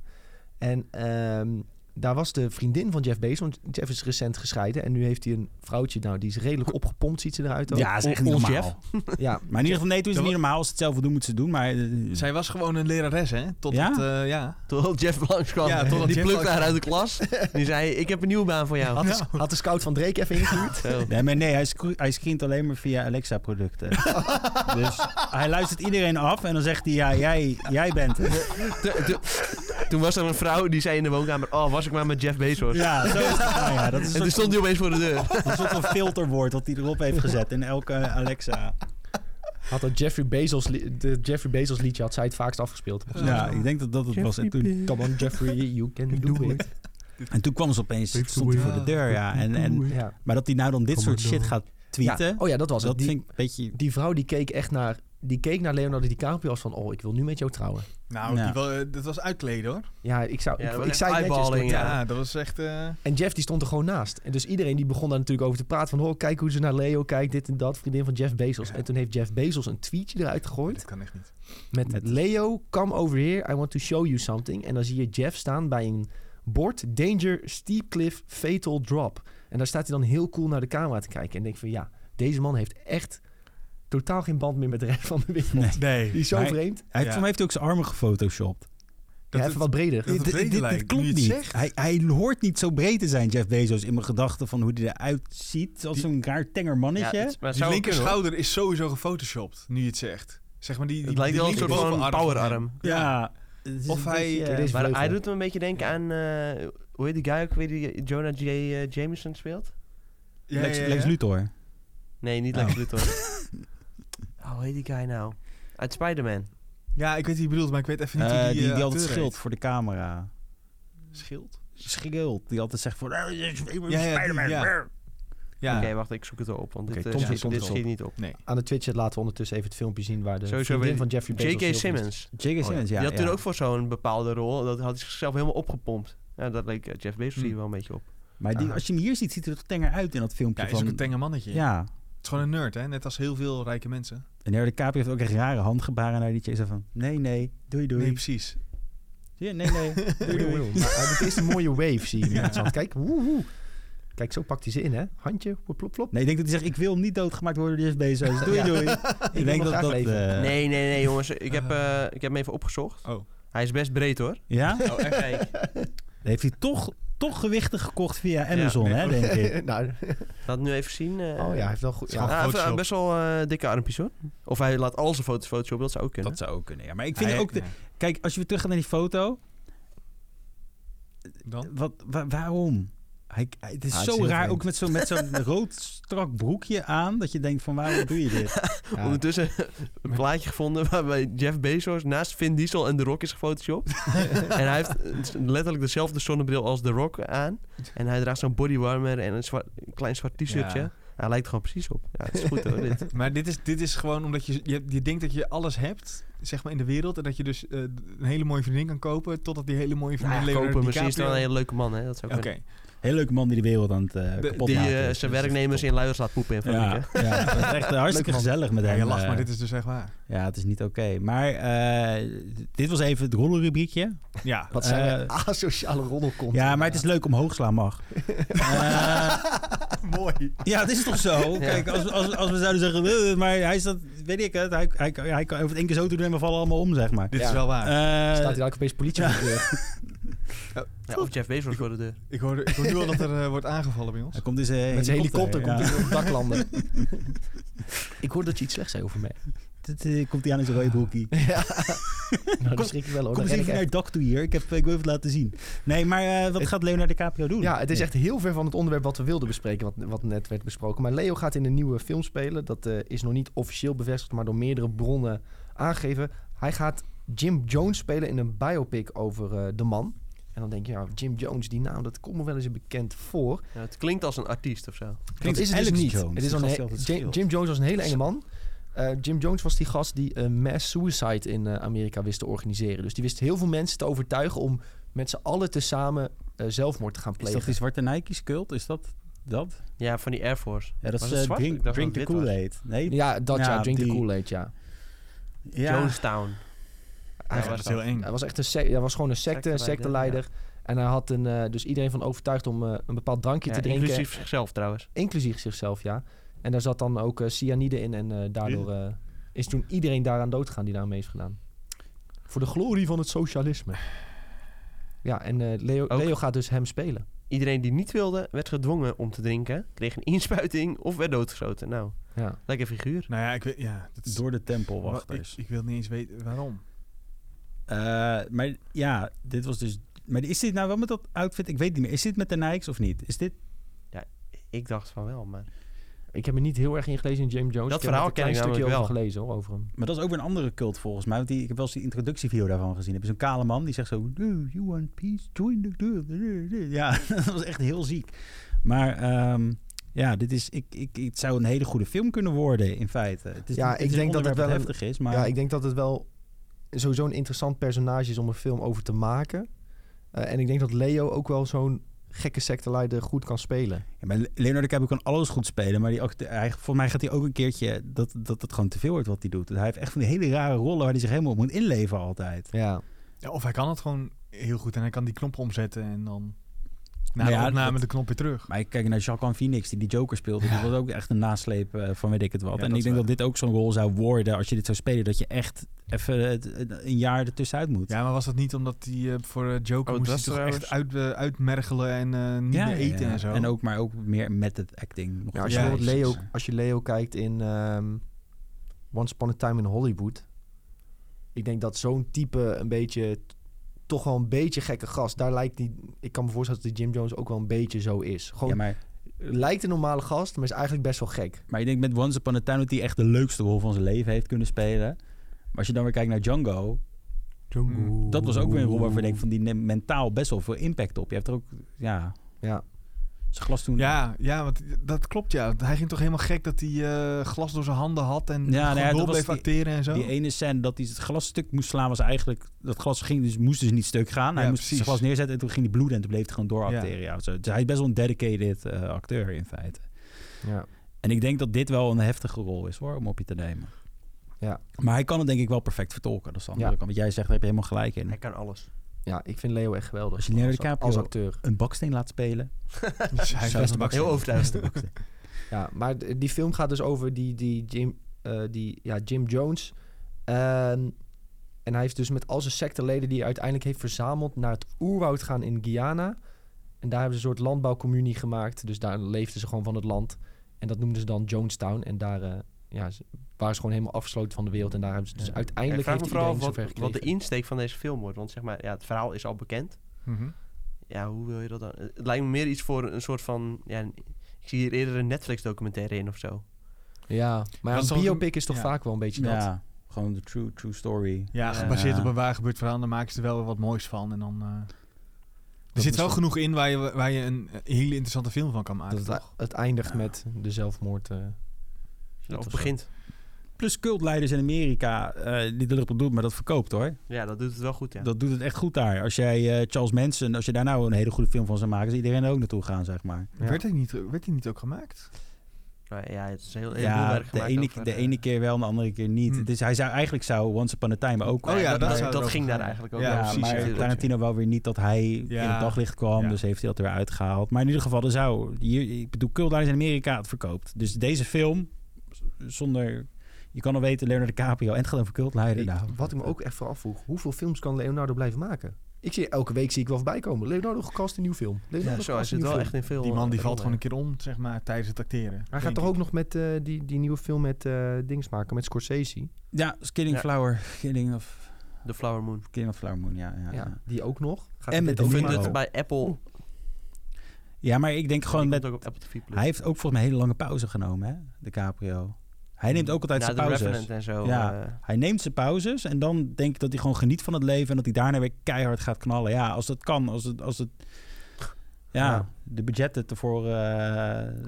S1: En ehm, daar was de vriendin van Jeff Bezos, want Jeff is recent gescheiden en nu heeft hij een vrouwtje, nou die is redelijk opgepompt, ziet ze eruit ook.
S3: Ja, is echt niet
S2: Ons
S3: normaal.
S2: Jeff.
S1: ja.
S3: eh, Maar in ieder geval, nee, toen is het
S4: Dat
S3: niet normaal. Als ze het zelf wil doen, moeten ze het doen. Maar eh,
S4: Zij was gewoon een lerares, hè? Tot
S3: Ja?
S4: Het, eh, ja.
S2: Totdat Jeff langskwam.
S4: Ja, totdat
S2: die
S4: Jeff
S2: plukte haar
S4: langskwam.
S2: uit de klas. Die zei, ik heb een nieuwe baan voor jou.
S1: Had, de,
S4: Nou.
S1: had de scout van Drake even ingehuurd.
S2: Zo.
S3: Nee, maar nee, hij, scro- hij screent alleen maar via Alexa-producten. dus hij luistert iedereen af en dan zegt hij, ja, jij, jij bent het.
S2: Toen- toen- Toen was er een vrouw die zei in de woonkamer... Oh, was ik maar met Jeff Bezos.
S3: Ja, zo is het. Nou ja, dat is
S2: En
S3: een
S2: toen
S3: soort,
S2: stond hij opeens voor de deur.
S3: een soort van filterwoord dat hij erop heeft gezet in elke Alexa.
S1: Had dat Jeffrey Bezos, li- de Jeffrey Bezos liedje had zij het vaakst afgespeeld.
S3: Ja, ik denk dat dat het was. En toen,
S1: Come on Jeffrey, you can do it.
S3: en toen kwam ze opeens, stond hij voor de deur, ja. En, en,
S1: Ja.
S3: maar dat hij nou dan dit soort shit gaat
S1: Ja.
S3: tweeten,
S1: Oh ja, dat was het.
S3: dat
S1: Die-
S3: vind ik een beetje...
S1: die vrouw die keek echt naar, die keek naar Leonardo DiCaprio als van, oh, ik wil nu met jou trouwen.
S4: Nou,
S3: Ja.
S4: Die wel, eh, dat was uitkleden, hoor.
S1: Ja, ik zou,
S2: Ja, dat
S1: ik,
S2: was
S1: ik
S2: echt
S1: zei het netjes.
S2: eyeballing,
S1: maar-
S4: Ja,
S2: Ja.
S4: dat was echt... eh,
S1: En Jeff die stond er gewoon naast. En dus iedereen die begon daar natuurlijk over te praten van, oh, kijk hoe ze naar Leo kijkt, dit en dat, vriendin van Jeff Bezos.
S4: Ja.
S1: En toen heeft Jeff Bezos een tweetje eruit gegooid
S4: dat kan echt niet.
S1: met,
S3: Met-
S1: Leo, come over here, I want to show you something. En dan zie je Jeff staan bij een bord, danger, steep cliff, fatal drop. En daar staat hij dan heel cool naar de camera te kijken en denk van, ja, deze man heeft echt totaal geen band meer met de rest van de wereld.
S4: Nee.
S1: Die is zo
S3: Maar-
S1: vreemd.
S3: Hij
S4: Ja.
S3: heeft, voor mij heeft hij ook zijn armen gefotoshopt.
S1: Ja,
S4: Dat
S1: even
S4: het-
S1: wat breder.
S4: Dat
S3: Dit-
S4: het
S3: dit-
S4: breder
S3: dit
S4: lijkt, nu
S3: klopt
S4: je het
S3: niet.
S4: zegt.
S3: Hij, hij hoort niet zo breed te zijn, Jeff Bezos, in mijn gedachten van hoe hij eruit ziet. Als
S4: Die-
S3: zo'n raar tenger
S2: Ja,
S3: mannetje.
S2: het, maar het
S4: Die
S2: zou ook
S4: linker
S2: kunnen, hoor.
S4: schouder is sowieso gefotoshopt, nu je het zegt. Zeg maar die, die,
S2: Het lijkt
S4: die
S2: wel een soort
S4: linker
S2: van
S4: bovenarm van hem.
S2: powerarm.
S3: Ja. het is
S4: Of
S3: een
S4: hij-
S3: beetje, eh,
S1: Kijk, deze
S2: Maar hij
S1: vleugel.
S2: doet me een beetje denken aan... eh, hoe heet die guy ook weer die Jonah J. eh, Jameson speelt?
S4: Ja,
S3: Lex,
S4: ja, ja.
S3: Lex Luthor.
S2: Nee, niet
S3: Oh.
S2: Lex Luthor. oh, hoe heet die guy nou? Uit Spider-Man.
S4: Ja, ik weet wie je bedoelt, maar ik weet even niet
S3: Eh,
S4: hoe
S3: die,
S4: die,
S3: die
S4: eh,
S3: altijd
S4: acteur
S3: schild voor de camera.
S4: heet. Schild?
S3: Schild. Die altijd zegt "Oh, voor... Ja,
S4: Ja, ja, die- ja. Ja,
S2: Oké, wacht, ik zoek het wel op, want
S1: Oké,
S2: dit, eh,
S1: Tom
S2: schiet-
S1: zoekt
S2: dit
S1: het
S2: schiet
S1: op.
S2: niet op.
S1: Aan de Twitch laten we ondertussen even het filmpje zien waar de
S2: Sowieso
S1: vriendin
S2: weet-
S1: van Jeffrey Bezos... heel
S2: J.K.
S1: goed is.
S2: Simmons.
S3: J.K. Simmons, ja.
S2: Oh, die had
S3: ja.
S2: toen ook voor zo'n bepaalde rol. Dat had hij zichzelf helemaal opgepompt. Ja, dat leek eh, Jeff Bezos
S4: Hmm.
S2: hier wel een beetje op.
S3: Maar
S4: Ah.
S3: die, als je hem hier ziet, ziet hij er toch tenger uit in dat filmpje
S4: ja is
S3: van...
S4: ook een tenger mannetje.
S3: ja.
S4: Het is gewoon een nerd, hè? Net als heel veel rijke mensen.
S3: En Harry de Capri heeft ook echt rare handgebaren naar die Chase van... Nee, nee. Doei, doei.
S4: Nee,
S3: Nee,
S4: precies.
S3: nee, nee. doei,
S1: Oei, oei,
S3: doei.
S1: oei. Maar Hij doet eerst een mooie wave, zie je. nu aan het zand. Kijk, woehoe. Kijk, zo pakt hij ze in, hè. Handje, plop, plop, plop.
S3: Nee, ik denk dat hij zegt, ik wil niet doodgemaakt worden door Jeff Bezos. Doei,
S1: Ja.
S3: doei.
S1: wil
S3: ik
S1: nog
S3: denk dat
S1: graag
S3: dat...
S1: leven.
S3: eh,
S2: Nee, nee, nee, jongens. Ik heb,
S4: Eh.
S2: eh, ik heb hem even opgezocht.
S4: Oh.
S2: Hij is best breed, hoor.
S3: Ja? Dan
S2: Oh, echt? Kijk,
S3: heeft hij toch, toch gewichten gekocht via
S2: Ja,
S3: Amazon,
S4: nee,
S3: hè, denk ik.
S1: nou,
S2: laat het nu even zien. eh.
S1: oh ja, hij heeft wel goed...
S4: Schat.
S1: Ja.
S2: Ah, hij heeft, eh,
S4: Photoshop.
S2: best wel eh, dikke armpjes, hoor. Of hij laat al zijn foto's Photoshop, dat zou ook kunnen.
S3: Dat zou ook kunnen, ja. Maar ik vind
S4: Hij-
S3: ook... de-
S4: ja.
S3: Kijk, als je weer teruggaat naar die foto...
S4: Dan?
S3: Wat, wa- waarom? Hij, hij- het is
S1: Ah, het is
S3: zo
S1: heel
S3: raar,
S1: vreemd.
S3: ook met zo'n met zo'n rood strak broekje aan, dat je denkt van waarom doe je dit?
S1: Ja.
S2: Ondertussen een plaatje gevonden waarbij Jeff Bezos naast Vin Diesel en The Rock is gefotoshopt. en hij heeft letterlijk dezelfde zonnebril als The Rock aan. En hij draagt zo'n bodywarmer en een, zwart, een klein zwart t-shirtje.
S4: Ja.
S2: Hij Hij lijkt gewoon precies op. Ja, het is goed hoor, dit.
S4: Maar dit is, dit is gewoon omdat je, je, je denkt dat je alles hebt, zeg maar, in de wereld. En dat je dus eh, een hele mooie vriendin kan kopen, totdat die hele mooie vriendin
S2: Nou,
S4: Leonardo
S2: kopen, misschien is het
S4: DiCaprio-
S2: wel een hele leuke man, hè. Dat zou
S4: Oké,
S2: kunnen.
S3: Heel leuke man die de wereld aan het eh
S4: De-
S3: kapot
S2: Die
S3: maken
S2: eh,
S3: is.
S2: zijn
S3: Dus dat is
S2: werknemers
S3: top.
S2: in luierslaat poepen en fabrieken.
S3: Ja, ja, dat is echt eh, hartstikke
S1: Leuk man.
S3: gezellig met
S4: Ja,
S3: hem.
S4: je lacht, maar
S3: eh.
S4: dit is dus echt waar.
S3: Ja, het is niet oké. Maar eh, dit was even het rollenrubriekje.
S4: Ja,
S1: Wat zijn we?
S3: Eh,
S1: Asociale roddelkont.
S3: Ja, maar het is leuk omhoog slaan mag. Eh,
S1: mooi.
S3: ja, het is toch zo? Kijk, als, als, als we zouden zeggen, "Eh, maar hij is dat, weet ik het, hij, hij, hij, hij kan over het één keer zo te doen en we vallen allemaal om, zeg maar.
S4: dit
S1: Ja.
S4: is wel waar.
S3: Eh,
S1: Staat hier ook opeens politie voor de deur.
S2: Ja, of Jeff Bezos voor de deur.
S4: Ik, hoor, ik hoor nu al dat er eh, wordt aangevallen bij ons.
S3: hij komt in zijn
S1: Met zijn helikopter komt
S3: ja.
S1: hij op het dak landen. ik hoor dat je iets slechts zei over mij.
S3: Dit, eh, komt hij aan in zijn rode broekie.
S1: Nou, dat schrik ik wel hoor. Dan
S3: Kom eens
S1: ren Oh,
S3: even
S1: ik
S3: naar
S1: echt.
S3: het dak toe hier. Ik, heb, ik wil even het laten zien. Nee, maar eh, wat
S1: Het-
S3: gaat Leonardo DiCaprio doen?
S1: Ja, het is echt heel ver van het onderwerp wat we wilden bespreken, wat, wat net werd besproken. Maar Leo gaat in een nieuwe film spelen. Dat eh, is nog niet officieel bevestigd, maar door meerdere bronnen aangegeven. Hij gaat Jim Jones spelen in een biopic over eh, de man. En dan denk je, ja, Jim Jones, die naam, dat komt me wel eens bekend voor.
S2: Ja, het klinkt als een artiest of zo.
S1: Dat is het
S3: Alex
S1: dus niet.
S3: Jones.
S1: Het is
S3: Die
S1: een
S3: gast
S1: he-
S3: die altijd
S1: Ja-
S3: schreeuwt.
S1: Jim Jones was een hele enge man. Eh, Jim Jones was die gast die een mass suicide in eh, Amerika wist te organiseren. Dus die wist heel veel mensen te overtuigen om met z'n allen tezamen eh zelfmoord te gaan
S3: Is
S1: plegen.
S3: dat die zwarte Nike's cult? Is dat dat?
S2: Ja, van die Air Force.
S3: Ja, dat
S2: Was
S3: is
S2: het
S3: eh,
S2: zwart?
S3: drink,
S2: Ik dacht
S3: drink
S2: dat
S3: the
S2: het wit was.
S3: Kool-Aid. Nee,
S1: Ja, dat ja,
S3: Ja,
S1: Drink the
S3: die-
S1: Kool-Aid, ja.
S3: ja.
S2: Jonestown.
S4: Ja,
S1: Hij
S4: dat
S2: was
S4: is heel eng.
S1: Hij was echt een sec- hij was gewoon een secte, een
S2: Secteleider,
S1: secteleider. En hij had een, eh, dus iedereen van overtuigd om eh, een bepaald drankje
S2: Ja,
S1: te drinken. Inclusief.
S2: inclusief zichzelf trouwens.
S1: zichzelf, ja. En daar zat dan ook eh, cyanide in. En eh, daardoor eh, is toen iedereen daaraan dood gegaan die daar aan mee heeft gedaan. Voor de glorie van het socialisme. Ja, en eh, Leo,
S2: Ook-
S1: Leo gaat dus hem spelen.
S2: Iedereen die niet wilde, werd gedwongen om te drinken. Kreeg een inspuiting of werd doodgeschoten. Nou,
S1: Ja.
S2: lekker figuur.
S4: Nou ja, ik weet... Ja, dat is,
S3: Door de
S4: ik,
S3: tempelwachters.
S4: ik wil niet eens weten waarom.
S3: Eh, maar ja, dit was dus... Maar is dit nou wel met dat outfit? Ik weet niet meer. Is dit met de Nikes of niet? Is dit...
S2: Ik dacht van wel, maar...
S1: Ik heb me niet heel erg ingelezen in Jim Jones. heb
S2: Dat verhaal
S1: er een
S2: ken
S1: klein
S2: ik
S1: stukje
S2: namelijk
S1: over gelezen hoor, over hem.
S3: Maar dat is ook weer een andere cult volgens mij. Want die, ik heb wel eens die introductievideo daarvan gezien. Heb je zo'n kale man die zegt zo... Do you want peace? Join the cult." Ja, dat was echt heel ziek. Maar ehm, ja, dit is, ik, ik, het zou een hele goede film kunnen worden in feite. Het is,
S1: Ja,
S3: het
S1: ik
S3: is een
S1: denk dat het
S3: onderwerp
S1: wel een-
S3: heftig is, maar...
S1: Ja, ik denk dat het wel sowieso een interessant personage is om een film over te maken. Eh, en ik denk dat Leo ook wel zo'n gekke secteleider goed kan spelen.
S3: Ja, maar Leonardo DiCaprio kan alles goed spelen, maar die acte- hij, volgens mij gaat hij ook een keertje dat, dat het gewoon te veel wordt wat hij doet. Hij heeft echt van die hele rare rollen waar hij zich helemaal op moet inleven altijd.
S1: Ja,
S4: Ja, of hij kan het gewoon heel goed en hij kan die knop omzetten en dan... Na
S3: Maar
S4: de
S3: ja,
S4: opname
S3: dat-
S4: de knop weer terug.
S3: Maar ik kijk naar Jacques Phoenix die die Joker speelde, die was ook echt een nasleep eh, van weet ik het wat.
S4: Ja,
S3: en
S4: dat
S3: ik
S4: is
S3: denk
S4: waar.
S3: dat dit ook zo'n rol zou worden als je dit zou spelen, dat je echt even het- een jaar ertussenuit moet.
S4: Ja, maar was dat niet omdat hij eh, voor eh, Joker
S2: Oh,
S4: moest hij
S2: dat
S4: toch
S2: trouwens.
S4: echt uit, eh, uitmergelen en eh, niet
S3: Ja,
S4: meer
S3: ja,
S4: eten
S3: ja.
S4: en zo?
S3: En ook, maar ook meer met het acting. Nog
S1: als, je
S4: Ja,
S1: bijvoorbeeld
S3: precies.
S1: Leo, als je Leo kijkt in ehm, Once Upon a Time in Hollywood. Ik denk dat zo'n type een beetje, toch wel een beetje gekke gast. Daar lijkt die, ik kan me voorstellen dat die Jim Jones ook wel een beetje zo is. Gewoon,
S3: Ja, maar,
S1: lijkt een normale gast, maar is eigenlijk best wel gek.
S3: maar ik denk met Once Upon a Time dat hij echt de leukste rol van zijn leven heeft kunnen spelen. Maar als je dan weer kijkt naar Django,
S4: Django.
S3: Mm, Dat was ook weer een rol waarvan ik denk van die neemt mentaal best wel veel impact op. Je hebt er ook, ja,
S1: Ja.
S3: zijn glas toen.
S4: Ja, ja, want dat klopt ja. Hij ging toch helemaal gek dat hij eh, glas door zijn handen had en
S3: Ja,
S4: ja,
S3: nou ja, dat
S4: door
S3: was
S4: bleef
S3: die-
S4: acteren en zo.
S3: Die ene scène dat hij het glas stuk moest slaan was eigenlijk dat glas ging dus moest dus niet stuk gaan. Hij
S4: Ja,
S3: moest
S4: precies.
S3: zijn glas neerzetten en toen ging die bloeden en toen bleef hij gewoon dooracteren. Ja. zo. Dus hij is best wel een dedicated eh, acteur in feite.
S1: Ja.
S3: En ik denk dat dit wel een heftige rol is hoor om op je te nemen.
S1: Ja.
S3: Maar hij kan het denk ik wel perfect vertolken. Dat is de andere
S1: Ja.
S3: kant. Want jij zegt daar heb je helemaal gelijk in.
S2: Hij kan alles.
S1: ja, ik vind Leo echt geweldig.
S3: Als je Leonardo
S1: als,
S3: DiCaprio-
S1: als acteur.
S3: Een baksteen laat spelen.
S4: Dus hij
S3: Zo
S4: was
S3: is het.
S2: Heel overtuigend.
S3: Baksteen.
S1: Ja, maar d- die film gaat dus over die, die, Jim, eh, die ja, Jim Jones. Ehm, en hij heeft dus met al zijn secteleden die hij uiteindelijk heeft verzameld... naar het oerwoud gaan in Guyana. En daar hebben ze een soort landbouwcommunie gemaakt. Dus daar leefden ze gewoon van het land. En dat noemden ze dan Jonestown. En daar eh, ja, ze waren ze gewoon helemaal afgesloten van de wereld. En daar hebben ze dus
S3: Ja.
S2: Ja, ik
S1: uiteindelijk
S2: vraag me
S1: heeft
S2: vooral
S1: iedereen
S2: af
S1: zover
S2: wat,
S1: gekregen.
S2: wat de insteek van deze film wordt. Want zeg maar, ja, het verhaal is al bekend.
S4: Mhm.
S2: Ja, hoe wil je dat dan? Het lijkt me meer iets voor een soort van... Ja, een- ik zie hier eerder een Netflix-documentaire in of zo.
S1: Ja, maar ja,
S4: is
S1: een
S4: toch ook een-
S1: biopic is toch
S4: ja.
S1: vaak wel een beetje dat.
S3: ja, gewoon de true, true story.
S4: Ja,
S3: Ja.
S4: gebaseerd op een waar gebeurd verhaal. Dan maken ze er wel wat moois van. En dan, eh, Er zit wel
S1: misschien-
S4: genoeg in waar je, waar je een hele interessante film van kan maken,
S1: dat het,
S4: toch?
S1: het eindigt met de zelfmoord. eh.
S2: Of
S1: of
S2: begint.
S3: Plus cultleiders in Amerika, eh die er op doet, maar dat verkoopt hoor.
S2: Ja, dat doet het wel goed, ja.
S3: Dat doet het echt goed daar. Als jij eh, Charles Manson, als je daar nou een hele goede film van zou maken, is iedereen er ook naartoe gaan, zeg maar.
S1: Ja.
S4: Werd, hij niet, werd hij niet ook gemaakt?
S2: Maar ja, het is heel, heel veel
S3: Ja,
S2: werk
S3: de
S2: gemaakt
S3: ene,
S2: over,
S3: de
S2: eh,
S3: ene keer wel en de andere keer niet.
S4: Hm.
S3: Dus hij zou eigenlijk zou Once Upon a Time ook.
S4: Oh ja,
S2: dat,
S4: dat
S2: dat,
S4: zou
S2: dat
S4: erover
S2: ging daar
S4: gaan.
S2: eigenlijk ook
S4: Ja,
S2: wel.
S3: Ja,
S4: precies,
S3: maar
S4: natuurlijk.
S3: Tarantino wou weer niet dat hij in het daglicht kwam.
S4: Ja.
S3: Dus heeft hij dat er weer uitgehaald. Maar in ieder geval, er zou... Hier, ik bedoel, Kuldaars in Amerika het verkoopt. Dus deze film, z- zonder... Je kan al weten, Leonardo DiCaprio en het gaat over cultleider.
S1: Ik-
S3: Nou,
S1: wat ik me ook echt vooraf vroeg, hoeveel films kan Leonardo blijven maken? Ik zie elke week zie ik wel voorbij komen. Leonardo gecast een nieuw film. Leonardo
S2: Ja, zo, hij
S1: gecast een
S2: zit
S1: nieuw
S2: wel
S1: film.
S2: echt in veel...
S4: Die man die
S2: eh,
S4: valt gewoon
S2: rollen.
S4: een keer om, zeg maar, tijdens het acteren.
S1: Hij gaat
S4: denk
S1: toch
S4: ik.
S1: ook nog met eh, die, die nieuwe film met eh, dings maken, met Scorsese.
S3: Ja, Killing
S2: Ja.
S3: Flower. Killing of,
S2: De Flower Moon.
S3: Killing of Flower Moon, ja. Ja,
S1: Ja,
S3: ja.
S1: die ook nog. Gaat
S3: En
S1: hij
S3: met
S1: dit
S2: Ik
S1: ook
S2: vind
S3: Vimeo.
S1: maken?
S2: het bij Apple...
S3: Ja, maar ik denk gewoon
S2: die
S3: met...
S2: komt ook op Apple TV+. Plus.
S3: Hij heeft ook volgens mij een hele lange pauze genomen, hè? DiCaprio. Hij neemt ook altijd
S2: Na
S3: zijn
S2: de Revenant
S3: pauzes.
S2: en zo.
S3: Ja.
S2: eh,
S3: Hij neemt zijn pauzes en dan denk ik dat hij gewoon geniet van het leven en dat hij daarna weer keihard gaat knallen. Ja, als dat kan, als het, als het ja,
S1: Ja.
S3: de budgetten ervoor, eh,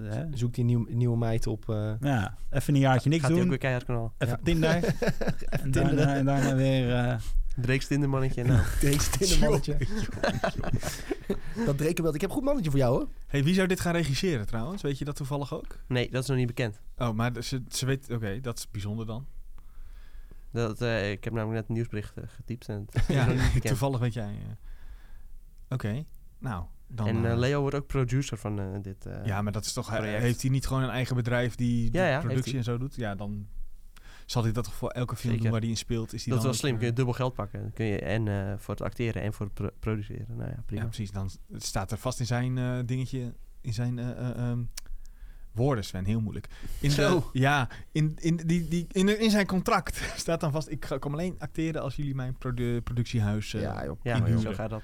S3: hè?
S1: Zoekt die nieuwe, nieuwe meid op. eh,
S3: ja, even een jaartje niks
S2: gaat hij ook weer
S3: doen,
S2: keihard knallen.
S3: even Tinder en daarna, en daarna weer. eh,
S2: Drake's Tindermannetje. Nou,
S1: Dreeks Tindermannetje. dat Dreken wel. Ik heb een goed mannetje voor jou hoor.
S4: Hey, wie zou dit gaan regisseren trouwens? Weet je dat toevallig ook?
S2: nee, dat is nog niet bekend.
S4: Oh, maar ze, ze weet... Oké, dat is bijzonder dan.
S2: Dat, eh, ik heb namelijk net een nieuwsbericht eh, getypt. En het is
S4: Ja,
S2: nog niet bekend.
S4: toevallig weet jij. eh. Oké, nou. Dan,
S2: En
S4: eh,
S2: eh, Leo wordt ook producer van eh, dit. eh,
S4: ja, maar dat is toch...
S2: project.
S4: Heeft hij niet gewoon een eigen bedrijf die de
S2: Ja, ja, heeft
S4: productie
S2: hij.
S4: en zo doet? Ja, dan zal hij dat toch voor elke film
S2: Zeker.
S4: doen waar hij in speelt. Is die
S2: dat is
S4: dan
S2: wel
S4: ook,
S2: slim.
S4: eh,
S2: Kun je dubbel geld pakken. Dan kun je en eh, voor het acteren en voor het pro- produceren. Nou ja, prima.
S4: Ja, precies. Dan s- het staat er vast in zijn eh, dingetje, in zijn eh, eh, ehm, woorden, Sven. Heel moeilijk. In
S2: Zo.
S4: De, ja, in, in, die, die, in, in zijn contract staat dan vast... Ik ga, kan alleen acteren als jullie mijn produ- productiehuis... eh,
S1: Ja, joh.
S2: Ja,
S4: In
S2: maar joh, zo
S4: huren.
S2: gaat dat.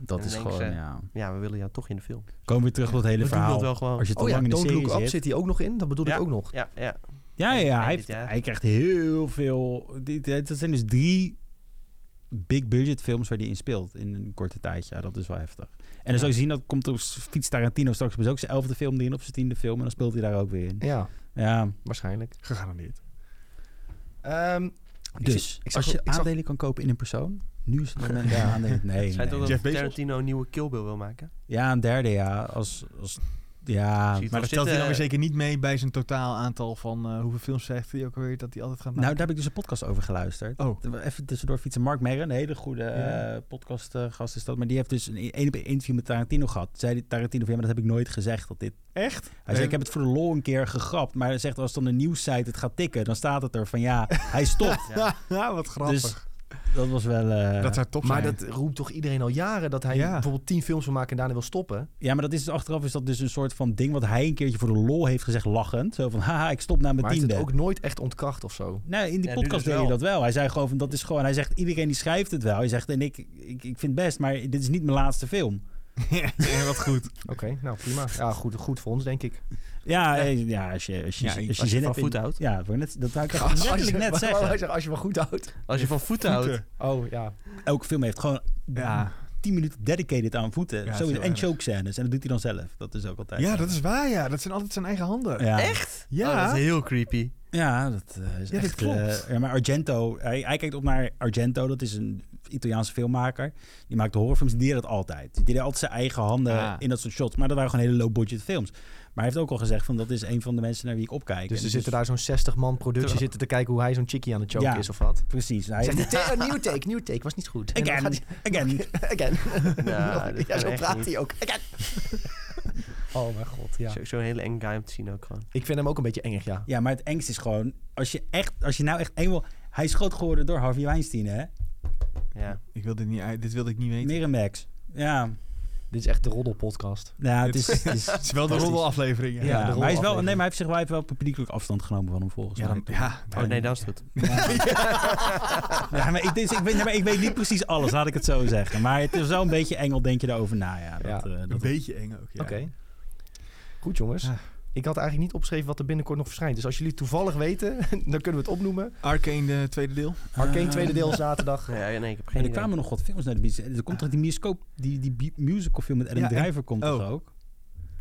S3: dat
S2: En
S3: is
S2: dan denk
S3: gewoon,
S2: ze-
S3: ja.
S2: Ja, we willen jou toch in de film.
S3: Komen we terug tot het hele
S2: we doen dat
S3: verhaal.
S2: wel gewoon.
S3: Als je te
S1: Oh ja,
S3: lang in de
S1: Don't
S3: serie
S1: Look Up
S3: zit.
S1: zit hij ook nog in. Dat bedoel
S2: Ja.
S1: ik ook nog.
S2: Ja, ja.
S3: Ja, ja,
S2: Eind-
S3: ja, hij,
S2: eind
S3: heeft,
S2: dit jaar.
S3: hij krijgt heel veel. Dit, dit- dat zijn dus drie big budget films waar hij in speelt in een korte tijdje. Ja, dat is wel heftig. En dan zal je zien, dat komt op Fiets Tarantino straks op ook zijn elfde film die in, op zijn tiende film. En dan speelt hij daar ook weer in.
S1: Ja,
S3: Ja,
S1: waarschijnlijk.
S4: Gegarandeerd.
S1: Ehm,
S3: dus
S1: zag- ik zag-
S3: als je
S1: ik zag-
S3: aandelen kan kopen in een persoon, nu is het moment dat je aandelen... Nee,
S2: Zijn
S3: nee.
S2: toch dat
S4: Jeff Bezos?
S2: Tarantino een nieuwe Kill Bill wil maken?
S3: Ja, een derde ja. Als, als, ja,
S2: Zie je toch
S4: Maar dat telt hij
S2: zitten?
S4: dan weer zeker niet mee bij zijn totaal aantal van... eh, hoeveel films zegt hij ook alweer dat hij altijd gaat
S3: Nou,
S4: maken?
S3: daar heb ik dus een podcast over geluisterd.
S4: Oh.
S3: Even tussendoor fietsen. Mark Merren, een hele goede
S4: Ja.
S3: eh, podcastgast is dat. Maar die heeft dus een één op één interview met Tarantino gehad. Zei die Tarantino van, ja, maar dat heb ik nooit gezegd. Dat dit...
S4: Echt?
S3: Hij zei, ik heb het voor de lol een keer gegrapt. Maar hij zegt, als dan een nieuwssite het gaat tikken, dan staat het er van, ja, hij stopt.
S2: Ja.
S4: ja, wat grappig.
S3: Dus- dat was wel... eh,
S4: dat zou top
S1: maar
S4: zijn.
S1: dat roept toch iedereen al jaren dat hij
S4: Ja.
S1: bijvoorbeeld tien films wil maken en daarna wil stoppen.
S3: Ja, maar dat is, achteraf is dat dus een soort van ding wat hij een keertje voor de lol heeft gezegd, lachend. Zo van, haha, ik stop na mijn
S1: maar hij heeft
S3: tiende.
S1: het ook nooit echt ontkracht of zo.
S3: Nou, in die
S2: Ja, nu dus
S3: podcast deed hij
S2: wel.
S3: dat wel. Hij zei gewoon van dat is gewoon. Hij zegt iedereen die schrijft het wel. Hij zegt en ik, ik, ik vind best, maar dit is niet mijn laatste film.
S4: ja, wat goed.
S1: Oké, nou prima. Ja, goed, goed voor ons denk ik.
S3: Ja, eh, ja als je, als je,
S4: Ja,
S3: als je,
S4: ik-
S2: Als je
S3: zin
S2: van
S3: hebt. in-
S2: voet houdt.
S3: ja, wou ik net, dat wou ik echt
S1: als,
S3: letterlijk
S1: je,
S3: net
S1: wou- wou
S3: zeggen.
S1: zeggen, als je me goed houdt.
S2: Als je van voet houdt.
S1: Oh ja.
S3: Elke film heeft gewoon
S4: Ja.
S3: 10 minuten dedicated aan voeten.
S4: Ja,
S3: Zo-
S4: heel
S3: en
S4: erg.
S3: choke scènes. En dat doet hij dan zelf. Dat is ook altijd.
S4: ja, dat is waar, ja. Dat zijn altijd zijn eigen handen.
S3: Ja.
S2: Echt?
S4: Ja.
S2: Oh, dat is heel creepy.
S3: Ja, dat eh, is
S4: Ja, dit
S3: echt...
S4: klopt.
S3: eh, ja, maar Argento, hij, hij kijkt op naar Argento. Dat is een Italiaanse filmmaker. Die maakt horrorfilms. Die deed dat altijd. Die deed altijd zijn eigen handen
S4: Ah.
S3: in dat soort shots. Maar dat waren gewoon hele low-budget films. Maar hij heeft ook al gezegd van... dat is een van de mensen naar wie ik opkijk.
S1: Dus
S3: En
S1: er zitten daar zo'n 60 man productie
S2: Terwijl-
S1: zitten te kijken hoe hij zo'n chickie aan het choken
S3: Ja.
S1: is of wat.
S3: Precies. Hij,
S1: Zegt hij, "Ta- nieuw take, nieuw take, was niet goed. En dan
S3: again,
S1: gaat
S3: again.
S1: hij- again.
S2: Nou, dit
S1: ja,
S2: kan
S1: zo
S2: echt
S1: praat
S2: niet.
S1: hij ook. Again. Oh mijn god, ja.
S2: Zo- Zo'n hele eng guy om te zien ook gewoon.
S1: Ik vind hem ook een beetje engig, ja.
S3: Ja, maar het engst is gewoon... Als je, echt, als je nou echt één wil... Hij is groot geworden door Harvey Weinstein, hè?
S2: Ja.
S4: Ik wil dit, niet, uit- dit wilde ik niet weten.
S3: Miramax. Ja,
S1: Dit is echt de roddelpodcast.
S3: nou, het
S4: Dit-
S3: is... het is-
S4: Het is wel de
S3: Fantastisch.
S4: roddelaflevering. Ja,
S3: ja,
S1: de
S3: maar hij is wel, nee,
S1: rolaflevering.
S3: maar hij heeft zich wel, hij heeft wel publiekelijk afstand genomen van hem volgens
S4: Ja,
S3: mij.
S4: dan- ja,
S2: Oh nee, dat is het goed.
S3: Ja. Ja, maar ik, dus, ik, weet, nee, maar ik weet niet precies alles, laat ik het zo zeggen. Maar het is wel een beetje engel, denk je daarover na. Ja, dat,
S1: Ja,
S3: eh, dat-
S4: een beetje eng ook. Ja.
S1: Oké. Goed jongens.
S4: Ja.
S1: Ik had eigenlijk niet opgeschreven wat er binnenkort nog verschijnt. Dus als jullie toevallig weten, dan kunnen we het opnoemen.
S4: Arcane, de tweede deel.
S1: Arcane,
S3: Ah.
S1: tweede deel, zaterdag.
S2: Ja, nee, ik heb
S3: En
S2: geen
S3: er
S2: idee.
S3: kwamen nog wat films naar de bios. Er komt toch die bioscoop, die, die bi- musical film met Adam
S4: Ja, en-
S3: Driver komt toch
S4: oh.
S3: ook?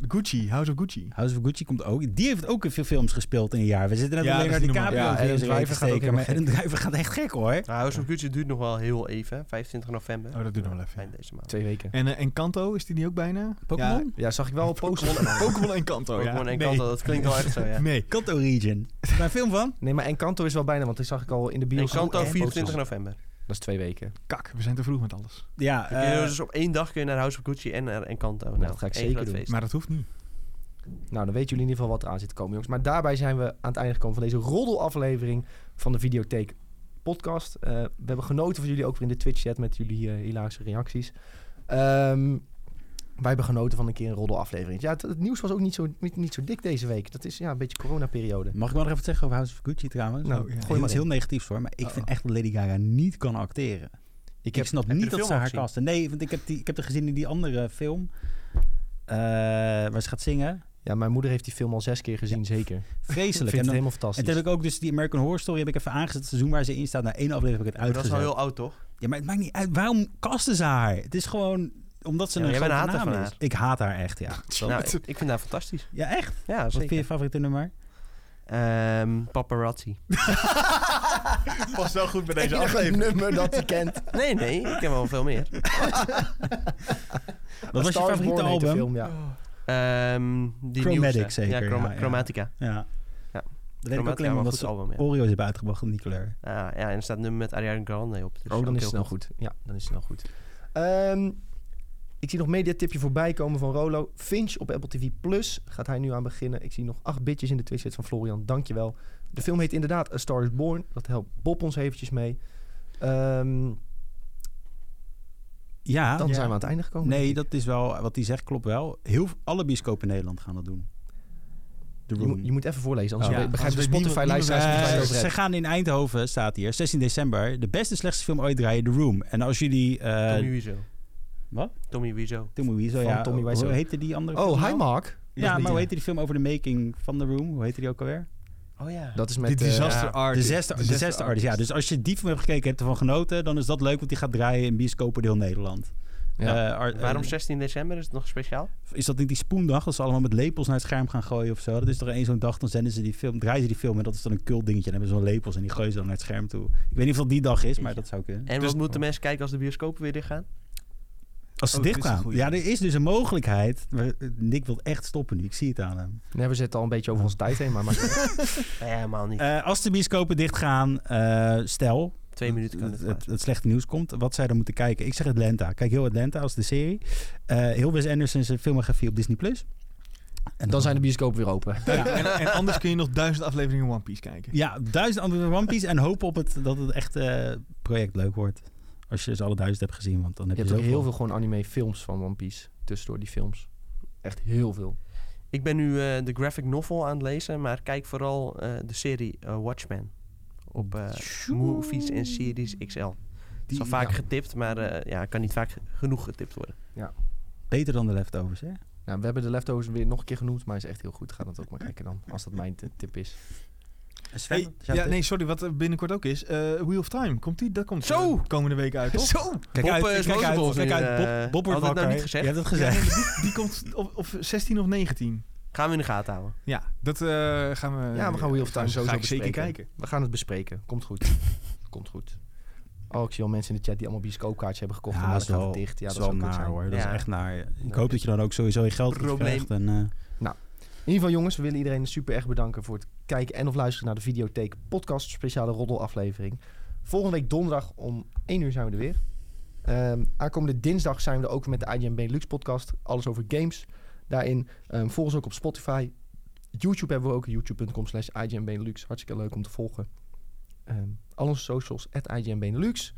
S4: Gucci, House of Gucci.
S3: House of Gucci komt ook. Die heeft ook veel films gespeeld in een jaar. We zitten net
S4: Ja,
S3: alleen naar
S4: dat
S3: die
S4: is niet
S3: Caprio
S1: normaal. Ja,
S3: in
S1: Adam
S3: zijn reet
S1: Driver gaat ook
S3: steken. Maar Adam
S1: helemaal
S3: Driver gaat echt gek hoor.
S2: Nou, House of Gucci duurt nog wel heel even. hè. 25 november.
S4: Oh, dat duurt nog wel even,
S2: Eind
S4: ja.
S2: deze maand.
S1: Twee weken.
S4: En, eh, en Kanto, is die die ook bijna? Ja,
S3: Pokémon?
S1: Ja, zag ik wel op posten.
S4: Pokémon en Kanto, Oh, ja.
S2: Pokémon en
S4: Nee.
S2: Kanto, dat klinkt wel echt zo, ja.
S4: Nee.
S3: Kanto Region. Is daar een film van?
S1: Nee, maar Encanto is wel bijna, want die zag ik al in de
S2: En
S1: bios.
S2: Kanto
S1: Oh, en
S2: 24
S1: posters.
S2: november.
S1: Dat is twee weken.
S4: Kak, we zijn te vroeg met alles.
S3: Ja.
S2: Kun je
S3: eh,
S2: dus op één dag kun je naar House of Gucci en naar Encanto. Nou,
S1: dat ga ik
S2: één
S1: zeker
S2: groot
S1: doen.
S2: feest.
S4: Maar dat hoeft niet.
S1: Nou, dan weten jullie in ieder geval wat eraan zit te komen, jongens. Maar daarbij zijn we aan het einde gekomen van deze roddelaflevering van de Videotheek podcast. Eh, we hebben genoten van jullie ook weer in de Twitch-chat met jullie eh, hilarische reacties. Ehm, wij hebben genoten van een keer een roddelaflevering. Ja, het, het nieuws was ook niet zo, niet, niet zo dik deze week. Dat is ja, een beetje coronaperiode.
S3: Mag ik wel nog even wat zeggen over House of Gucci trouwens?
S1: Nou,
S4: gooi
S3: gooi
S1: maar
S3: iets
S1: in.
S3: Oh, heel negatiefs hoor, maar ik
S4: Oh.
S3: vind echt dat Lady Gaga niet kan acteren. Ik,
S1: heb-
S3: snap
S2: je de
S3: niet dat
S2: film
S3: ze
S2: al
S3: haar
S2: gezien?
S3: kasten. Nee, want ik heb, die, ik heb haar gezien in die andere film. eh, waar ze gaat zingen.
S1: Ja, mijn moeder heeft die film al zes keer gezien, zeker. Ik
S3: Vreselijk.
S1: vind
S3: En,
S1: het
S3: dan, en
S1: helemaal
S3: toen
S1: fantastisch.
S3: heb ik ook dus die American Horror Story heb ik even aangezet. Het seizoen waar ze in staat. Na één aflevering heb ik het
S2: Maar dat is
S3: uitgezet.
S2: wel heel oud, toch?
S3: Ja, maar het maakt niet uit. Waarom kasten ze haar? Het is gewoon omdat ze
S2: Ja,
S3: een
S2: maar jij bent een hater
S3: grote naam
S2: van
S3: is.
S2: haar.
S3: Ik haat haar echt, ja.
S2: Nou, ik, ik vind haar fantastisch.
S3: Ja, echt?
S2: Ja,
S3: Wat vind je
S2: zeker.
S3: je favoriete nummer?
S2: Ehm, paparazzi.
S4: Pas wel goed bij deze
S1: Enig
S4: aflevering.
S1: nummer dat hij kent.
S2: Nee, nee, ik ken wel veel meer.
S3: Wat was
S1: Star
S3: je
S1: is
S3: favoriete
S1: Born heet de
S3: album?
S1: film, ja.
S2: Ehm die
S3: Chromatic
S2: nieuwste.
S3: zeker,
S2: Ja, Chroma-
S3: ja, ja.
S2: Chromatica.
S3: Ja.
S2: Ja.
S3: Dat weet ik ook
S2: Chromatica,
S3: alleen maar
S2: maar
S3: omdat
S2: goed
S3: ze
S2: album, ja.
S3: Oreo's hebben uitgebracht in die kleur.
S2: Ah, ja, en er staat nummer met Ariana Grande op. Dus
S1: Oh, dan is het
S2: ook heel
S3: nou
S1: snel goed. Ja, dan is het snel goed. Ehm, ik zie nog mediatipje voorbij komen van Rolo. Finch op Apple TV Plus gaat hij nu aan beginnen. Ik zie nog acht bitjes in de twitch van Florian. Dankjewel. De film heet inderdaad A Star is Born. Dat helpt Bob ons eventjes mee. Ehm,
S3: Ja,
S1: dan
S3: Ah, ja.
S1: zijn we aan het einde gekomen.
S3: Nee,
S1: denk ik.
S3: dat is wel wat hij zegt, klopt wel. Heel v- alle bioscopen in Nederland gaan dat doen. De
S1: je,
S3: Room.
S1: moet, je moet even voorlezen, anders
S3: Oh.
S1: be-
S4: Ja,
S1: begrijpt de
S4: anders weet
S1: Spotify-luisteraars
S4: niemand-
S1: niet waar je het
S3: Eh,
S1: over
S3: ze
S1: hebt.
S3: gaan in Eindhoven, staat hier, 16 december, de beste slechtste film ooit draaien, The Room. En als jullie...
S2: veel.
S3: eh,
S2: Tommy Wiseau.
S3: wat?
S2: Tommy Wiseau.
S3: Tommy Wiseau,
S1: Van
S3: ja.
S1: Tommy Wiseau.
S3: Hoe heette die andere film
S1: Oh, hi
S3: nou?
S1: Mark. eh,
S3: Ja, maar hoe heette die film over de making van The Room? Hoe heette die ook alweer?
S2: Oh ja.
S1: Dat is
S4: Die
S1: met... eh,
S4: disaster
S2: ja,
S4: art.
S3: De zesde, de zesde artist, ja. Dus als je die film hebt gekeken en hebt ervan genoten, dan is dat leuk, want die gaat draaien in bioscopen heel Nederland.
S1: ja.
S3: Eh, ar-
S2: Waarom
S3: eh,
S2: 16 december? Is het nog speciaal?
S3: Is dat niet die spoendag? Dat ze allemaal met lepels naar het scherm gaan gooien of zo. Dat is toch één zo'n dag, dan zenden ze die film, draaien ze die film en dat is dan een cult dingetje. Dan hebben ze zo'n lepels en die gooien ze dan naar het scherm toe. Ik weet niet of dat die dag is, maar dat zou kunnen.
S2: En
S4: Dus-
S2: wat moeten mensen kijken als de bioscopen weer dichtgaan?
S3: Als ze
S4: Oh, dit
S3: dicht
S4: is een
S3: gaan.
S4: goeie.
S3: Ja, er is dus een mogelijkheid. Maar eh, Nick wil echt stoppen nu. Ik zie het aan hem.
S1: Nee, we zitten al een beetje over onze tijd heen, maar... maar
S2: Nee, helemaal niet.
S3: Eh, als de bioscopen dicht gaan, eh, stel
S2: Twee minuten kan
S3: het,
S2: het
S3: het,
S2: maar.
S3: het slechte nieuws komt, wat zij dan moeten kijken. Ik zeg Atlanta. Kijk heel Atlanta als de serie. Eh heel Wes Anderson's filmografie op Disney+. Plus. En
S1: dan zijn de bioscopen weer open.
S4: En, en anders kun je nog duizend afleveringen One Piece kijken.
S3: Ja, duizend andere One Piece en hopen op het, dat het echt eh, project leuk wordt. Als je ze alle duizend hebt gezien, want dan
S1: Je
S3: heb
S1: hebt
S3: je,
S1: ook
S3: zoveel.
S1: heel veel gewoon anime films van One Piece. Tussendoor die films. Echt heel veel.
S2: Ik ben nu eh, de graphic novel aan het lezen, maar kijk vooral eh, de serie eh, Watchmen op eh, Movies en Series XL. Het is al vaak
S1: ja.
S2: getipt, maar eh, ja, het kan niet vaak genoeg getipt worden.
S3: Beter dan de leftovers, hè?
S1: Nou, we hebben de leftovers weer nog een keer genoemd, maar is echt heel goed. Ga dat ook maar kijken dan, als dat mijn t- tip is.
S3: Eh, Sven,
S4: Hey, ja, nee, sorry, wat er binnenkort ook is. eh, Wheel of Time, komt die? Dat komt
S2: Zo!
S4: eh, komende week uit, toch?
S2: Zo!
S3: kijk
S2: Bob,
S3: uit,
S2: eh, is
S3: kijk
S2: boos op
S3: uit,
S2: ons
S3: kijk
S2: nu,
S3: uit.
S2: eh,
S3: Bob, Bob wordt
S2: had het nou
S3: wakker.
S2: niet gezegd?
S3: Je hebt het
S4: Ja,
S3: gezegd.
S4: nee, die, die komt op, op 16 of 19.
S2: Gaan we in de gaten houden.
S4: Ja, dat eh, gaan we...
S1: ja, we gaan Wheel of Time
S3: eh,
S4: ga
S1: sowieso
S4: ik zeker
S1: bespreken.
S4: kijken.
S1: We gaan het bespreken. Komt goed. Komt goed. Oh, ik zie al mensen in de chat die allemaal bioscoopkaartjes hebben gekocht. en
S3: Ja,
S1: dan
S3: dat is
S1: gaat
S3: wel,
S1: het dicht. Ja, dat
S3: is wel
S1: zou kut
S3: naar,
S1: zijn.
S3: hoor. Dat
S2: Ja.
S3: is echt naar. Ik
S1: Ja.
S3: hoop dat je dan ook sowieso je geld terug
S2: Probleem.
S3: krijgt. En, eh,
S1: In ieder geval, jongens, we willen iedereen super erg bedanken voor het kijken en of luisteren naar de Videotheek Podcast, speciale roddelaflevering. Volgende week donderdag om 1 uur zijn we er weer. Ehm, aankomende dinsdag zijn we er ook weer met de IGN Benelux podcast, alles over games. Daarin ehm volg ons ook op Spotify. YouTube hebben we ook, youtube.com slash IGN Benelux. Hartstikke leuk om te volgen. Ehm, al onze socials, at IGN Benelux.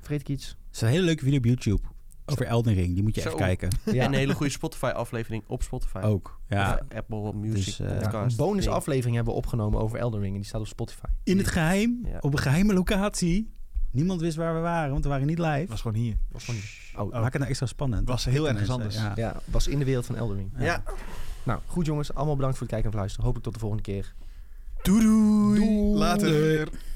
S1: Vergeet ik iets?
S3: er is een hele leuke video op YouTube over Elden Ring. Die moet je echt
S2: Zo.
S3: kijken.
S2: En een hele goede Spotify-aflevering op Spotify.
S3: Ook.
S2: Of
S3: Ja.
S2: Apple Music
S3: Dus, eh,
S1: Ja, een
S2: Podcast.
S1: bonus
S2: ding.
S1: aflevering hebben we opgenomen over Elden Ring en die staat op Spotify.
S3: In het geheim,
S2: Ja.
S3: op een geheime locatie. Niemand wist waar we waren, want we waren niet live.
S4: was gewoon hier.
S1: Was gewoon-
S3: Oh, maak het nou extra spannend.
S4: Was heel ergens
S3: Mensen,
S4: anders.
S3: ja.
S1: Ja, was in de wereld van Elden Ring.
S2: Ja.
S1: Nou, goed jongens. Allemaal bedankt voor het kijken en voor het luisteren. Hopelijk tot de volgende keer.
S4: Doei doei.
S1: Doei.
S4: Later.